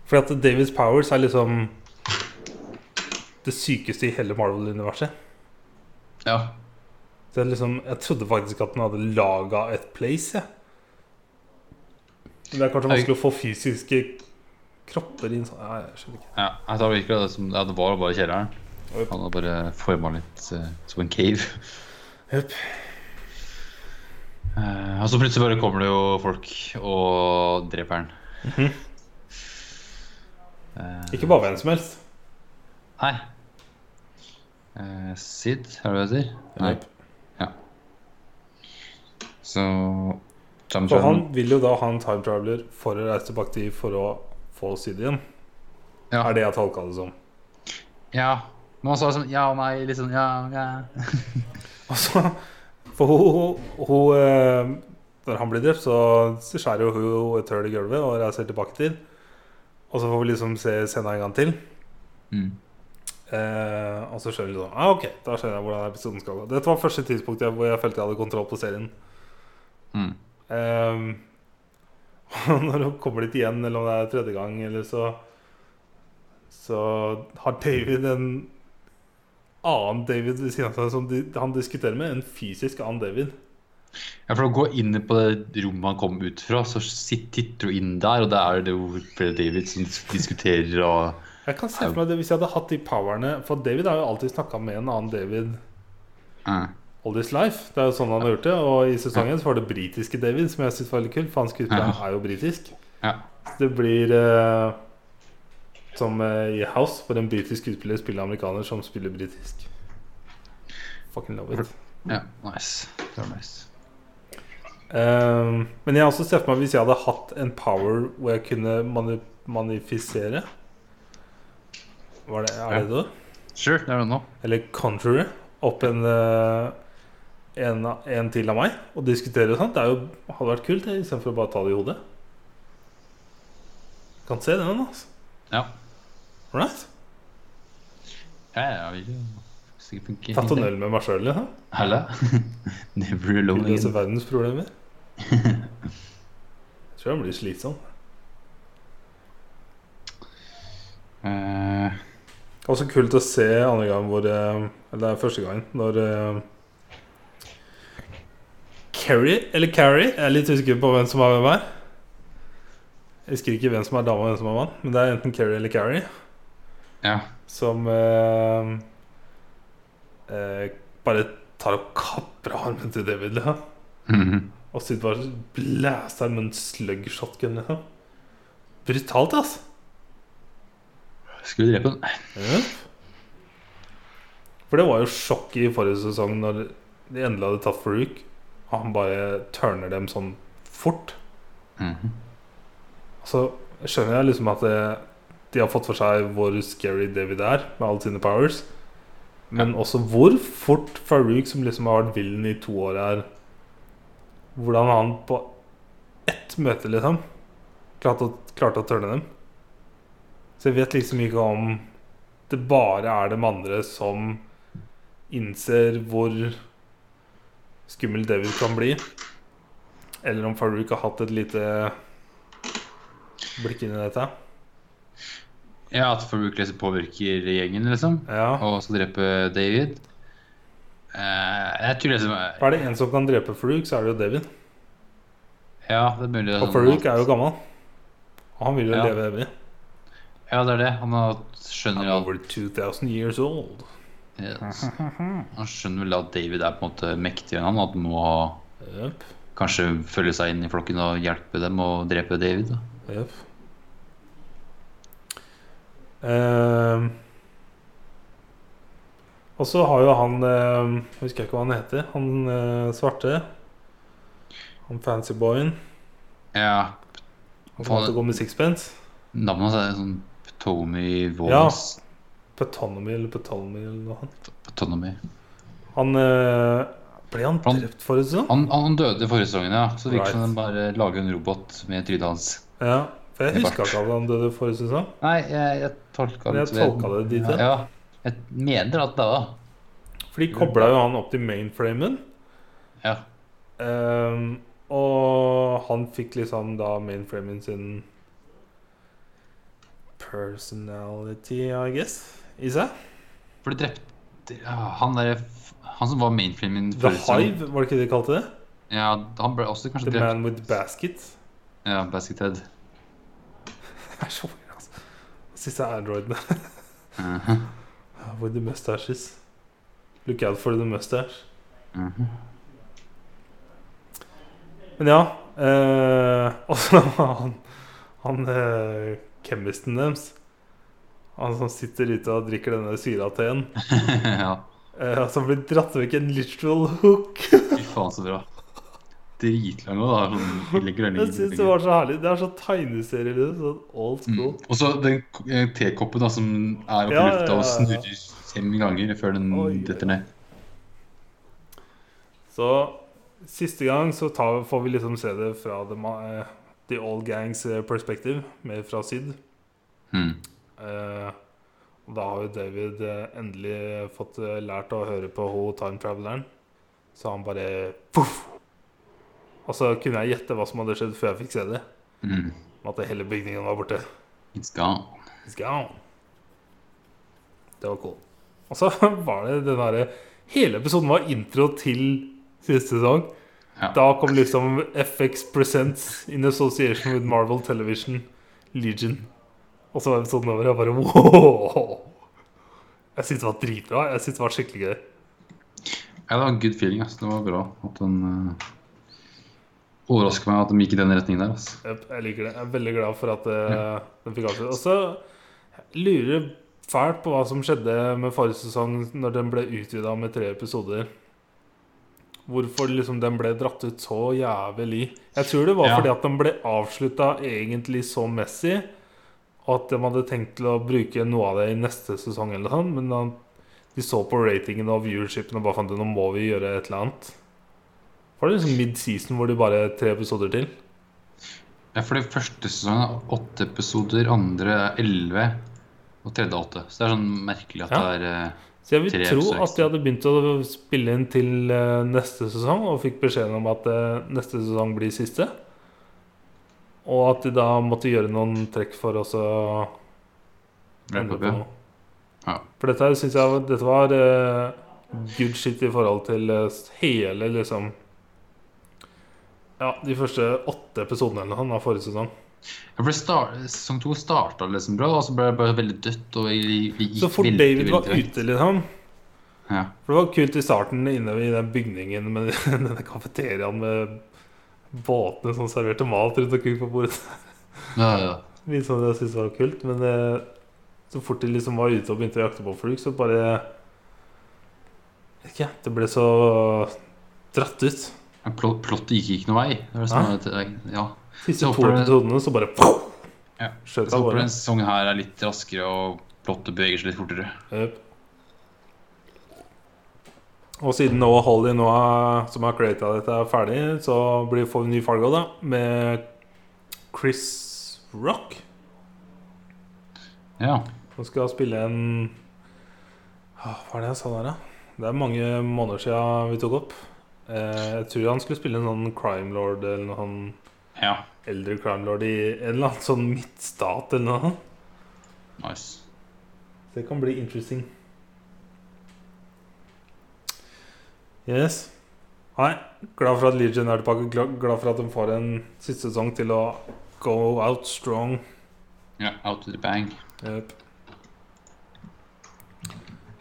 [SPEAKER 2] Fordi at David Powers er liksom det sykeste i hele Marvel-universet.
[SPEAKER 1] Ja.
[SPEAKER 2] Så jeg, liksom, jeg trodde faktisk at den hadde laga et place, jeg. Men det er kanskje vanskelig å få fysiske kropper inn sånn Nei, jeg skjønner ikke.
[SPEAKER 1] Ja, jeg tar virkelig det som ja, det var bare kjelleren.
[SPEAKER 2] Oi.
[SPEAKER 1] Han hadde bare forma litt eh, som en cave.
[SPEAKER 2] Jep.
[SPEAKER 1] Eh, og så plutselig bare kommer det jo folk og dreper han. Eh,
[SPEAKER 2] Ikke bare hvem som helst.
[SPEAKER 1] nei. Eh, Sid, er det det heter? Nei.
[SPEAKER 2] Jep.
[SPEAKER 1] Så Tom
[SPEAKER 2] For han
[SPEAKER 1] Jordan-
[SPEAKER 2] vil jo da ha en time traveler for å reise tilbake til for å få Syd igjen.
[SPEAKER 1] Ja.
[SPEAKER 2] Er det jeg tolka det som.
[SPEAKER 1] Ja. Men han sa sånn ja og nei, litt sånn ja, ja.
[SPEAKER 2] Altså, for hun, hun, hun eh, Når han blir drept, så så skjærer jo hun et hull i gulvet og reiser tilbake til. Og så får vi liksom se scenen en gang til.
[SPEAKER 1] Mm.
[SPEAKER 2] Eh, og så skjønner vi sånn ah, Ok, da skjønner jeg hvordan episoden skal gå. Dette var første tidspunkt jeg, hvor jeg følte jeg hadde kontroll på serien.
[SPEAKER 1] Mm.
[SPEAKER 2] Eh, og når hun kommer dit igjen, eller om det er tredje gang, eller så Så har David en annen David ved siden av seg som de, han diskuterer med. En fysisk annen David.
[SPEAKER 1] Ja, for å gå inn på det rommet han kom ut fra, så sitt- titter du inn der, og det er det jo Fred David som diskuterer og
[SPEAKER 2] Jeg kan se for meg det hvis jeg hadde hatt de powerne For David har jo alltid snakka med en annen David
[SPEAKER 1] Ah.
[SPEAKER 2] all his life. Det er jo sånn han har gjort det. Og i sesongen så var det britiske David, som jeg synes var veldig kult, for han skuespilleren
[SPEAKER 1] Ja.
[SPEAKER 2] er jo britisk.
[SPEAKER 1] Ja.
[SPEAKER 2] Så det blir eh, som eh, i House, hvor en britisk skuespiller spiller amerikaner som spiller britisk. Fucking love it.
[SPEAKER 1] Ja, nice. Det var nice.
[SPEAKER 2] Eh, men jeg har også sett for meg hvis jeg hadde hatt en power hvor jeg kunne mani manifisere Var det, Er det det?
[SPEAKER 1] Sure, det er det nå.
[SPEAKER 2] eller Conjurer opp en, eh, en, en til av meg og diskutere og sånt. Det er jo, hadde vært kult det, istedenfor å bare ta det i hodet. Kan se den, altså.
[SPEAKER 1] Ja.
[SPEAKER 2] Right?
[SPEAKER 1] Ja, ja, vi sikkert funker.
[SPEAKER 2] Tatt en øl med meg sjøl, liksom.
[SPEAKER 1] Halla. Never
[SPEAKER 2] Vil
[SPEAKER 1] alone
[SPEAKER 2] løse
[SPEAKER 1] again.
[SPEAKER 2] verdens problemer. Jeg tror jeg blir slitsom.
[SPEAKER 1] Eh,
[SPEAKER 2] Også kult å se andre gang hvor eh, Eller det er første gangen når eh, Carrie, eller Carrie Jeg er litt usikker på hvem som er hvem her. Jeg husker ikke hvem som er dame og hvem som er mann, men det er enten Carrie eller Carrie
[SPEAKER 1] ja.
[SPEAKER 2] som eh, eh, bare tar og kapper av armen til David. Liksom.
[SPEAKER 1] Mhm.
[SPEAKER 2] Og sitter bare og blæser med en slug-shotgun. Liksom. Brutalt, altså.
[SPEAKER 1] Skulle drepe den.
[SPEAKER 2] For det var jo sjokket i forrige sesong når de endelig hadde tatt Farouk. Og han bare turner dem sånn fort.
[SPEAKER 1] Mhm.
[SPEAKER 2] Så skjønner jeg liksom at det, de har fått for seg hvor scary David er med alle sine powers. Men også hvor fort Farouk, som liksom har vært villen i to år her Hvordan han på ett møte, liksom, klarte å, klarte å turne dem. Så jeg vet liksom ikke om det bare er dem andre som innser hvor skummel David kan bli. Eller om Farouk har hatt et lite blikk inn i dette.
[SPEAKER 1] Ja, at Farouk leser påvirker gjengen, liksom.
[SPEAKER 2] Ja.
[SPEAKER 1] Og skal drepe David. Eh, jeg tror liksom eh,
[SPEAKER 2] Er det en som kan drepe Farouk, så er det jo David.
[SPEAKER 1] Ja, det er mulig. det er
[SPEAKER 2] Og
[SPEAKER 1] sånn
[SPEAKER 2] Farouk
[SPEAKER 1] at-
[SPEAKER 2] er jo gammel. Og han vil jo
[SPEAKER 1] Ja.
[SPEAKER 2] leve evig.
[SPEAKER 1] Ja, det er det. Han har- skjønner
[SPEAKER 2] I'm
[SPEAKER 1] jo at
[SPEAKER 2] over 2000 years old.
[SPEAKER 1] yes. Han skjønner vel at David er på en måte mektigere enn han. At han må ha-
[SPEAKER 2] Jøp,
[SPEAKER 1] kanskje følge seg inn i flokken og hjelpe dem å drepe David. Da.
[SPEAKER 2] jøp. Ehm. og så har jo han ehm, Husker jeg ikke hva han heter. Han eh, svarte. Han fancyboyen.
[SPEAKER 1] Ja,
[SPEAKER 2] Han som
[SPEAKER 1] Faen.
[SPEAKER 2] alltid går med sixpence.
[SPEAKER 1] Navnet hans er sånn Ptolemy Wallace.
[SPEAKER 2] Petonomy eller Petonomy eller noe annet.
[SPEAKER 1] Ptolemy.
[SPEAKER 2] Han eh, Ble han
[SPEAKER 1] Han-
[SPEAKER 2] drept for et sånt?
[SPEAKER 1] Han, han døde forrige sesongen, ja. Så det virker som
[SPEAKER 2] Right.
[SPEAKER 1] de bare lager en robot med trynet hans.
[SPEAKER 2] Ja. For jeg
[SPEAKER 1] Det
[SPEAKER 2] huska
[SPEAKER 1] var-
[SPEAKER 2] ikke at han døde forrige sesong.
[SPEAKER 1] Nei, jeg, jeg tolka
[SPEAKER 2] Men jeg tolka det dit hen.
[SPEAKER 1] Ja, jeg mener at det var da.
[SPEAKER 2] For de kobla jo han opp til mainframen.
[SPEAKER 1] Ja.
[SPEAKER 2] Ehm, og han fikk liksom da mainframen sin personality, I guess, i seg.
[SPEAKER 1] For du drepte ja, han der Han som var mainframen
[SPEAKER 2] The
[SPEAKER 1] forrige sesong.
[SPEAKER 2] Hive, var det ikke det de kalte sånn- det?
[SPEAKER 1] Ja, han ble også kanskje
[SPEAKER 2] The
[SPEAKER 1] drept.
[SPEAKER 2] Man With Basket.
[SPEAKER 1] Ja, Basket Head.
[SPEAKER 2] Det er så mye, altså. Siste androidene.
[SPEAKER 1] Mhm,
[SPEAKER 2] With the mustaches. Look out for the mustache.
[SPEAKER 1] mhm.
[SPEAKER 2] Men ja eh, Og så var han, han eh, chemisten deres. Han som sitter ute og drikker denne syrateen.
[SPEAKER 1] ja.
[SPEAKER 2] Eh, som blir dratt vekk en literal hook.
[SPEAKER 1] Fy faen, så bra. Dritlang òg, da. Sånn, ille grønne
[SPEAKER 2] Jeg syns det var så herlig. Det er så tegneserie. det er Sånn old
[SPEAKER 1] Mm.
[SPEAKER 2] school.
[SPEAKER 1] Og så den k- eh, tekoppen da, som er oppi
[SPEAKER 2] Ja, ja,
[SPEAKER 1] lufta og
[SPEAKER 2] ja, ja.
[SPEAKER 1] snurrer fem ganger før den
[SPEAKER 2] Oi, oi.
[SPEAKER 1] detter ned.
[SPEAKER 2] Så siste gang så tar, får vi liksom se det fra the, ma- eh, the old gangs eh, perspective, mer fra syd.
[SPEAKER 1] Mm.
[SPEAKER 2] Eh, og da har jo David eh, endelig fått eh, lært å høre på ho time traveleren. Så han bare poff! Og så kunne jeg gjette hva som hadde skjedd før jeg fikk se det.
[SPEAKER 1] Mm.
[SPEAKER 2] Med at hele bygningen var borte.
[SPEAKER 1] It's gone.
[SPEAKER 2] It's gone. Det var cool. Og så var det den derre Hele episoden var intro til siste sesong.
[SPEAKER 1] Ja.
[SPEAKER 2] Da kom liksom FX Presents in association with Marvel Television Legion. Og så var episoden over, og jeg bare wow! Jeg syntes det var dritbra. Jeg syntes det var skikkelig gøy.
[SPEAKER 1] Ja, det var en good feeling. ass. Det var bra at den uh, overraska meg at de gikk i den retningen der. ass.
[SPEAKER 2] Jep, Jeg liker det. Jeg er veldig glad for at eh, den fikk avslutt. Og så lurer jeg fælt på hva som skjedde med forrige sesong når den ble utvida med tre episoder. Hvorfor liksom den ble dratt ut så jævlig. Jeg tror det var
[SPEAKER 1] Ja.
[SPEAKER 2] fordi at den ble avslutta egentlig så messig, og at de hadde tenkt til å bruke noe av det i neste sesong eller noe sånt, men da de så på ratingen og viewershipen og bare fant ut nå må vi gjøre et eller annet. Var det liksom mid-season hvor de bare tre episoder til?
[SPEAKER 1] Ja, for det første sesongen er åtte episoder, andre er elleve, og tredje er åtte. Så det er sånn merkelig at
[SPEAKER 2] Ja.
[SPEAKER 1] det er eh,
[SPEAKER 2] Så jeg vil
[SPEAKER 1] Tre
[SPEAKER 2] tro
[SPEAKER 1] episoder
[SPEAKER 2] at de hadde begynt å spille inn til eh, neste sesong og fikk beskjeden om at eh, neste sesong blir siste. Og at de da måtte gjøre noen trekk for oss å
[SPEAKER 1] wrap
[SPEAKER 2] endre
[SPEAKER 1] up,
[SPEAKER 2] på
[SPEAKER 1] ja.
[SPEAKER 2] noe.
[SPEAKER 1] Ja.
[SPEAKER 2] For dette her synes jeg var- dette var eh, good shit i forhold til eh, hele liksom Ja, de første åtte episodene eller noe sånt av forrige sesong.
[SPEAKER 1] Ja, for det star- Sesong to starta liksom bra, og så ble det bare veldig dødt. og vi, vi gikk
[SPEAKER 2] Så fort
[SPEAKER 1] veldig,
[SPEAKER 2] David var
[SPEAKER 1] veldig
[SPEAKER 2] ute, liksom
[SPEAKER 1] vekk. Ja.
[SPEAKER 2] For det var kult i starten inne i den bygningen med denne kafeteriaen med båtene som serverte mat rundt omkring på bordet.
[SPEAKER 1] Ja, ja.
[SPEAKER 2] Litt sånn det jeg syntes var kult, men eh, så fort de liksom var ute og begynte å jakte på folk, så bare Vet ikke, jeg, det ble så dratt ut.
[SPEAKER 1] Men plot- Plottet gikk ikke noen vei. Det var sånn at, ja.
[SPEAKER 2] Siste
[SPEAKER 1] Jeg
[SPEAKER 2] to
[SPEAKER 1] håper det-
[SPEAKER 2] episodene, så bare
[SPEAKER 1] Ja.
[SPEAKER 2] skjøt
[SPEAKER 1] Så
[SPEAKER 2] av
[SPEAKER 1] håper
[SPEAKER 2] gårde.
[SPEAKER 1] denne sesongen her er litt raskere, og plottet beveger seg litt fortere.
[SPEAKER 2] Jep. Og siden Noah Holly nå er, som har creata dette, er ferdig, så blir får vi ny Fargo, da. Med Chris Rock.
[SPEAKER 1] Ja.
[SPEAKER 2] Som skal spille en ah, Åh, Hva er det jeg sa der, da? Det er mange måneder siden vi tok opp. Eh, jeg tror han skulle spille en sånn crime lord eller noe sånn
[SPEAKER 1] Ja,
[SPEAKER 2] eldre crime lord i en eller annen sånn midtstat eller noe sånt.
[SPEAKER 1] nice.
[SPEAKER 2] Det kan bli interesting. Yes. Nei, glad for at Legion er tilbake. Glad, glad for at de får en siste sesong til å go out strong.
[SPEAKER 1] Ja, out with a bang.
[SPEAKER 2] Yep.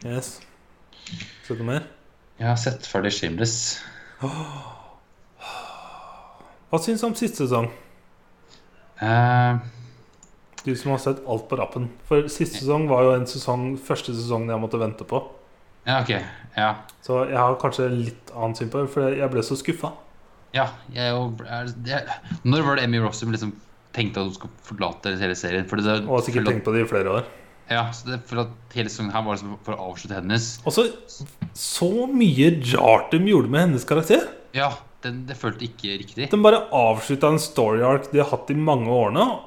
[SPEAKER 2] Yes. Ser du noe mer?
[SPEAKER 1] Jeg har sett ferdig Shameless.
[SPEAKER 2] Hva syns du om siste sesong?
[SPEAKER 1] Eh,
[SPEAKER 2] Du som har sett alt på rappen. For siste sesong var jo en sesong, første sesongen jeg måtte vente på.
[SPEAKER 1] ja, ok. Ja.
[SPEAKER 2] Så jeg har kanskje litt annet syn på det, for jeg ble så skuffa.
[SPEAKER 1] Ja, jeg er jo er, jeg, Når var det Emmy Rossum liksom tenkte at hun skulle forlate hele serien? Fordi det,
[SPEAKER 2] Og har sikkert
[SPEAKER 1] for at-
[SPEAKER 2] tenkt på det i flere år.
[SPEAKER 1] Ja, så det, for at hele sesongen her var liksom for å avslutte hennes.
[SPEAKER 2] Og så Altså, så mye Jartum gjorde med hennes karakter.
[SPEAKER 1] Ja, den, det følte ikke riktig.
[SPEAKER 2] Den bare avslutta en story arc de har hatt i mange år nå,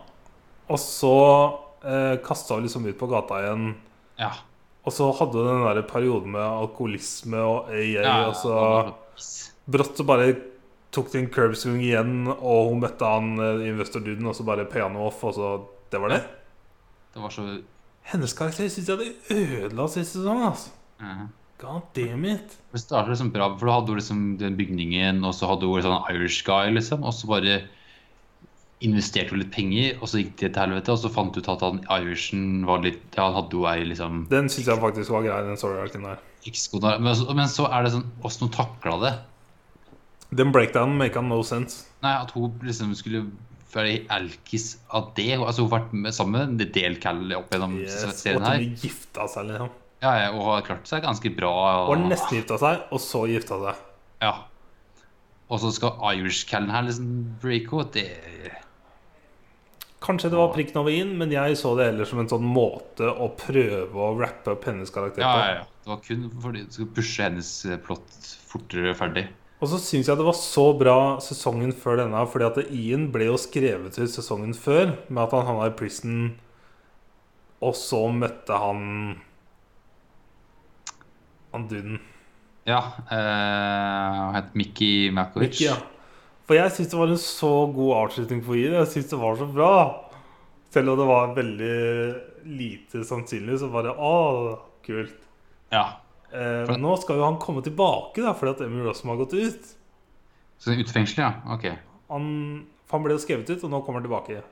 [SPEAKER 2] og så eh, kasta hun liksom ut på gata igjen.
[SPEAKER 1] Ja.
[SPEAKER 2] Og så hadde hun den der perioden med alkoholisme og øy, øy,
[SPEAKER 1] ja,
[SPEAKER 2] og så brått så bare tok de en curbswing igjen, og hun møtte han eh, investorduden, og så bare piano off, og så Det var det.
[SPEAKER 1] Det var så
[SPEAKER 2] Hennes karakter syns jeg det ødela sist sesong, altså.
[SPEAKER 1] eh.
[SPEAKER 2] God damn it.
[SPEAKER 1] Det startet liksom bra, for da hadde hun liksom den bygningen, og så hadde hun sånn Irish guy, liksom. Og så bare investerte hun litt penger, og så gikk det til helvete. Og så fant hun ut at han Irishen var litt Ja, han hadde jo ei liksom
[SPEAKER 2] Den syns jeg faktisk var grei, den story-arken der.
[SPEAKER 1] ekskone men, så- men så er det sånn Åssen hun takla det.
[SPEAKER 2] Den breakdownen make no sense.
[SPEAKER 1] Nei, at hun liksom skulle være alkis av det. Altså, hun har vært med, sammen med en del cal opp gjennom
[SPEAKER 2] Yes. Og
[SPEAKER 1] serien
[SPEAKER 2] at
[SPEAKER 1] her.
[SPEAKER 2] hun gifta seg, liksom.
[SPEAKER 1] Ja, ja, og har klart seg ganske bra.
[SPEAKER 2] Og nesten gifta seg, og så gifta seg.
[SPEAKER 1] Ja. Og så skal Irish-callen her liksom breake henne. Det
[SPEAKER 2] Kanskje det
[SPEAKER 1] Ah.
[SPEAKER 2] var prikken over i-en, men jeg så det heller som en sånn måte å prøve å rappe opp hennes karakter på.
[SPEAKER 1] Ja, ja, ja. Det var kun fordi du skulle pushe hennes eh, plott fortere ferdig.
[SPEAKER 2] Og så syns jeg det var så bra sesongen før denne, fordi at Ian ble jo skrevet til sesongen før med at han havna i prison, og så møtte han han duden.
[SPEAKER 1] Ja. Eh, han het Mickey Malkovich.
[SPEAKER 2] Mickey, ja. For jeg syns det var en så god avslutning for Ian. Jeg syns det var så bra. Selv om det var veldig lite sannsynlig, så bare Å, kult.
[SPEAKER 1] ja.
[SPEAKER 2] Eh,
[SPEAKER 1] For-
[SPEAKER 2] men nå skal jo han komme tilbake, da, fordi at Emmy Rossum har gått ut.
[SPEAKER 1] Så den utfengselet, ja. Ok.
[SPEAKER 2] Han, for han ble jo skrevet ut, og nå kommer han tilbake.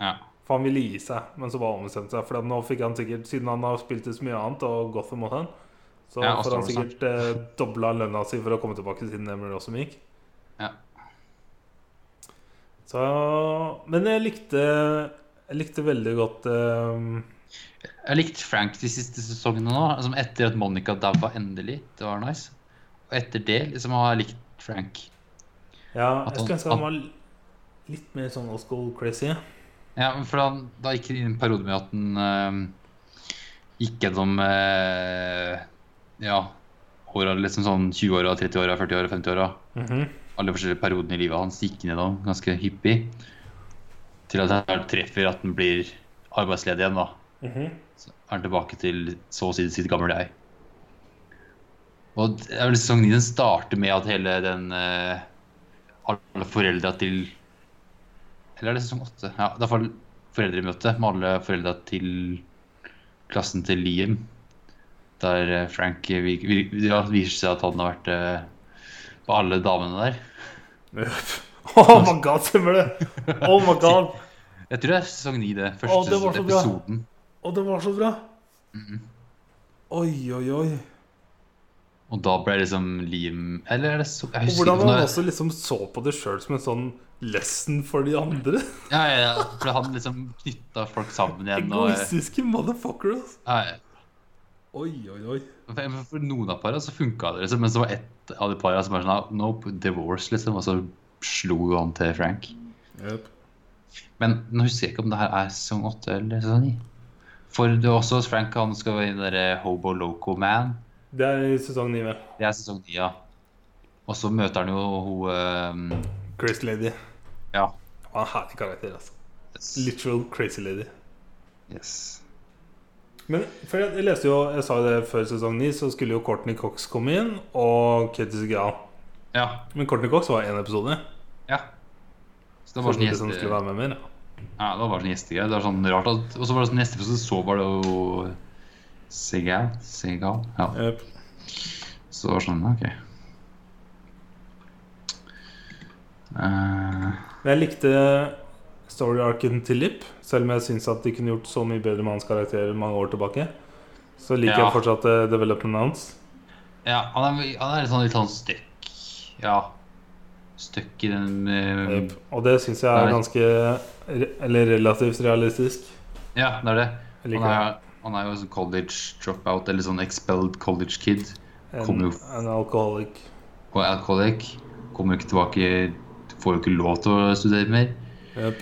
[SPEAKER 1] Ja.
[SPEAKER 2] For han ville gi seg, men så bare ombestemte seg. For at nå fikk han sikkert, Siden han har spilt i så mye annet, og Gotham og sånn, så
[SPEAKER 1] Ja, og
[SPEAKER 2] får han
[SPEAKER 1] Star Wars,
[SPEAKER 2] sikkert eh, dobla lønna si for å komme tilbake siden Emily også gikk.
[SPEAKER 1] Ja.
[SPEAKER 2] Så Men jeg likte Jeg likte veldig godt eh,
[SPEAKER 1] Jeg likte Frank de siste sesongene nå. Altså, etter at Monica daua endelig. Det var nice. Og etter det liksom har jeg likt Frank.
[SPEAKER 2] Ja,
[SPEAKER 1] At
[SPEAKER 2] jeg
[SPEAKER 1] han-
[SPEAKER 2] skulle ønske han var litt mer sånn old school crazy.
[SPEAKER 1] Ja, men for han, Da gikk det inn en periode med at han eh, gikk gjennom eh, Ja, åra liksom sånn 20-åra, 30-åra, 40-åra, 50-åra.
[SPEAKER 2] Mhm.
[SPEAKER 1] alle forskjellige periodene i livet hans gikk gjennom ganske hyppig. Til at han treffer at han blir arbeidsledig igjen, da.
[SPEAKER 2] Mhm.
[SPEAKER 1] Så er han tilbake til så å si sitt gamle jeg. Og det er vel sesong 9 den starter med at hele den eh, Alle foreldra til Eller er det sesong 8? Ja, det er for- foreldremøte med alle foreldra til klassen til Liam. Der eh, Frank eh, vi, vi, ja, viser seg at han har vært eh, på alle damene der.
[SPEAKER 2] Oh my god, stemmer det! Oh my god!
[SPEAKER 1] Jeg tror det er sesong 9, det.
[SPEAKER 2] Å,
[SPEAKER 1] Første
[SPEAKER 2] det var så bra.
[SPEAKER 1] episoden.
[SPEAKER 2] Og det var så bra!
[SPEAKER 1] Mhm.
[SPEAKER 2] Oi, oi, oi.
[SPEAKER 1] Og da ble liksom Liam Eller er det så Jeg
[SPEAKER 2] Og
[SPEAKER 1] husker
[SPEAKER 2] hvordan
[SPEAKER 1] ikke.
[SPEAKER 2] han
[SPEAKER 1] når-
[SPEAKER 2] også liksom så på det sjøl som en sånn lesson for de andre.
[SPEAKER 1] Ja, ja, ja, for han liksom knytta folk sammen igjen. Og,
[SPEAKER 2] Egoistiske motherfucker, ass.
[SPEAKER 1] ja, ja.
[SPEAKER 2] Oi, oi, oi.
[SPEAKER 1] for, for noen av para så funka det, liksom, men så var ett av de para som bare sånn Nope, divorce, liksom. Og så slo han til Frank. Men nå husker jeg ikke om det her er sesong 8 eller sesong 9. For det er også Frank han skal være i den derre Hobo Loco Man.
[SPEAKER 2] Det er i sesong 9, vel.
[SPEAKER 1] Det er sesong 9, ja. Og så møter han jo hun ehm,
[SPEAKER 2] Crazy Lady.
[SPEAKER 1] Ja.
[SPEAKER 2] Han er en herlig karakter, altså. Literal crazy lady.
[SPEAKER 1] Yes.
[SPEAKER 2] Men for jeg, jeg leste jo, jeg sa jo det før sesong 9, så skulle jo Courtney Cox komme inn, og Katie Segal.
[SPEAKER 1] Ja.
[SPEAKER 2] Men Courtney Cox var én episode.
[SPEAKER 1] ja. Så det var
[SPEAKER 2] Det var
[SPEAKER 1] sånn
[SPEAKER 2] de som
[SPEAKER 1] gjeste...
[SPEAKER 2] skulle være med mer. ja.
[SPEAKER 1] Ja, det var bare sånn gjestegreier. Det er sånn rart at Og så var det sånn neste episode, så var det jo Segal? Segal? Ja.
[SPEAKER 2] Jep.
[SPEAKER 1] Så det var sånn, OK. Eh,
[SPEAKER 2] Men jeg likte story arcen til Lipp, selv om jeg syns at de kunne gjort så mye bedre med hans karakter mange år tilbake. Så liker
[SPEAKER 1] Ja.
[SPEAKER 2] jeg fortsatt uh, development hans.
[SPEAKER 1] ja, han er, han er litt sånn litt sånn støkk. Ja. Støkk i den eh,
[SPEAKER 2] Jep. Og det syns jeg
[SPEAKER 1] Nei.
[SPEAKER 2] er ganske re- Eller relativt realistisk.
[SPEAKER 1] Ja, det er det.
[SPEAKER 2] Jeg
[SPEAKER 1] Han
[SPEAKER 2] liker det.
[SPEAKER 1] er, han er jo sånn college dropout, eller sånn expelled college kid.
[SPEAKER 2] En,
[SPEAKER 1] kommer jo-
[SPEAKER 2] en alkoholic.
[SPEAKER 1] Og alcoholic. Kommer jo ikke tilbake Får jo ikke lov til å studere mer.
[SPEAKER 2] Jep.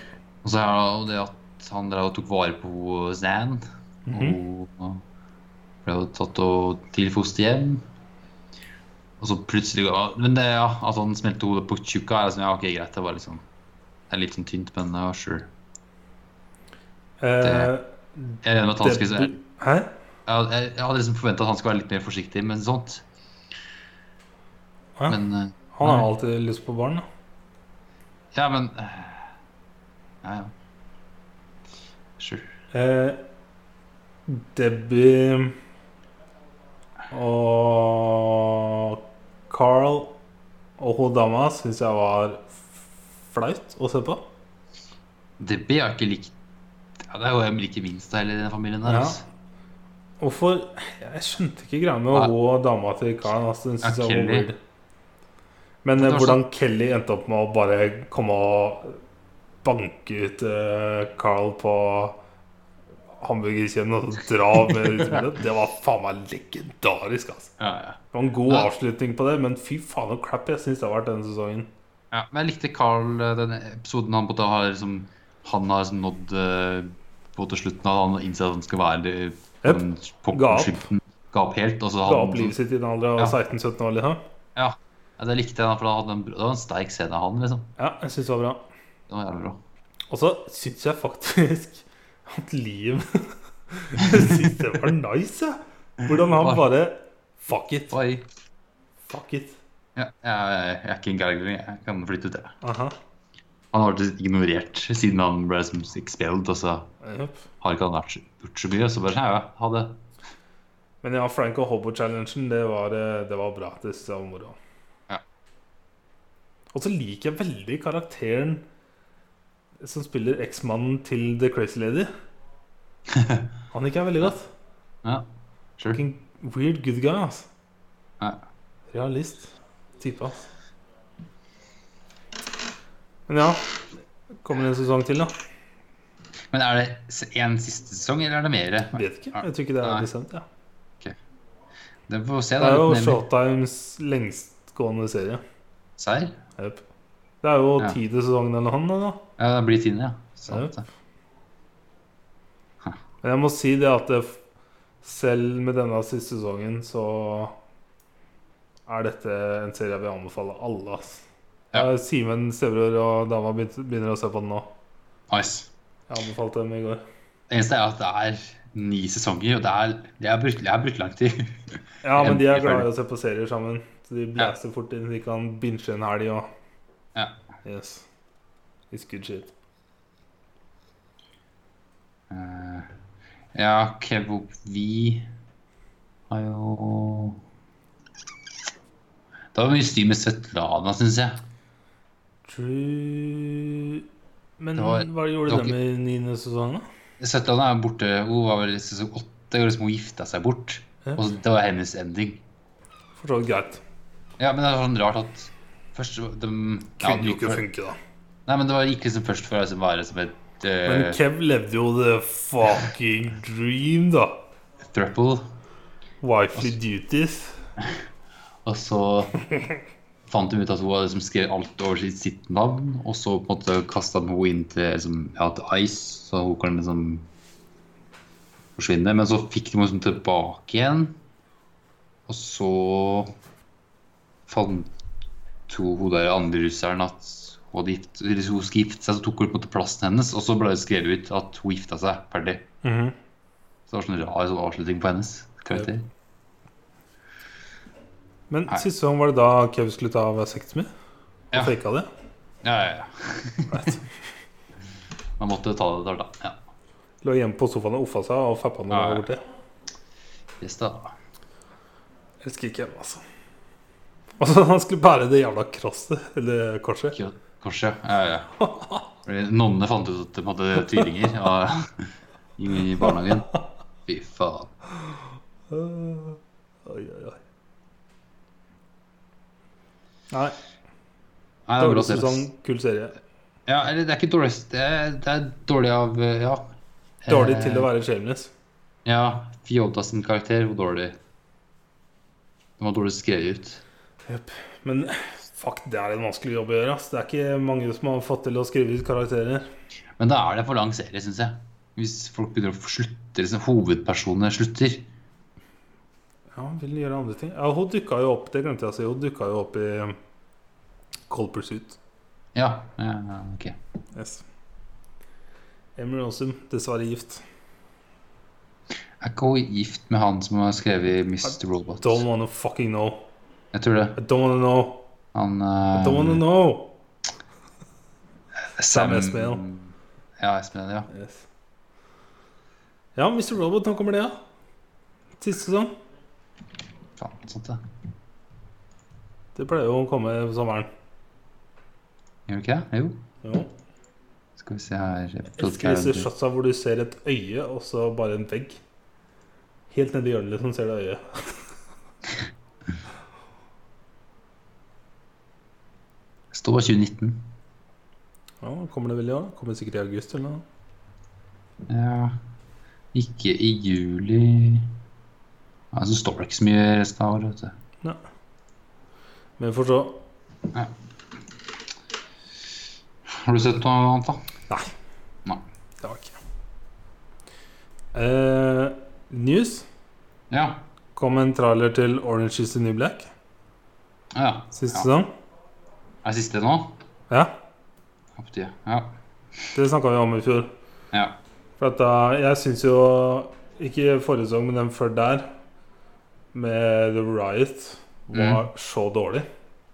[SPEAKER 1] Og så er det jo det at han drev og tok vare på Zan.
[SPEAKER 2] Mhm.
[SPEAKER 1] Og ble jo tatt og til fosterhjem. Og så plutselig ja, Men det, ja, at han smelte hodet på tjukka, er liksom, ja, ok, greit. Det var liksom Det er litt sånn tynt, men ja, sure.
[SPEAKER 2] Eh,
[SPEAKER 1] Jeg er enig med at han skulle
[SPEAKER 2] det-
[SPEAKER 1] jeg,
[SPEAKER 2] Hæ?
[SPEAKER 1] jeg, jeg hadde liksom forventa at han skulle være litt mer forsiktig med sånt.
[SPEAKER 2] Ja.
[SPEAKER 1] Men eh,
[SPEAKER 2] Han har alltid lyst på barn. da.
[SPEAKER 1] Ja, men eh, Ja, ja. Sure.
[SPEAKER 2] Eh, Debbie og Carl og hun dama syns jeg var flaut å se på.
[SPEAKER 1] Debbie har ikke likt ja, Det er jo jeg liker minst av hele den familien der.
[SPEAKER 2] Ja.
[SPEAKER 1] altså.
[SPEAKER 2] Hvorfor Jeg skjønte ikke greia med
[SPEAKER 1] Nei.
[SPEAKER 2] hun og dama til Carl. Altså, den synes
[SPEAKER 1] Ja,
[SPEAKER 2] jeg var
[SPEAKER 1] Kelly.
[SPEAKER 2] weird. Men eh,
[SPEAKER 1] Det var
[SPEAKER 2] hvordan Kelly endte opp med å bare komme og banke ut eh, Carl på hamburgerkjeden og så dra med utemidlet, det var faen meg legendarisk, altså.
[SPEAKER 1] Ja, ja.
[SPEAKER 2] Det var en god
[SPEAKER 1] Ja.
[SPEAKER 2] avslutning på det, men fy faen så crap jeg syns det har vært denne sesongen.
[SPEAKER 1] Ja, men jeg likte Carl eh, den episoden han på en måte har liksom, han har liksom nådd eh, på til slutten av han innser at han skal være det,
[SPEAKER 2] Jep.
[SPEAKER 1] den
[SPEAKER 2] Ga opp.
[SPEAKER 1] popskylten. Ga opp helt. Altså,
[SPEAKER 2] Ga
[SPEAKER 1] han,
[SPEAKER 2] opp livet sitt i den alderen
[SPEAKER 1] Ja.
[SPEAKER 2] av 16-17 år, liksom.
[SPEAKER 1] Ja, ja, det likte jeg, da, for han hadde en, det var en sterk scene av han. liksom.
[SPEAKER 2] Ja, jeg syns det var bra.
[SPEAKER 1] Det var jævlig bra.
[SPEAKER 2] Og så syns jeg faktisk at Liam Jeg syns det var nice, jeg. Hvordan han
[SPEAKER 1] Hva?
[SPEAKER 2] bare Fuck it.
[SPEAKER 1] Oi.
[SPEAKER 2] Fuck it.
[SPEAKER 1] Ja, jeg, jeg er ikke en gærning, jeg kan flytte ut. Jeg.
[SPEAKER 2] Aha.
[SPEAKER 1] Han har vært ignorert siden han ble som expelled, og så
[SPEAKER 2] Jep.
[SPEAKER 1] har ikke han vært så- gjort så mye. Så bare sånn, ja, ja, ha det.
[SPEAKER 2] Men ja, Frank og Hobo-challengen, det, var, eh, det var bra. Det synes jeg var moro.
[SPEAKER 1] Ja.
[SPEAKER 2] Og så liker jeg veldig karakteren som spiller eksmannen til The Crazy Lady. Han liker jeg veldig godt.
[SPEAKER 1] Ja, sure.
[SPEAKER 2] Fucking weird good guy, altså.
[SPEAKER 1] Ja.
[SPEAKER 2] Realist. Type, altså. Men ja Kommer det en sesong til, da?
[SPEAKER 1] Men er det s- en siste sesong, eller er det mer?
[SPEAKER 2] Vet ikke. Jeg tror ikke det er
[SPEAKER 1] Nei.
[SPEAKER 2] bestemt. Ja.
[SPEAKER 1] Det får vi se.
[SPEAKER 2] Det er jo
[SPEAKER 1] litt mer-
[SPEAKER 2] Showtimes lengstgående serie.
[SPEAKER 1] Serr?
[SPEAKER 2] Jep. Det er jo
[SPEAKER 1] Ja.
[SPEAKER 2] tiende sesongen eller noe sånt. da.
[SPEAKER 1] Ja, det blir tiende, ja. Sant, det.
[SPEAKER 2] Men jeg må si det at det, f- selv med denne siste sesongen, så er dette en serie jeg vil anbefale alle. ass.
[SPEAKER 1] Ja.
[SPEAKER 2] Ja. Simen Sæverud og dama begynt- begynner å se på den nå.
[SPEAKER 1] Nice.
[SPEAKER 2] Jeg anbefalte dem i går.
[SPEAKER 1] Det eneste er at det er ni sesonger, og det er, det er, brukt, det er brukt lang tid.
[SPEAKER 2] Ja, men de er
[SPEAKER 1] Jeg- jeg
[SPEAKER 2] glad i
[SPEAKER 1] føler-
[SPEAKER 2] å se på serier sammen. Så de blæser fort inn. De kan binche en helg og
[SPEAKER 1] Ja.
[SPEAKER 2] Yes. It's good shit.
[SPEAKER 1] Eh, ja, Kevo Vi har jo Det var mye styr med Svetlana, syns jeg.
[SPEAKER 2] True Men
[SPEAKER 1] Det var-
[SPEAKER 2] hva gjorde
[SPEAKER 1] det var
[SPEAKER 2] de i niende sesong, da?
[SPEAKER 1] Svetlana er borte. Hun var vel i sesong åtte, og liksom hun gifta seg bort.
[SPEAKER 2] Ja.
[SPEAKER 1] Og det var hennes ending.
[SPEAKER 2] For så vidt greit.
[SPEAKER 1] Ja, men det er sånn rart at først de, ja,
[SPEAKER 2] Kunne
[SPEAKER 1] de
[SPEAKER 2] jo ikke
[SPEAKER 1] for-
[SPEAKER 2] funke, da.
[SPEAKER 1] Nei, men det var ikke liksom først for å liksom være som et
[SPEAKER 2] Men
[SPEAKER 1] eh,
[SPEAKER 2] Kev levde jo the fucking dream, da.
[SPEAKER 1] thruple.
[SPEAKER 2] Wifely
[SPEAKER 1] Altså-
[SPEAKER 2] duties.
[SPEAKER 1] Og så fant de ut at hun hadde liksom skrevet alt over sitt, sitt navn, og så på en måte kasta de henne inn til, liksom, ja, til Ice, så hun kan liksom forsvinne. Men så fikk de henne liksom tilbake igjen, og så fant hun hun der andre russeren at hun, hadde gift, eller hun skulle gifte seg, så tok hun på en måte plassen hennes, og så ble det skrevet ut at hun gifta seg. Ferdig.
[SPEAKER 2] Mhm.
[SPEAKER 1] Så det var sånn rar sånn avslutning på hennes karakter.
[SPEAKER 2] Men
[SPEAKER 1] Nei.
[SPEAKER 2] sist gang var det da Kev skulle ta av sexen min? Og
[SPEAKER 1] Ja.
[SPEAKER 2] faka det?
[SPEAKER 1] Ja, ja, ja. Man måtte ta det der, da. Ja.
[SPEAKER 2] Lå hjemme på sofaen og offa seg og fappa når
[SPEAKER 1] Ja,
[SPEAKER 2] jeg
[SPEAKER 1] ja.
[SPEAKER 2] var borte.
[SPEAKER 1] Yes, da.
[SPEAKER 2] Elsker ikke henne, altså. Altså, han skulle bære det jævla krosset, eller korset.
[SPEAKER 1] Kjø- Kanskje. Ja, ja, ja. Fordi Nonnene fant ut at de hadde tvillinger ja, i barnehagen. Fy faen.
[SPEAKER 2] Øh, Oi, oi, oi. Nei,
[SPEAKER 1] Nei, det er
[SPEAKER 2] dårlig
[SPEAKER 1] bra tips.
[SPEAKER 2] sesong, kul serie.
[SPEAKER 1] Ja, eller det er ikke dårlig Det er, det er dårlig av eh, Ja. Eh.
[SPEAKER 2] Dårlig til å være shameless.
[SPEAKER 1] Ja. Fjoda sin karakter var dårlig. Den var dårlig skrevet ut.
[SPEAKER 2] Jep. Men fuck, det er en vanskelig jobb å gjøre. Ass. Det er ikke mange som har fått til å skrive ut karakterer.
[SPEAKER 1] Men da er det for lang serie, syns jeg. Hvis folk begynner å slutte, liksom hovedpersonene slutter.
[SPEAKER 2] Ja, vil gjøre andre ting. Ja, Hun dukka jo opp, det glemte jeg å si. Hun dukka jo opp i um, Cold Pursuit.
[SPEAKER 1] Ja, ja, ja, ok.
[SPEAKER 2] Yes. Emery Awesome, dessverre gift.
[SPEAKER 1] Er ikke hun gift med han som har skrevet Mr. Robot?
[SPEAKER 2] Don't wanna fucking know.
[SPEAKER 1] Jeg tror det.
[SPEAKER 2] I don't wanna know.
[SPEAKER 1] Han
[SPEAKER 2] I don't wanna
[SPEAKER 1] eh,
[SPEAKER 2] know.
[SPEAKER 1] Sam
[SPEAKER 2] Sam Esmail.
[SPEAKER 1] Ja, Esmail, ja.
[SPEAKER 2] Yes. Ja, Mr. Robot, nå kommer det, ja. Siste sesong.
[SPEAKER 1] Faen, sant det.
[SPEAKER 2] Det pleier jo å komme på sommeren.
[SPEAKER 1] Gjør det ikke det? Jo.
[SPEAKER 2] Jo.
[SPEAKER 1] Skal vi se her
[SPEAKER 2] Elsker disse shotsa hvor du ser et øye og så bare en vegg. Helt nedi hjørnet liksom ser du øyet.
[SPEAKER 1] Står 2019.
[SPEAKER 2] Ja, kommer det vel i år? da? Kommer sikkert i august eller noe.
[SPEAKER 1] Ja Ikke i juli Ja, Så står det ikke så mye resten av året, vet du.
[SPEAKER 2] Men vi får se.
[SPEAKER 1] Har du sett noe annet, da?
[SPEAKER 2] Det var ikke Eh, News.
[SPEAKER 1] Ja.
[SPEAKER 2] Kom en trailer til Orange is the New Black
[SPEAKER 1] ja.
[SPEAKER 2] siste
[SPEAKER 1] Ja.
[SPEAKER 2] sesong.
[SPEAKER 1] Er det siste nå?
[SPEAKER 2] Ja,
[SPEAKER 1] Ja, på tide. Ja.
[SPEAKER 2] det snakka vi om i fjor.
[SPEAKER 1] ja.
[SPEAKER 2] For at da, jeg syns jo Ikke forrige sesong, men den før der, med The Riot, var så dårlig.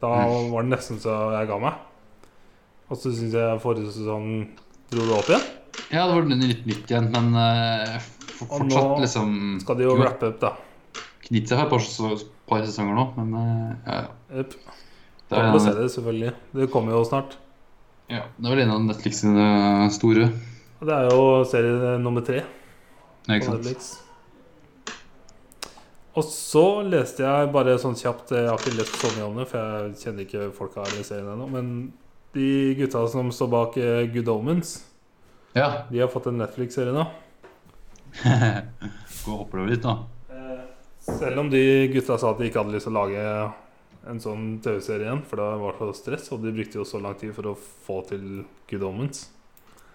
[SPEAKER 2] Da var det nesten så jeg ga meg. Og så syns jeg forrige sesong dro det opp igjen.
[SPEAKER 1] Ja, det var litt nytt igjen, men eh, for-
[SPEAKER 2] Og
[SPEAKER 1] fortsatt
[SPEAKER 2] nå
[SPEAKER 1] liksom
[SPEAKER 2] Skal de jo
[SPEAKER 1] Jo,
[SPEAKER 2] wrappe opp, da.
[SPEAKER 1] Knytt seg for et par, så- par sesonger nå, men eh, ja, ja.
[SPEAKER 2] Yep.
[SPEAKER 1] Det er,
[SPEAKER 2] Håper å se det, selvfølgelig. Det kommer jo snart.
[SPEAKER 1] ja, det er vel en av Netflix sine eh, store.
[SPEAKER 2] Og det er jo serie nummer tre
[SPEAKER 1] Ja,
[SPEAKER 2] på
[SPEAKER 1] ikke sant?
[SPEAKER 2] Netflix. Og så leste jeg bare sånn kjapt Jeg har ikke lest så mye om det, for jeg kjenner ikke folka i serien ennå. Men de gutta som står bak eh, Good Omens,
[SPEAKER 1] Ja.
[SPEAKER 2] de har fått en Netflix-serie nå.
[SPEAKER 1] Gå og hoppe over litt, da.
[SPEAKER 2] Eh, Selv om de gutta sa at de ikke hadde lyst til å lage en sånn TV-serie igjen, for det var så stress, og de brukte jo så lang tid for å få til Good Omens.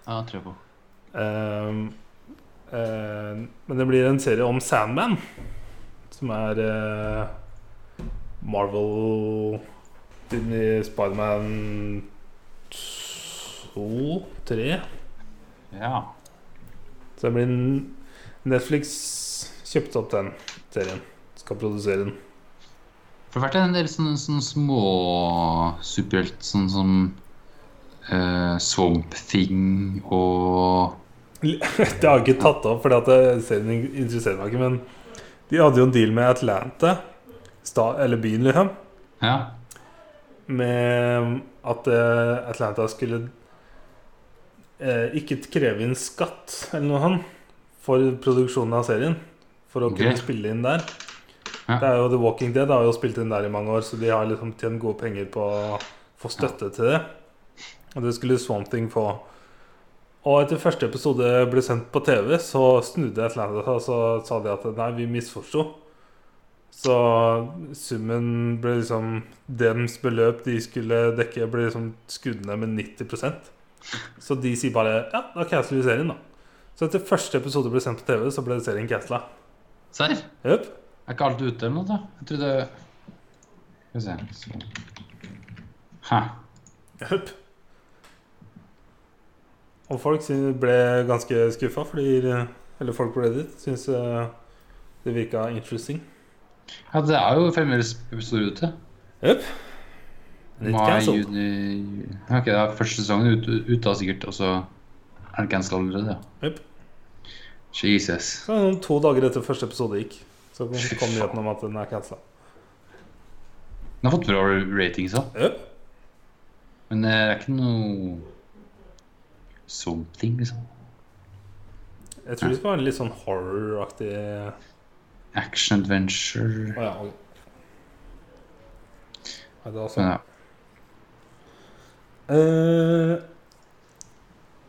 [SPEAKER 1] Ja, tror jeg på.
[SPEAKER 2] Ehm, eh, men det blir en serie om Sandman, som er eh, Marvel Siden i Spiderman 2, 3
[SPEAKER 1] Ja.
[SPEAKER 2] Så det blir en Netflix kjøpte opp den serien. Skal produsere den.
[SPEAKER 1] For det har vært en del sånne, sånne små superhelt, sånn som eh, Swamp Thing og
[SPEAKER 2] Det har jeg ikke tatt opp, fordi at det- serien in- interesserer meg ikke, men de hadde jo en deal med Atlanta, sta, eller byen, liksom.
[SPEAKER 1] Ja.
[SPEAKER 2] med at eh, Atlanta skulle eh, ikke kreve inn skatt eller noe sånt for produksjonen av serien. For å
[SPEAKER 1] Ok.
[SPEAKER 2] kunne spille inn der.
[SPEAKER 1] Ja.
[SPEAKER 2] Det er jo The Walking Dead har jo spilt inn der i mange år, så de har liksom tjent gode penger på å få støtte til det. Og det skulle Swamp Thing få. Og etter første episode ble sendt på TV, så snudde Atlanta seg og så sa de at nei, vi misforsto. Så summen ble liksom Dems beløp de skulle dekke, ble liksom skrudd ned med 90 Så de sier bare ja, da canceler vi serien, da. Så etter første episode ble sendt på TV, så ble serien cancela.
[SPEAKER 1] Serr?
[SPEAKER 2] Jøp.
[SPEAKER 1] Er ikke alt ute eller noe, da? Jeg trodde Skal vi se Swamp. Hæ.
[SPEAKER 2] Jøp. Og folk syn- ble ganske skuffa, fordi Eller folk på Reddit syntes eh, det virka interesting.
[SPEAKER 1] Ja, det er jo fremdeles episoder ute.
[SPEAKER 2] Jepp. Litt
[SPEAKER 1] Mai,
[SPEAKER 2] cancelled.
[SPEAKER 1] juni ju- ja, Ok, det er første sesongen ute, ute da, sikkert, og så er den cancelled allerede. ja.
[SPEAKER 2] Jepp.
[SPEAKER 1] Jesus.
[SPEAKER 2] Så er det noen To dager etter første episode gikk, så kom kom nyheten om at den er cancela.
[SPEAKER 1] Den har fått bra ratings òg,
[SPEAKER 2] Jepp.
[SPEAKER 1] men eh, det er ikke noe Something, liksom.
[SPEAKER 2] Jeg tror det skal være en litt sånn horror-aktig Å
[SPEAKER 1] Action adventure.
[SPEAKER 2] ja. ok. Nei, da så.
[SPEAKER 1] Men ja.
[SPEAKER 2] Eh,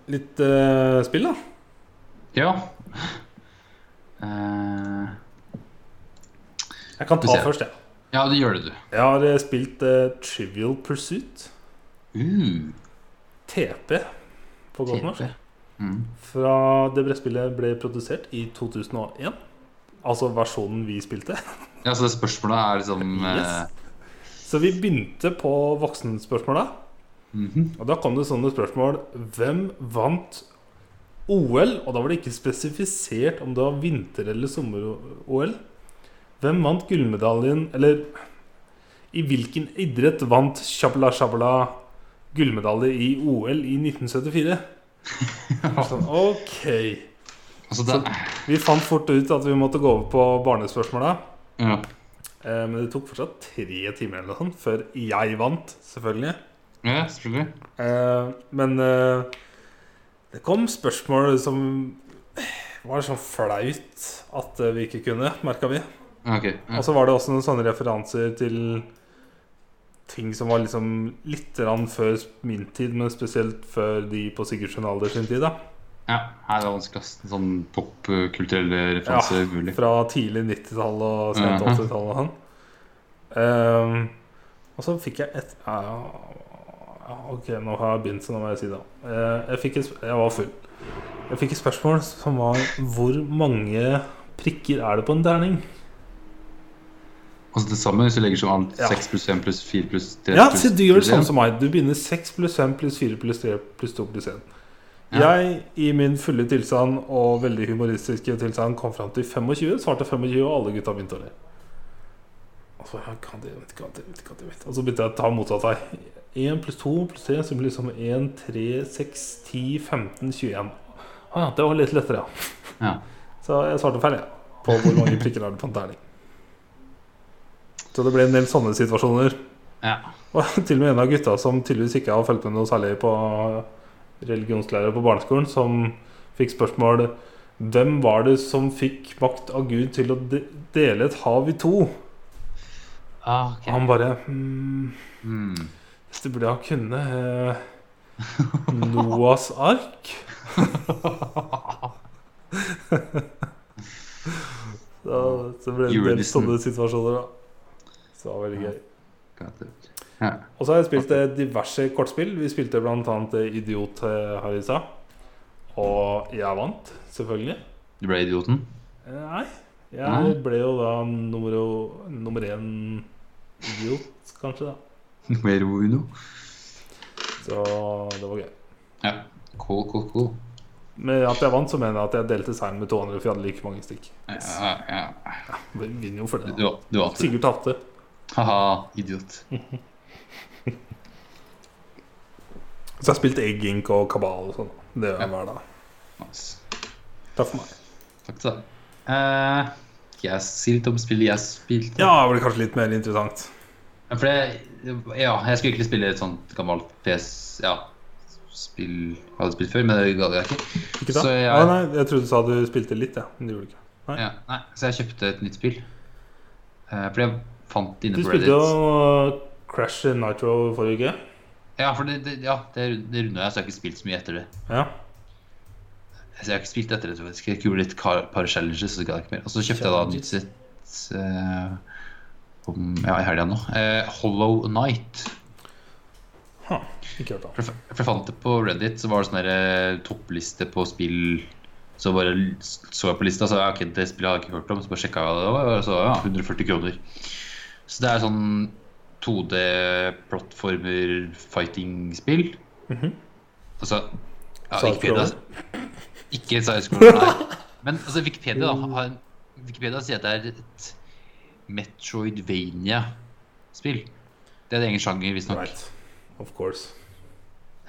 [SPEAKER 2] litt eh, spill, da.
[SPEAKER 1] ja. Eh,
[SPEAKER 2] Jeg kan
[SPEAKER 1] Vi
[SPEAKER 2] ta
[SPEAKER 1] ser.
[SPEAKER 2] først, jeg.
[SPEAKER 1] ja, det gjør det, du.
[SPEAKER 2] Jeg har eh, spilt eh, Trivial Pursuit.
[SPEAKER 1] Uh,
[SPEAKER 2] TP på godt norsk.
[SPEAKER 1] TP. Mm.
[SPEAKER 2] Fra det brettspillet ble produsert i 2001. Altså versjonen vi spilte.
[SPEAKER 1] Ja, så det spørsmålet er liksom
[SPEAKER 2] Yes.
[SPEAKER 1] eh,
[SPEAKER 2] Så vi begynte på voksenspørsmåla.
[SPEAKER 1] mhm.
[SPEAKER 2] Og da kom det sånne spørsmål. Hvem vant OL? Og da var det ikke spesifisert om det var vinter- eller sommer-OL. Hvem vant gullmedaljen, eller i hvilken idrett vant Shabla Shabla gullmedalje i OL i 1974? Sånn, ok.
[SPEAKER 1] Altså, det
[SPEAKER 2] Vi fant fort ut at vi måtte gå over på barnespørsmåla.
[SPEAKER 1] ja.
[SPEAKER 2] Eh, Men det tok fortsatt tre timer eller noe sånt før jeg vant, selvfølgelig.
[SPEAKER 1] ja, selvfølgelig.
[SPEAKER 2] Eh, Men eh, det kom spørsmål som var sånn flaut at eh, vi ikke kunne, merka vi.
[SPEAKER 1] Ja, Ok. Ja.
[SPEAKER 2] Og så var det også noen sånne referanser til ting som var liksom litt grann før min tid, men spesielt før de på Sigurdsson Alder sin tid. da
[SPEAKER 1] Ja, her er det vanskeligst en sånn popkulturelle referanser mulig.
[SPEAKER 2] Fra tidlig 90-tall og sent
[SPEAKER 1] Mhm.
[SPEAKER 2] 80-tall og sånn. Ehm, og så fikk jeg et ja, ja, Ok, nå har jeg begynt, så nå må jeg si det. Eh, jeg, fikk et, sp- jeg var full. Jeg fikk et spørsmål som var Hvor mange prikker er det på en terning?
[SPEAKER 1] Altså til sammen, hvis du legger som alt
[SPEAKER 2] Ja.
[SPEAKER 1] 6 pluss 1 pluss 4 pluss 3
[SPEAKER 2] Ja, se, du gjør det samme som meg. Du begynner 6 pluss 5 pluss 4 pluss 3 pluss 2 pluss 1.
[SPEAKER 1] Ja.
[SPEAKER 2] Jeg, i min fulle tilstand og veldig humoristiske tilstand, kom fram til 25, svarte 25, og alle gutta begynte å le. Og så, ja, kan det, vet, kan det, vet, kan det, vet. Og så begynte jeg å ta motsatt vei. 1 pluss 2 pluss 3, så blir det liksom 1, 3, 6, 10, 15, 21. Å ja, det var litt lettere, ja.
[SPEAKER 1] Ja.
[SPEAKER 2] Så jeg svarte feil, jeg. På hvor mange prikker er det på en terning. Så det ble en del sånne situasjoner.
[SPEAKER 1] Ja.
[SPEAKER 2] Og til og med en av gutta som tydeligvis ikke har fulgt med noe særlig på religionslærer på barneskolen, som fikk spørsmål Hvem var det som fikk makt av Gud til å de dele et hav i to?
[SPEAKER 1] Ah, ok.
[SPEAKER 2] Han bare hmm,
[SPEAKER 1] Mm.
[SPEAKER 2] Dette burde jeg ha kunnet. Eh, Noas ark?
[SPEAKER 1] Ah.
[SPEAKER 2] så, så ble det en del
[SPEAKER 1] Julenissen.
[SPEAKER 2] sånne situasjoner, da. Så det var veldig gøy.
[SPEAKER 1] Got it. Ja.
[SPEAKER 2] Og så har jeg spilt eh, diverse kortspill. Vi spilte bl.a. Idiot eh, her i stad. Og jeg vant, selvfølgelig.
[SPEAKER 1] Du ble idioten?
[SPEAKER 2] Eh, Nei. Jeg
[SPEAKER 1] Nei.
[SPEAKER 2] ble jo da nummer, nummer én idiot, kanskje, da.
[SPEAKER 1] Numero uno?
[SPEAKER 2] Så det var gøy.
[SPEAKER 1] Ja. Cool, cool, cool.
[SPEAKER 2] Med at jeg vant, så mener jeg at jeg delte seieren med to andre, for jeg hadde like mange stikk.
[SPEAKER 1] Ja, ja, ja.
[SPEAKER 2] Vi vinner jo for det.
[SPEAKER 1] Du,
[SPEAKER 2] da.
[SPEAKER 1] du vant det.
[SPEAKER 2] Sigurd tapte.
[SPEAKER 1] Haha, idiot.
[SPEAKER 2] Så jeg har spilt Egg Ink og Kabal og sånn. Det gjør jeg hver dag.
[SPEAKER 1] Nice.
[SPEAKER 2] Takk for meg.
[SPEAKER 1] Takk til deg. Eh, jeg sier litt om spillet jeg spilte.
[SPEAKER 2] Ja, det blir kanskje litt mer interessant.
[SPEAKER 1] Ja, For det, ja, jeg skulle egentlig spille et sånt gammelt PS... Ja, spill jeg hadde spilt før, men det gadd jeg ikke.
[SPEAKER 2] Ikke sant?
[SPEAKER 1] Så jeg-
[SPEAKER 2] Nei, nei, jeg trodde du sa du spilte litt, ja. men det gjorde du ikke. Nei.
[SPEAKER 1] Ja, nei, så jeg kjøpte et nytt spill. Eh, for jeg fant det
[SPEAKER 2] Du
[SPEAKER 1] inne på
[SPEAKER 2] spilte
[SPEAKER 1] Reddit.
[SPEAKER 2] jo uh, Crash Nitro forrige uke.
[SPEAKER 1] Ja, for det, det, ja, det, det runda jeg, så jeg har ikke spilt så mye etter det.
[SPEAKER 2] Ja.
[SPEAKER 1] Så jeg har ikke spilt etter det, faktisk. Jeg gjorde litt kar, par challenges, så gadd jeg ikke mer. Og så kjøpte jeg da et nytt sett eh, om, ja, i helga nå. Eh, Hollow Night.
[SPEAKER 2] Ikke hørt om.
[SPEAKER 1] For jeg for jeg fant det på Reddit, så var det sånn der, eh, toppliste på spill Så bare l- så jeg på lista, så jeg, ok, det spillet hadde jeg ikke hørt om. Så bare sjekka jeg det, og så ja, 140 kroner. Så det er sånn 2D-plattformer-fighting-spill.
[SPEAKER 2] Mhm.
[SPEAKER 1] Altså ja,
[SPEAKER 2] Side
[SPEAKER 1] Wikipedia Ikke sidescroller, nei. Men altså, Wikipedia, da, har, Wikipedia sier at det er et Metroidvania-spill. Det er en egen sjanger, visstnok.
[SPEAKER 2] Right. Of course.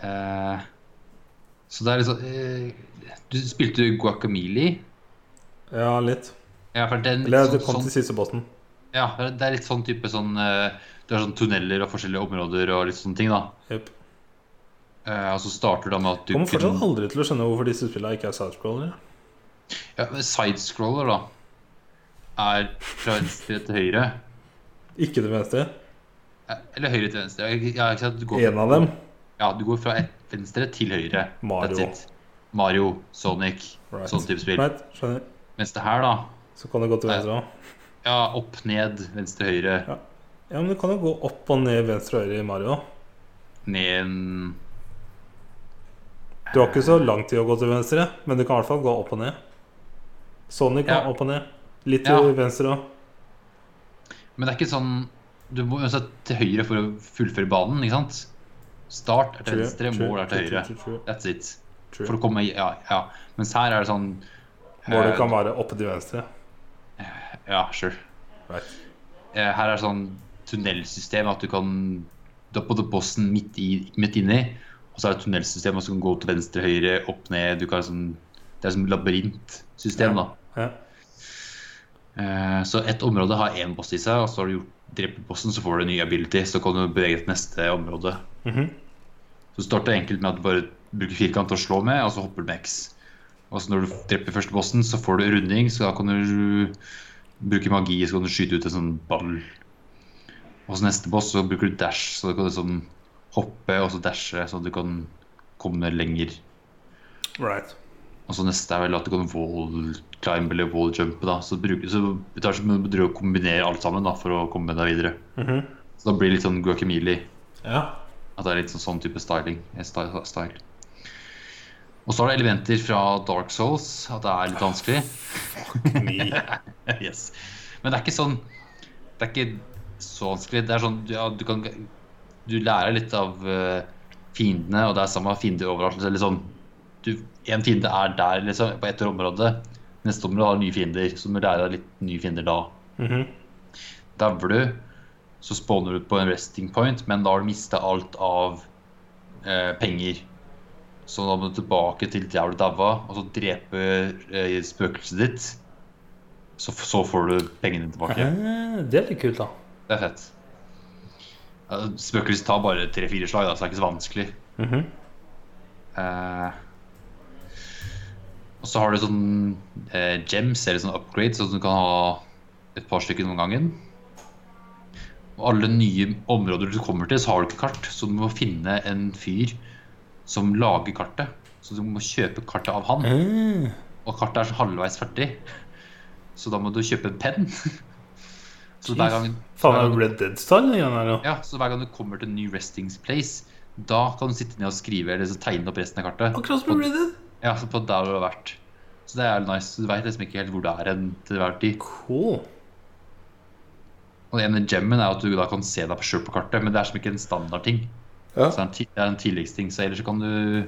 [SPEAKER 1] Eh, så det er liksom eh, Du spilte Guacamole.
[SPEAKER 2] Ja, litt.
[SPEAKER 1] Ja, for det er en litt
[SPEAKER 2] Eller du
[SPEAKER 1] sånn-
[SPEAKER 2] kom
[SPEAKER 1] sånn-
[SPEAKER 2] til siste bossen.
[SPEAKER 1] Ja, det er litt sånn type sånn eh, Det er sånn tunneler og forskjellige områder og litt sånne ting, da.
[SPEAKER 2] Yep.
[SPEAKER 1] Eh, og så starter det med at du
[SPEAKER 2] Kommer fortsatt
[SPEAKER 1] kun-
[SPEAKER 2] aldri til å skjønne hvorfor disse spillene ikke er sidescroller.
[SPEAKER 1] ja, men Sidescroller, da, er fra venstre til høyre.
[SPEAKER 2] Ikke det meste.
[SPEAKER 1] Eh, Eller høyre til venstre. Jeg, jeg, jeg, ikke sant, du, går,
[SPEAKER 2] En av dem.
[SPEAKER 1] ja, du går fra et, venstre til høyre.
[SPEAKER 2] Mario.
[SPEAKER 1] That's it. Mario, Sonic,
[SPEAKER 2] Right.
[SPEAKER 1] sånn type spill.
[SPEAKER 2] Right, skjønner.
[SPEAKER 1] Mens det her, da
[SPEAKER 2] Så kan det gå til venstre òg.
[SPEAKER 1] Ja, opp, ned, venstre, høyre,
[SPEAKER 2] Ja, men du kan jo gå opp og ned, venstre og høyre i Mario.
[SPEAKER 1] ned en
[SPEAKER 2] Du har ikke så lang tid å gå til venstre, men du kan i hvert fall gå opp og ned. Sonic kan
[SPEAKER 1] Ja.
[SPEAKER 2] opp og ned. Litt
[SPEAKER 1] Ja.
[SPEAKER 2] til venstre òg.
[SPEAKER 1] Men det er ikke sånn Du må uansett til høyre for å fullføre banen, ikke sant? Start er til venstre, mål er til høyre. That's it. For å komme i- Ja, ja. Mens her er det sånn
[SPEAKER 2] Målet
[SPEAKER 1] eh,
[SPEAKER 2] kan være oppe til venstre.
[SPEAKER 1] Ja, sure.
[SPEAKER 2] Right.
[SPEAKER 1] Eh, Her er det sånn tunnelsystem at du kan Du er på bossen midt, i, midt inni, og så er det tunnelsystem, og så kan du gå til venstre, høyre, opp, ned Du kan sånn Det er som labyrintsystem, da.
[SPEAKER 2] Ja.
[SPEAKER 1] Eh, Så et område har én boss i seg, og så har du gjort drept bossen, så får du en ny ability. Så kan du bevege deg til neste område.
[SPEAKER 2] Mhm.
[SPEAKER 1] Så starter det enkelt med at du bare bruker firkant og slår med, og så hopper du med X. Og så når du dreper første bossen, så får du runding, så da kan du bruke magi, så kan du skyte ut en sånn ball. Og så neste boss, så bruker du dash, så da kan du liksom hoppe og så dashe, så du kan komme lenger.
[SPEAKER 2] Right.
[SPEAKER 1] Og så neste er vel at du kan wall climb eller wall jump. Da. Så, bruker, så det er som du å kombinere alt sammen da, for å komme deg videre.
[SPEAKER 2] Mhm.
[SPEAKER 1] Så da blir det litt sånn guacamole.
[SPEAKER 2] Ja.
[SPEAKER 1] At det er litt sånn, sånn type styling. eh, sty- Style. Og så har det elementer fra Dark Souls, at det er litt vanskelig.
[SPEAKER 2] Ni.
[SPEAKER 1] yes. Men det er ikke sånn Det er ikke så vanskelig. Det er sånn ja, du kan Du lærer litt av eh, fiendene, og det er samme fiender overalt. Så liksom, du, en fiende er der, liksom, på ett område. Neste område har nye fiender, så du må lære deg litt nye fiender da.
[SPEAKER 2] Mhm.
[SPEAKER 1] Dauer du, så spawner du på en resting point, men da har du mista alt av eh, penger. Så da må du tilbake til der du daua, og så drepe eh, spøkelset ditt. Så, så får du pengene tilbake.
[SPEAKER 2] Eh, Det er litt kult, da.
[SPEAKER 1] Det er fett. Ja, Spøkelset tar bare tre-fire slag, da, så det er ikke så vanskelig.
[SPEAKER 2] Mhm.
[SPEAKER 1] Eh, og så har du sånn eh, gems, eller sånn upgrade, så du kan ha et par stykker om gangen. Og alle nye områder du kommer til, så har du ikke kart, så du må finne en fyr som lager kartet. Så du må kjøpe kartet av han,
[SPEAKER 2] Eh,
[SPEAKER 1] og kartet er så halvveis ferdig. Så da må du kjøpe en penn. Så hver gang,
[SPEAKER 2] Faen, er det Red Dead-style? igjen her, da?
[SPEAKER 1] ja, så hver gang du kommer til en ny resting place, da kan du sitte ned og skrive eller så tegne opp resten av kartet.
[SPEAKER 2] Akkurat som i Red Dead.
[SPEAKER 1] Ja, så på der du har vært. Så det er jo nice. Du veit liksom ikke helt hvor det er hen til hver tid.
[SPEAKER 2] Cool.
[SPEAKER 1] Og en gemmen er at du da kan se deg sjøl på kartet, men det er som ikke en standardting.
[SPEAKER 2] Ja.
[SPEAKER 1] Så det er en ti- det er en tilleggsting, så ellers så kan du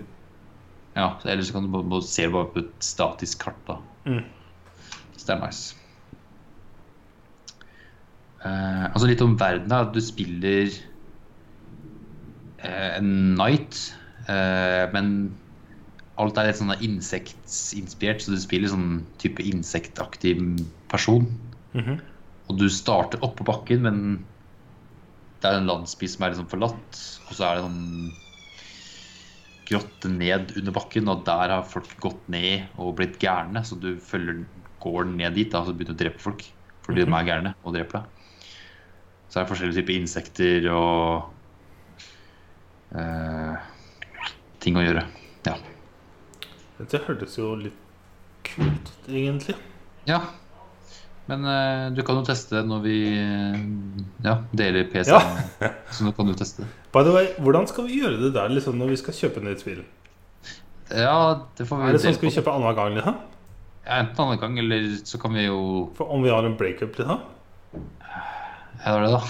[SPEAKER 1] Ja, så ellers så kan du bare, bare se bare på et statisk kart, da.
[SPEAKER 2] Mm.
[SPEAKER 1] Så det er nice. Eh, altså litt om verden, da. Du spiller eh, en knight, eh, men alt er litt sånn insektinspirert, så du spiller sånn type insektaktig person.
[SPEAKER 2] Mhm.
[SPEAKER 1] Og du starter oppå bakken, men det er en landsby som er liksom forlatt. Og så er det sånn grotte ned under bakken, og der har folk gått ned og blitt gærne. Så du følger, går ned dit da, og så begynner du å drepe folk fordi de er gærne og dreper deg. Så er det forskjellige typer insekter og eh, ting å gjøre. Ja.
[SPEAKER 2] Dette hørtes jo litt kult ut, egentlig.
[SPEAKER 1] ja. Men eh, du kan jo teste når vi eh, ja, deler PC-en. Så nå kan du teste.
[SPEAKER 2] By the way, hvordan skal vi gjøre det der liksom, når vi skal kjøpe nytt spill?
[SPEAKER 1] Ja, det får vi
[SPEAKER 2] Er det sånn
[SPEAKER 1] dele
[SPEAKER 2] skal vi
[SPEAKER 1] på.
[SPEAKER 2] kjøpe annenhver gang? Liksom?
[SPEAKER 1] Ja, enten annen gang, eller så kan vi jo
[SPEAKER 2] For om vi har en breakup, liksom?
[SPEAKER 1] Ja, det er det, da.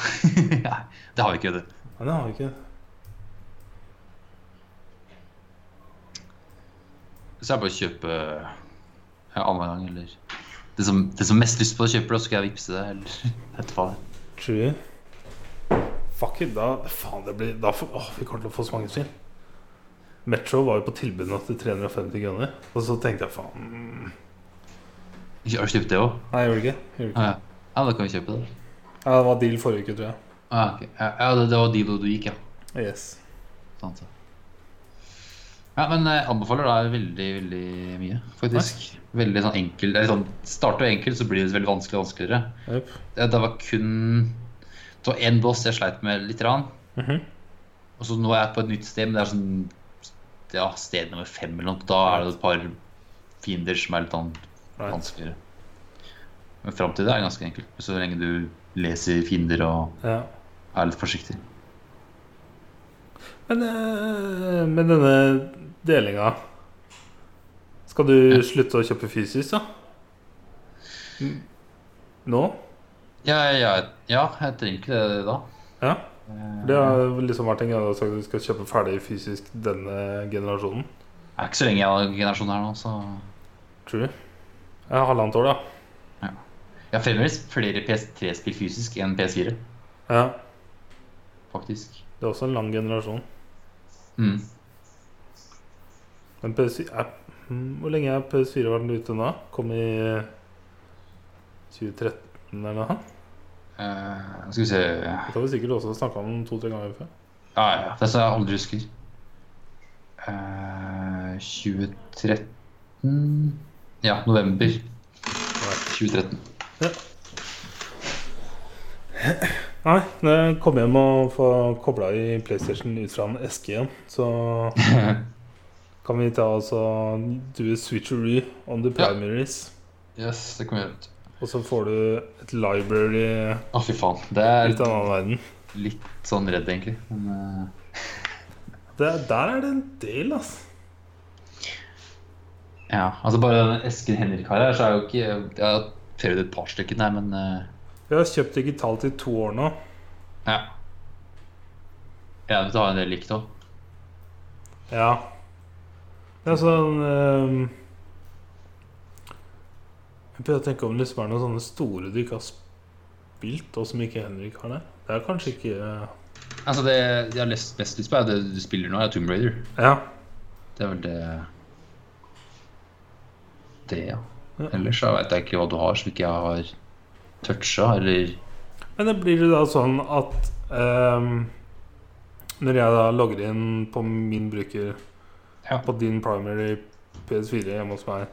[SPEAKER 1] Nei, det har vi ikke, vet du.
[SPEAKER 2] Nei, det har vi ikke.
[SPEAKER 1] Så er det bare å kjøpe ja, annen gang, eller Det som, det som mest lyst på å kjøpe, da skal jeg vippse det. Eller vet du hva.
[SPEAKER 2] True. Fuck it, da Faen, det blir da, får- åh, Vi kommer til å få så mange spill. Metro var jo på tilbud nå til 350 kroner. Og så tenkte jeg faen mm.
[SPEAKER 1] Har du kjøpt det òg?
[SPEAKER 2] Nei, jeg gjorde ikke. Jeg gjorde ikke.
[SPEAKER 1] Ja, ja. ja, da kan vi kjøpe det. da.
[SPEAKER 2] Ja, det var deal forrige uke, tror jeg.
[SPEAKER 1] Ja, ok. ja, ja det, det var deal du gikk, ja.
[SPEAKER 2] Yes.
[SPEAKER 1] Sant det. Ja, men jeg anbefaler deg veldig, veldig mye, faktisk. Veldig sånn enkel eller sånn, Starter du enkelt, så blir det veldig vanskelig og vanskeligere.
[SPEAKER 2] Yep.
[SPEAKER 1] Det, det var kun Det var én boss jeg sleit med litt. Rann.
[SPEAKER 2] Mhm.
[SPEAKER 1] Og så nå er jeg på et nytt sted, men det er sånn ja, sted nummer fem eller noe. Da er det et par fiender som er litt sånn
[SPEAKER 2] Right.
[SPEAKER 1] vanskeligere. Men fram til det er det ganske enkelt, så lenge du leser fiender og
[SPEAKER 2] Ja.
[SPEAKER 1] er litt forsiktig.
[SPEAKER 2] Men eh, med denne delinga Skal du slutte å kjøpe fysisk, da? Mm. Nå?
[SPEAKER 1] Ja, ja, ja jeg trenger ikke det da.
[SPEAKER 2] Ja.
[SPEAKER 1] Eh,
[SPEAKER 2] Det har liksom vært en greie du har sagt at du skal kjøpe ferdig fysisk denne generasjonen.
[SPEAKER 1] Det er ikke så lenge jeg har generasjon her nå, så
[SPEAKER 2] True. Ja, halvannet år, da.
[SPEAKER 1] Jeg har fremdeles flere PS3-spill fysisk enn PS4,
[SPEAKER 2] Ja,
[SPEAKER 1] faktisk.
[SPEAKER 2] Det er også en lang generasjon.
[SPEAKER 1] Mm.
[SPEAKER 2] Men PS4 er, hmm, Hvor lenge har PS4 vært ute nå? Kom i eh, 2013 eller noe?
[SPEAKER 1] Eh, skal vi se Ja,
[SPEAKER 2] Dette har vi sikkert også snakka om to-tre ganger før.
[SPEAKER 1] ja. ja. Det er så jeg aldri husker. Eh, 2013 Ja, november 2013.
[SPEAKER 2] Nei, når jeg kom hjem og får kobla i PlayStation ut fra en eske igjen, så kan vi ta altså do a switcheroo on the
[SPEAKER 1] Ja.
[SPEAKER 2] primaries.
[SPEAKER 1] Yes, det kommer ut.
[SPEAKER 2] Og så får du et library
[SPEAKER 1] Å, fy faen. Det er
[SPEAKER 2] ut av en annen verden.
[SPEAKER 1] litt sånn redd, egentlig. Men,
[SPEAKER 2] Det, der er det en del, altså.
[SPEAKER 1] eh, ja, altså bare den Esken Henrik har her, så er jo ikke Jeg har prøvd et par stykker, nei, men eh,
[SPEAKER 2] Jeg har kjøpt digitalt i to år nå.
[SPEAKER 1] Ja. Jeg er nødt til å ha en del likt òg.
[SPEAKER 2] Ja. Det er sånn ehm, Jeg prøver å tenke om det liksom er noen sånne store du ikke har spilt, og som ikke Henrik har det. Det er kanskje ikke
[SPEAKER 1] Altså det jeg har mest, mest lyst på, er det du spiller nå, er Tomb Raider.
[SPEAKER 2] Ja.
[SPEAKER 1] Det er vel det Det, ja.
[SPEAKER 2] Ja.
[SPEAKER 1] Ellers så veit jeg ikke hva du har som ikke jeg har toucha, eller
[SPEAKER 2] Men det blir jo da sånn at ehm, når jeg da logger inn på min bruker,
[SPEAKER 1] Ja.
[SPEAKER 2] på din primary PS4 hjemme hos meg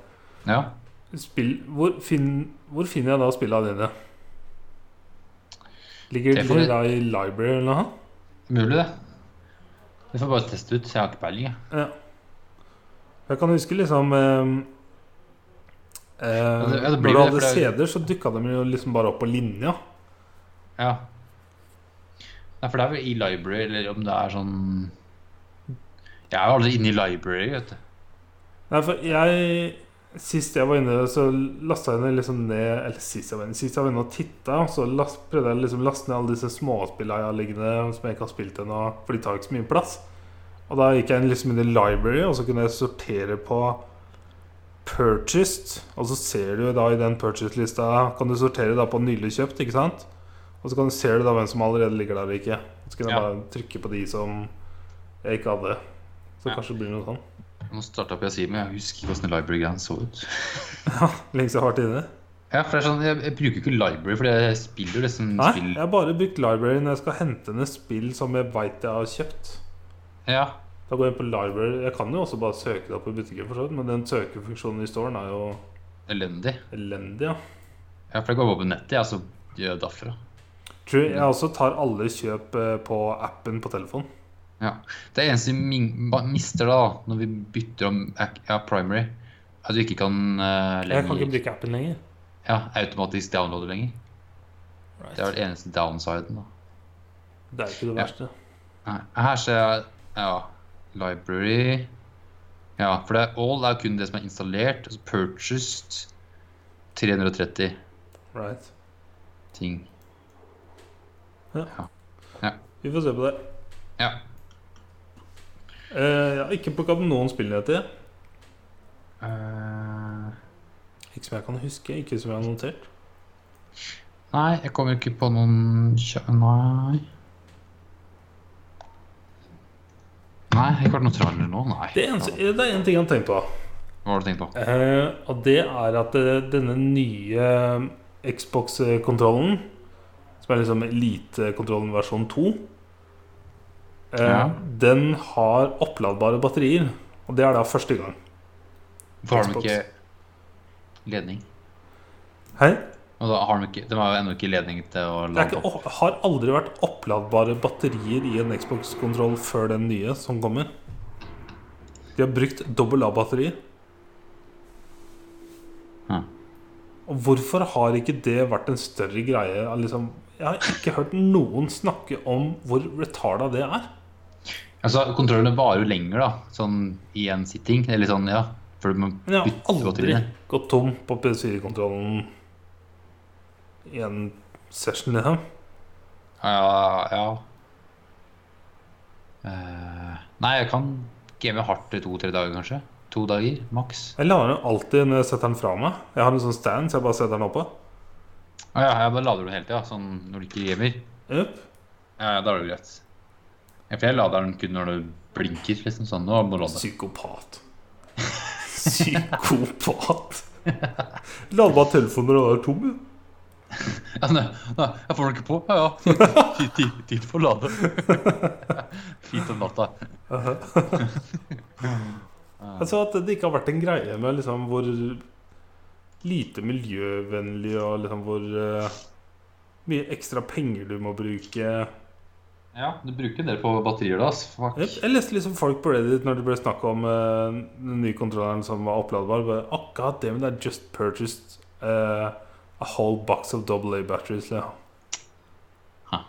[SPEAKER 1] Ja.
[SPEAKER 2] spill, hvor, finn, hvor finner jeg da spillene dine? Ligger
[SPEAKER 1] Det
[SPEAKER 2] det
[SPEAKER 1] får du-
[SPEAKER 2] da i library eller noe?
[SPEAKER 1] Mulig, det. Vi får bare teste ut. Jeg har ikke peiling, jeg.
[SPEAKER 2] Jeg kan huske liksom eh, eh,
[SPEAKER 1] det- ja, det blir
[SPEAKER 2] Når du
[SPEAKER 1] jo det,
[SPEAKER 2] hadde
[SPEAKER 1] for det er-
[SPEAKER 2] CD-er, så dukka de jo liksom bare opp på linja.
[SPEAKER 1] Ja. Nei, for det er vel i library, eller om det er sånn Jeg er jo aldri inne i library, vet du.
[SPEAKER 2] Nei, for jeg Sist jeg var inne, så lasta jeg ned liksom ned Eller sist jeg var inne, sist jeg var inne og titta, så last, prøvde jeg liksom å laste ned alle disse småspillene jeg har liggende som jeg ikke har spilt ennå, for de tar ikke så mye plass. Og da gikk jeg inn liksom inn i library, og så kunne jeg sortere på purchased. Og så ser du da i den purchased-lista Kan du sortere da på nylig kjøpt, ikke sant? Og så kan du ser du da hvem som allerede ligger der og ikke. Så kunne jeg
[SPEAKER 1] Ja.
[SPEAKER 2] bare trykke på de som jeg ikke hadde. Så
[SPEAKER 1] Ja.
[SPEAKER 2] kanskje det blir noe sånn.
[SPEAKER 1] Nå starta Pia men jeg husker ikke hvordan library-greia så ut.
[SPEAKER 2] Lenge siden jeg har vært inne.
[SPEAKER 1] Ja, for det er sånn, jeg, jeg bruker ikke library, for jeg spiller jo liksom
[SPEAKER 2] Nei,
[SPEAKER 1] spill
[SPEAKER 2] jeg har bare brukt library når jeg skal hente ned spill som jeg veit jeg har kjøpt.
[SPEAKER 1] Ja.
[SPEAKER 2] Da går jeg på library Jeg kan jo også bare søke det opp i butikken, for så vidt, men den søkefunksjonen i storen er jo
[SPEAKER 1] Elendig.
[SPEAKER 2] elendig, ja.
[SPEAKER 1] Ja, for jeg går bare på nettet, jeg, og så gjør jeg derfra.
[SPEAKER 2] True. Jeg også tar alle kjøp eh, på appen på telefon.
[SPEAKER 1] Ja. Det eneste vi min- ba- mister da, når vi bytter om ac- ja, primary, er at du ikke kan eh,
[SPEAKER 2] Jeg kan ikke
[SPEAKER 1] lenger
[SPEAKER 2] bruke appen lenger.
[SPEAKER 1] ja, automatisk downloade lenger. Det er
[SPEAKER 2] Right.
[SPEAKER 1] vel eneste downsiden, da.
[SPEAKER 2] Det er jo ikke det
[SPEAKER 1] Ja.
[SPEAKER 2] verste.
[SPEAKER 1] Nei, her ser jeg ja, library Ja, for det er all er kun det som er installert. Altså purchased 330
[SPEAKER 2] Right.
[SPEAKER 1] ting.
[SPEAKER 2] Vi får se på det.
[SPEAKER 1] Ja.
[SPEAKER 2] Eh, jeg har ikke plukka opp noen spillnyheter.
[SPEAKER 1] eh,
[SPEAKER 2] Ikke som jeg kan huske. Ikke som jeg har notert.
[SPEAKER 1] Nei, jeg kommer ikke på noen kjø... Nei. Nei, ikke vært noe traller nå. Nei.
[SPEAKER 2] Det, eneste, det er én ting jeg har tenkt på.
[SPEAKER 1] Hva har du tenkt på?
[SPEAKER 2] Eh, og det er at eh, denne nye Xbox-kontrollen, som er liksom elitekontrollen versjon 2, eh,
[SPEAKER 1] Ja.
[SPEAKER 2] den har oppladbare batterier. Og det er da første gang.
[SPEAKER 1] Hvorfor har de
[SPEAKER 2] Xbox.
[SPEAKER 1] ikke ledning?
[SPEAKER 2] Hei?
[SPEAKER 1] Og da har de, ikke, de har jo ennå ikke ledning til å
[SPEAKER 2] Det er
[SPEAKER 1] lade
[SPEAKER 2] ikke,
[SPEAKER 1] opp.
[SPEAKER 2] opp- har aldri vært oppladbare batterier i en Xbox-kontroll før den nye som kommer. De har brukt dobbel A-batterier.
[SPEAKER 1] Hm.
[SPEAKER 2] Og hvorfor har ikke det vært en større greie? Liksom, jeg har ikke hørt noen snakke om hvor retarda det er.
[SPEAKER 1] Altså, Kontrollene varer jo lenger, da. Sånn i én sitting. Eller sånn, ja. Før du må
[SPEAKER 2] Men jeg
[SPEAKER 1] bytte
[SPEAKER 2] har aldri
[SPEAKER 1] batteriene.
[SPEAKER 2] gått tom på PS4-kontrollen i en session, liksom.
[SPEAKER 1] Ja, ja. Eh, nei, jeg kan game hardt i to-tre dager, kanskje. To dager, maks.
[SPEAKER 2] Jeg lader den alltid når jeg setter den fra meg. Jeg har en sånn stand, så jeg bare setter den oppå.
[SPEAKER 1] Å ja, jeg bare lader den hele tida, sånn når du ikke gamer.
[SPEAKER 2] Jep.
[SPEAKER 1] Ja, ja, da er det greit. Ja, for jeg lader den kun når det blinker, liksom sånn. Nå må du lade.
[SPEAKER 2] Psykopat. Psykopat. La bare telefonen være tom. jo.
[SPEAKER 1] Ja, nei, nei, jeg får den ikke på. Ja, ja. Tid- Tid tid for å lade. Fint om natta.
[SPEAKER 2] Altså At det ikke har vært en greie med liksom hvor lite miljøvennlig og liksom hvor eh, mye ekstra penger du må bruke.
[SPEAKER 1] Ja, du bruker en del på batterier da, ass. Fuck.
[SPEAKER 2] Jeg, jeg leste liksom folk på Reddit når det ble snakk om eh, den nye kontrolleren som var oppladbar. Bare, oh, God damn, I just purchased eh, a whole box of AA batteries. Ja.
[SPEAKER 1] Hæ.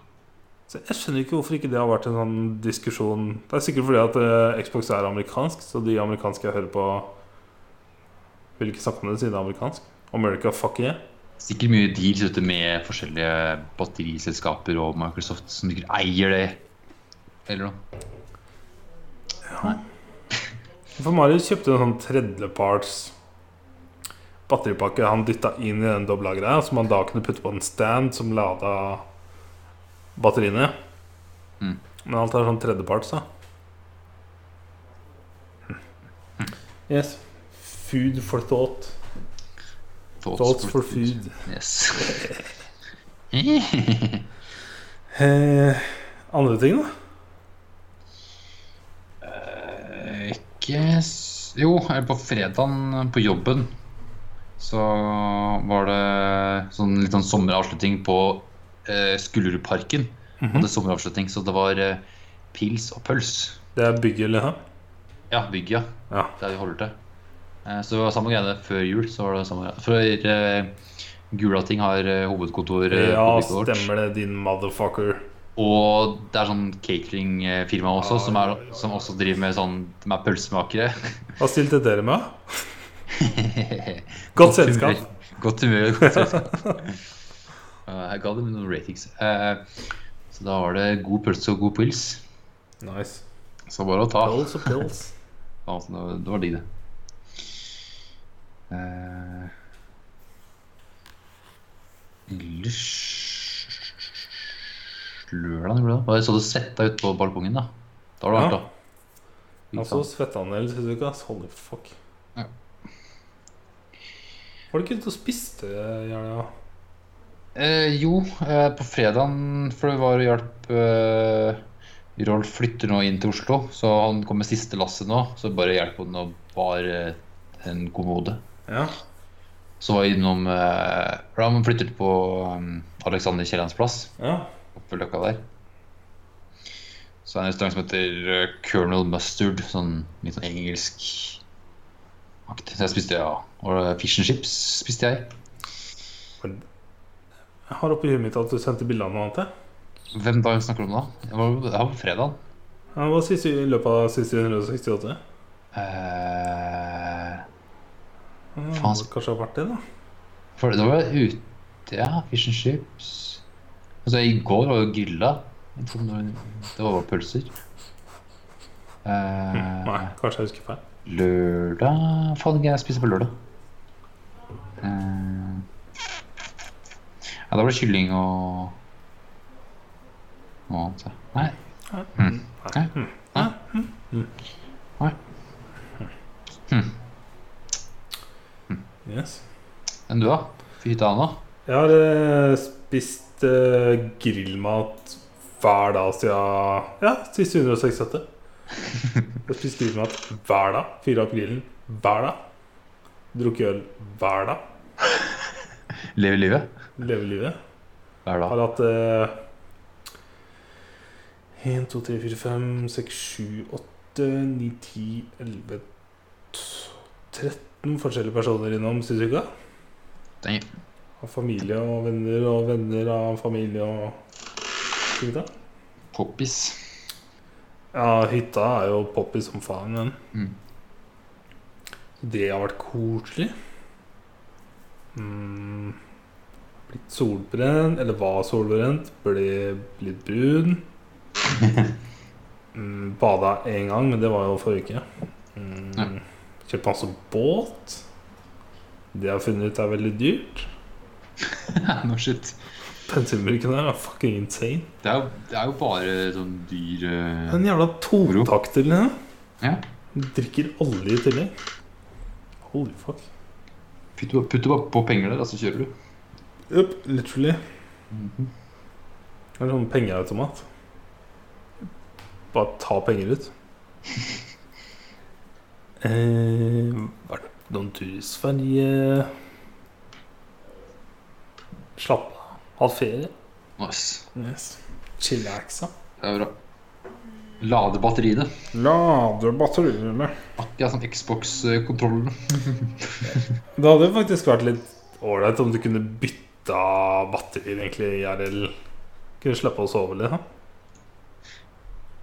[SPEAKER 2] Så jeg skjønner ikke hvorfor ikke det har vært en sånn diskusjon. Det er sikkert fordi at eh, Xbox er amerikansk, så de amerikanske jeg hører på, vil ikke snakke om det siden det er amerikansk. America, fuck yeah.
[SPEAKER 1] Sikkert mye deals ute med forskjellige batteriselskaper og Microsoft som sikkert eier det. Eller noe.
[SPEAKER 2] For Marius kjøpte en sånn tredjeparts batteripakke han dytta inn i den dobla greia, som han da kunne putte på en stand som lada batteriene.
[SPEAKER 1] Mm.
[SPEAKER 2] Men alt er sånn tredjeparts, da. Yes. Food for thought. Thoughts for food.
[SPEAKER 1] Yes.
[SPEAKER 2] Eh, andre ting, da?
[SPEAKER 1] Eh, Ikke s- Jo, eller på fredagen på jobben så var det sånn litt sånn sommeravslutning på eh, Skullerudparken.
[SPEAKER 2] Mhm.
[SPEAKER 1] Og det er sommeravslutning, så det var eh, pils og pøls.
[SPEAKER 2] Det er bygget, eller? hæ?
[SPEAKER 1] Ja, bygget, ja.
[SPEAKER 2] Ja.
[SPEAKER 1] Der vi holder til. Eh, så det var samme greiene før jul. så var det samme greiene. For eh, Gulating har eh, hovedkontor eh, på
[SPEAKER 2] Ja,
[SPEAKER 1] bygget vårt.
[SPEAKER 2] stemmer det, din motherfucker.
[SPEAKER 1] Og det er sånn cateringfirma også,
[SPEAKER 2] Ja,
[SPEAKER 1] som, er,
[SPEAKER 2] ja, ja,
[SPEAKER 1] som også driver med sånn De er pølsemakere.
[SPEAKER 2] Hva stilte dere med? Godt selskap.
[SPEAKER 1] humør. Godt humør. Godt selskap. Eh, jeg ga dem noen ratings. Eh, så da var det god pølse og god pils.
[SPEAKER 2] Nice.
[SPEAKER 1] Så bare å ta.
[SPEAKER 2] Pills og pills.
[SPEAKER 1] Ja, så det var- det var digg, det. Eh, Ellers Lørdag gjorde det. Og jeg så du svetta ut på balkongen, da. Da var det
[SPEAKER 2] Ja.
[SPEAKER 1] varmt, da. Ikke
[SPEAKER 2] Altså,
[SPEAKER 1] sant?
[SPEAKER 2] svetta han hele siste uka. ass. Holy fuck.
[SPEAKER 1] Ja.
[SPEAKER 2] Var du ikke ute og spiste i helga?
[SPEAKER 1] Eh, jo, eh, på fredagen, for det var og hjalp eh, Rolf flytter nå inn til Oslo, så han kom med siste lasset nå. Så bare hjelp han å bare eh, en kommode.
[SPEAKER 2] Ja.
[SPEAKER 1] Så var jeg innom eh, for Han flyttet på um, Alexander Kiellands plass,
[SPEAKER 2] ja.
[SPEAKER 1] oppe ved løkka der. Så er det en restaurant som heter eh, Colonel Mustard, sånn litt sånn engelsk aktig. Så jeg spiste, ja. Og eh, fish and chips spiste jeg.
[SPEAKER 2] Jeg har oppi huet mitt at du sendte bilde av noe annet. jeg.
[SPEAKER 1] Hvem dag snakker du om da? Det var, det var på fredagen.
[SPEAKER 2] Ja, det var siste, i løpet av siste 168.
[SPEAKER 1] Eh,
[SPEAKER 2] Ja, det
[SPEAKER 1] Faen,
[SPEAKER 2] må Kanskje det har vært det, da.
[SPEAKER 1] for da var jeg ute Ja, fish and chips. Altså, i går var jo grilla. Jeg tror Det det var Eh, bare pølser. Eh,
[SPEAKER 2] Hm. Nei, kanskje jeg husker feil.
[SPEAKER 1] lørdag Faen, hva jeg spiste på lørdag? Eh, Ja, da var det kylling og og annet. ja. Nei. Mm. Nei. Nei.
[SPEAKER 2] Hm.
[SPEAKER 1] Hm. Nei.
[SPEAKER 2] Hm.
[SPEAKER 1] Hm.
[SPEAKER 2] Yes.
[SPEAKER 1] Enn du, da? Fy hytta nå?
[SPEAKER 2] Jeg har eh, spist eh, grillmat hver dag siden Ja, siste 167. Jeg har spist grillmat hver dag. Fyra opp grillen hver dag. Drukket øl hver dag.
[SPEAKER 3] Lever livet.
[SPEAKER 2] Lever livet.
[SPEAKER 3] Hver dag.
[SPEAKER 2] Har hatt eh, 1, 2, 3, 4, 5, 6, 7, 8, 9, 10, 11 13 forskjellige personer innom siste uka.
[SPEAKER 1] Dang.
[SPEAKER 2] Av familie og venner og venner av familie og Skal vi ta?
[SPEAKER 1] Poppis.
[SPEAKER 2] Ja, hytta er jo poppy som faen, men
[SPEAKER 1] Mm.
[SPEAKER 2] Det har vært koselig. Mm. Blitt solbrent, eller var solbrent. Ble litt brun. mm, bada én gang, men det var jo forrige uke. Mm.
[SPEAKER 1] Ja.
[SPEAKER 2] Kjøpt masse båt. Det jeg har funnet ut er veldig dyrt.
[SPEAKER 1] no shit.
[SPEAKER 2] Bensinbruken her er fucking insane.
[SPEAKER 1] Det er jo, det er jo bare sånn dyr eh,
[SPEAKER 2] Den jævla totakter, liksom.
[SPEAKER 1] Ja.
[SPEAKER 2] Drikker olje i tillegg. Holy fuck.
[SPEAKER 1] Putt bare- putt bare på penger der, og så kjører du.
[SPEAKER 2] Yep, literally. Det er sånn pengeautomat. Bare ta penger ut. eh, vært noen tur i Sverige. Slapp av. Hatt ferie.
[SPEAKER 1] Nice.
[SPEAKER 2] Yes. Chillaxa.
[SPEAKER 1] Det er bra. Lade batteriene.
[SPEAKER 2] Lade batteriene.
[SPEAKER 1] Akkurat som Xbox-kontrollene.
[SPEAKER 2] Det hadde faktisk vært litt ålreit om du kunne bytta batterier, egentlig, IRL. Kunne slippe å sove litt. da.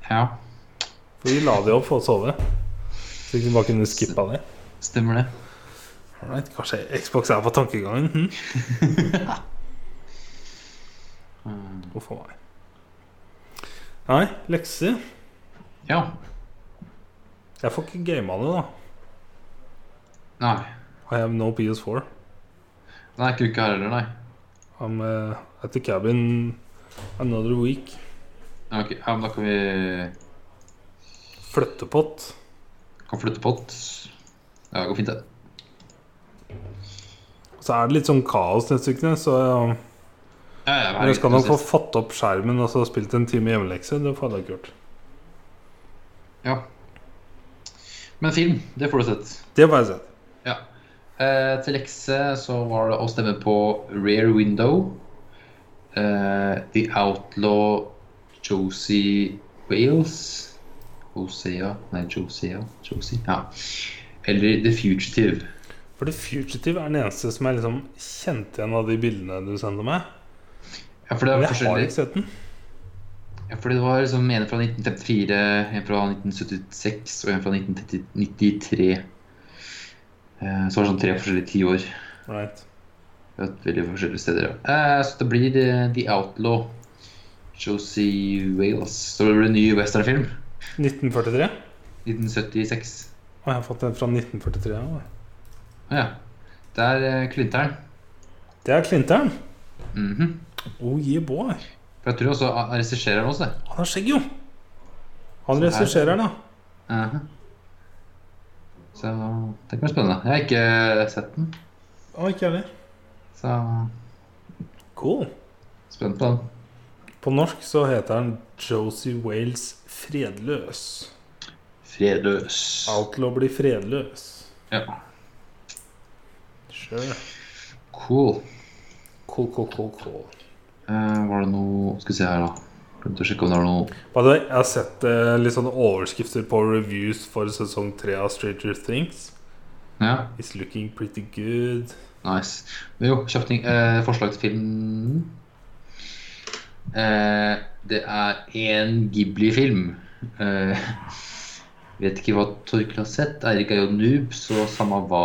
[SPEAKER 1] Ja,
[SPEAKER 2] For vi la det opp for å sove. Så vi bare kunne skippa det.
[SPEAKER 1] stemmer det.
[SPEAKER 2] Alright, kanskje Xbox er på tankegangen? Hm?
[SPEAKER 1] Mm.
[SPEAKER 2] Huff a meg. Nei, lekser
[SPEAKER 1] Ja.
[SPEAKER 2] Jeg får ikke gama det, da.
[SPEAKER 1] Nei.
[SPEAKER 2] I have no PS4.
[SPEAKER 1] Nei, ikke uka her heller, nei.
[SPEAKER 2] I'm uh, at the cabin another week.
[SPEAKER 1] Ja, ok, ja, men da kan vi
[SPEAKER 2] Flyttepott.
[SPEAKER 1] kan flytte pott. Ja, det går fint, det.
[SPEAKER 2] Så er det litt sånn kaos neste uke, så uh,
[SPEAKER 1] Ja, ja,
[SPEAKER 2] Men jeg skal nok få
[SPEAKER 1] sist.
[SPEAKER 2] fatt opp skjermen og så spilt en time hjemmelekse. Det får jeg da ikke gjort.
[SPEAKER 1] Ja. Men film, det får du sett.
[SPEAKER 2] Det får jeg sett.
[SPEAKER 1] Ja. Eh, til lekse så var det å stemme på Rare Window, eh, The Outlaw, Josie Wales Hosea Nei, Josea. Josie. Ja. Eller The Fugitive.
[SPEAKER 2] For The Fugitive er den eneste som jeg liksom kjente igjen av de bildene du sendte meg.
[SPEAKER 1] Ja, for det
[SPEAKER 2] Men
[SPEAKER 1] er
[SPEAKER 2] jeg har
[SPEAKER 1] forskjellig.
[SPEAKER 2] ikke sett den.
[SPEAKER 1] Ja, for det var liksom en fra 1954, en fra 1976 og en fra 1993. Eh, Så var det sånn tre forskjellige tiår.
[SPEAKER 2] Right.
[SPEAKER 1] Det var Veldig forskjellige steder, ja. Eh, Så det blir eh, The Outlaw. Josie Wales. Så det blir en ny westernfilm.
[SPEAKER 2] 1943.
[SPEAKER 1] 1976.
[SPEAKER 2] Og jeg har fått den fra 1943. Ja.
[SPEAKER 1] Å ja. Der eh, klinte han.
[SPEAKER 2] Det er Clinter'n.
[SPEAKER 1] Mhm.
[SPEAKER 2] Oh yeah, boy.
[SPEAKER 1] For jeg tror også han regisserer den også.
[SPEAKER 2] Han har skjegg, jo. Han
[SPEAKER 1] Så Sånn her-
[SPEAKER 2] regisserer, da.
[SPEAKER 1] Uh Så det kan bli spennende. Jeg har ikke eh, sett den,
[SPEAKER 2] Å, ikke heller.
[SPEAKER 1] så
[SPEAKER 2] Cool.
[SPEAKER 1] spent på den.
[SPEAKER 2] På norsk så heter han Josie Wales Fredløs.
[SPEAKER 1] Fredløs.
[SPEAKER 2] Outlaw blir fredløs.
[SPEAKER 1] Ja.
[SPEAKER 2] Sure.
[SPEAKER 1] Cool.
[SPEAKER 2] Cool, cool, cool, cool.
[SPEAKER 1] Eh, var det noe Skal vi se her, da. Glemte å sjekke om det var noe
[SPEAKER 2] By the way, jeg har sett eh, litt sånne overskrifter på reviews for sesong tre av Stranger Things.
[SPEAKER 1] Ja,
[SPEAKER 2] It's looking pretty good.
[SPEAKER 1] nice. Men jo, kjapt ting. Eh, forslag til film eh, Det er én Ghibli-film. Eh, vet ikke hva Torkel har sett. Eirik er jo noob, så samme hva.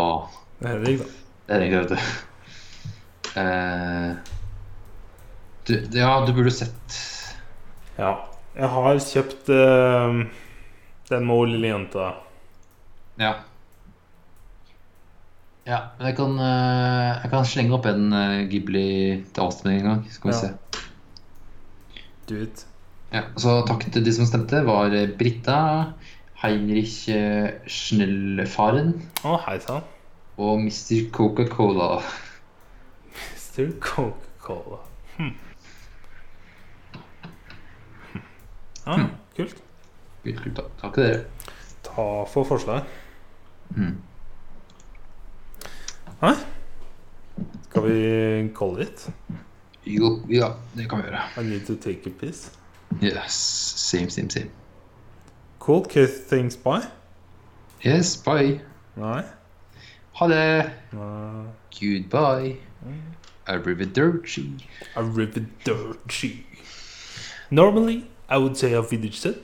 [SPEAKER 2] Henrik, da.
[SPEAKER 1] Det er egentlig det. Eh, du, ja, du burde sett
[SPEAKER 2] Ja. Jeg har kjøpt eh, den med hun lille jenta.
[SPEAKER 1] Ja.
[SPEAKER 3] Ja, men jeg kan, eh, jeg kan slenge opp en eh, Ghibli til avstemning en gang. Skal vi
[SPEAKER 2] Ja.
[SPEAKER 3] se.
[SPEAKER 2] Do it.
[SPEAKER 3] Ja, så takk til de som stemte. var eh, Britta, Heinrich eh, Schnellfaren
[SPEAKER 2] Å, hei sann.
[SPEAKER 3] og Mr. Coca-Cola.
[SPEAKER 2] Mr. Coca-Cola. Hm. Ja, Ah, kult.
[SPEAKER 3] Kult, kult, da. Takk til dere.
[SPEAKER 2] Ta for forslag. Hm.
[SPEAKER 3] Mm.
[SPEAKER 2] Hæ? Skal vi call it?
[SPEAKER 3] Jo, ja, det kan vi gjøre.
[SPEAKER 2] I need to take a piss.
[SPEAKER 1] Yes. Same, same, same.
[SPEAKER 2] Cold kiss things by?
[SPEAKER 1] Yes, bye.
[SPEAKER 2] Nei.
[SPEAKER 1] Ha det.
[SPEAKER 2] Nei.
[SPEAKER 1] Goodbye. Arrivederci.
[SPEAKER 2] Arrivederci. Normally, I would say Avvidichsen,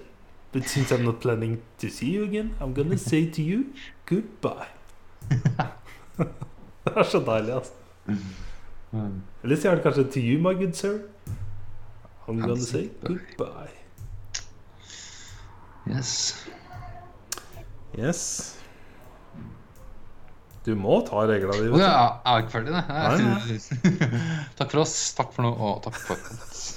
[SPEAKER 2] but since I'm not planning to see you again, I'm gonna say to you goodbye. det er så deilig, altså.
[SPEAKER 3] Mm.
[SPEAKER 2] Eller sier han kanskje to you, my good sir? I'm gonna say
[SPEAKER 1] Goodbye.
[SPEAKER 2] goodbye.
[SPEAKER 1] Yes.
[SPEAKER 2] Yes. Du må ta reglene dine.
[SPEAKER 1] Å ja, jeg er ikke ferdig, nei.
[SPEAKER 2] Nei,
[SPEAKER 1] takk for oss. Takk for nå, og takk for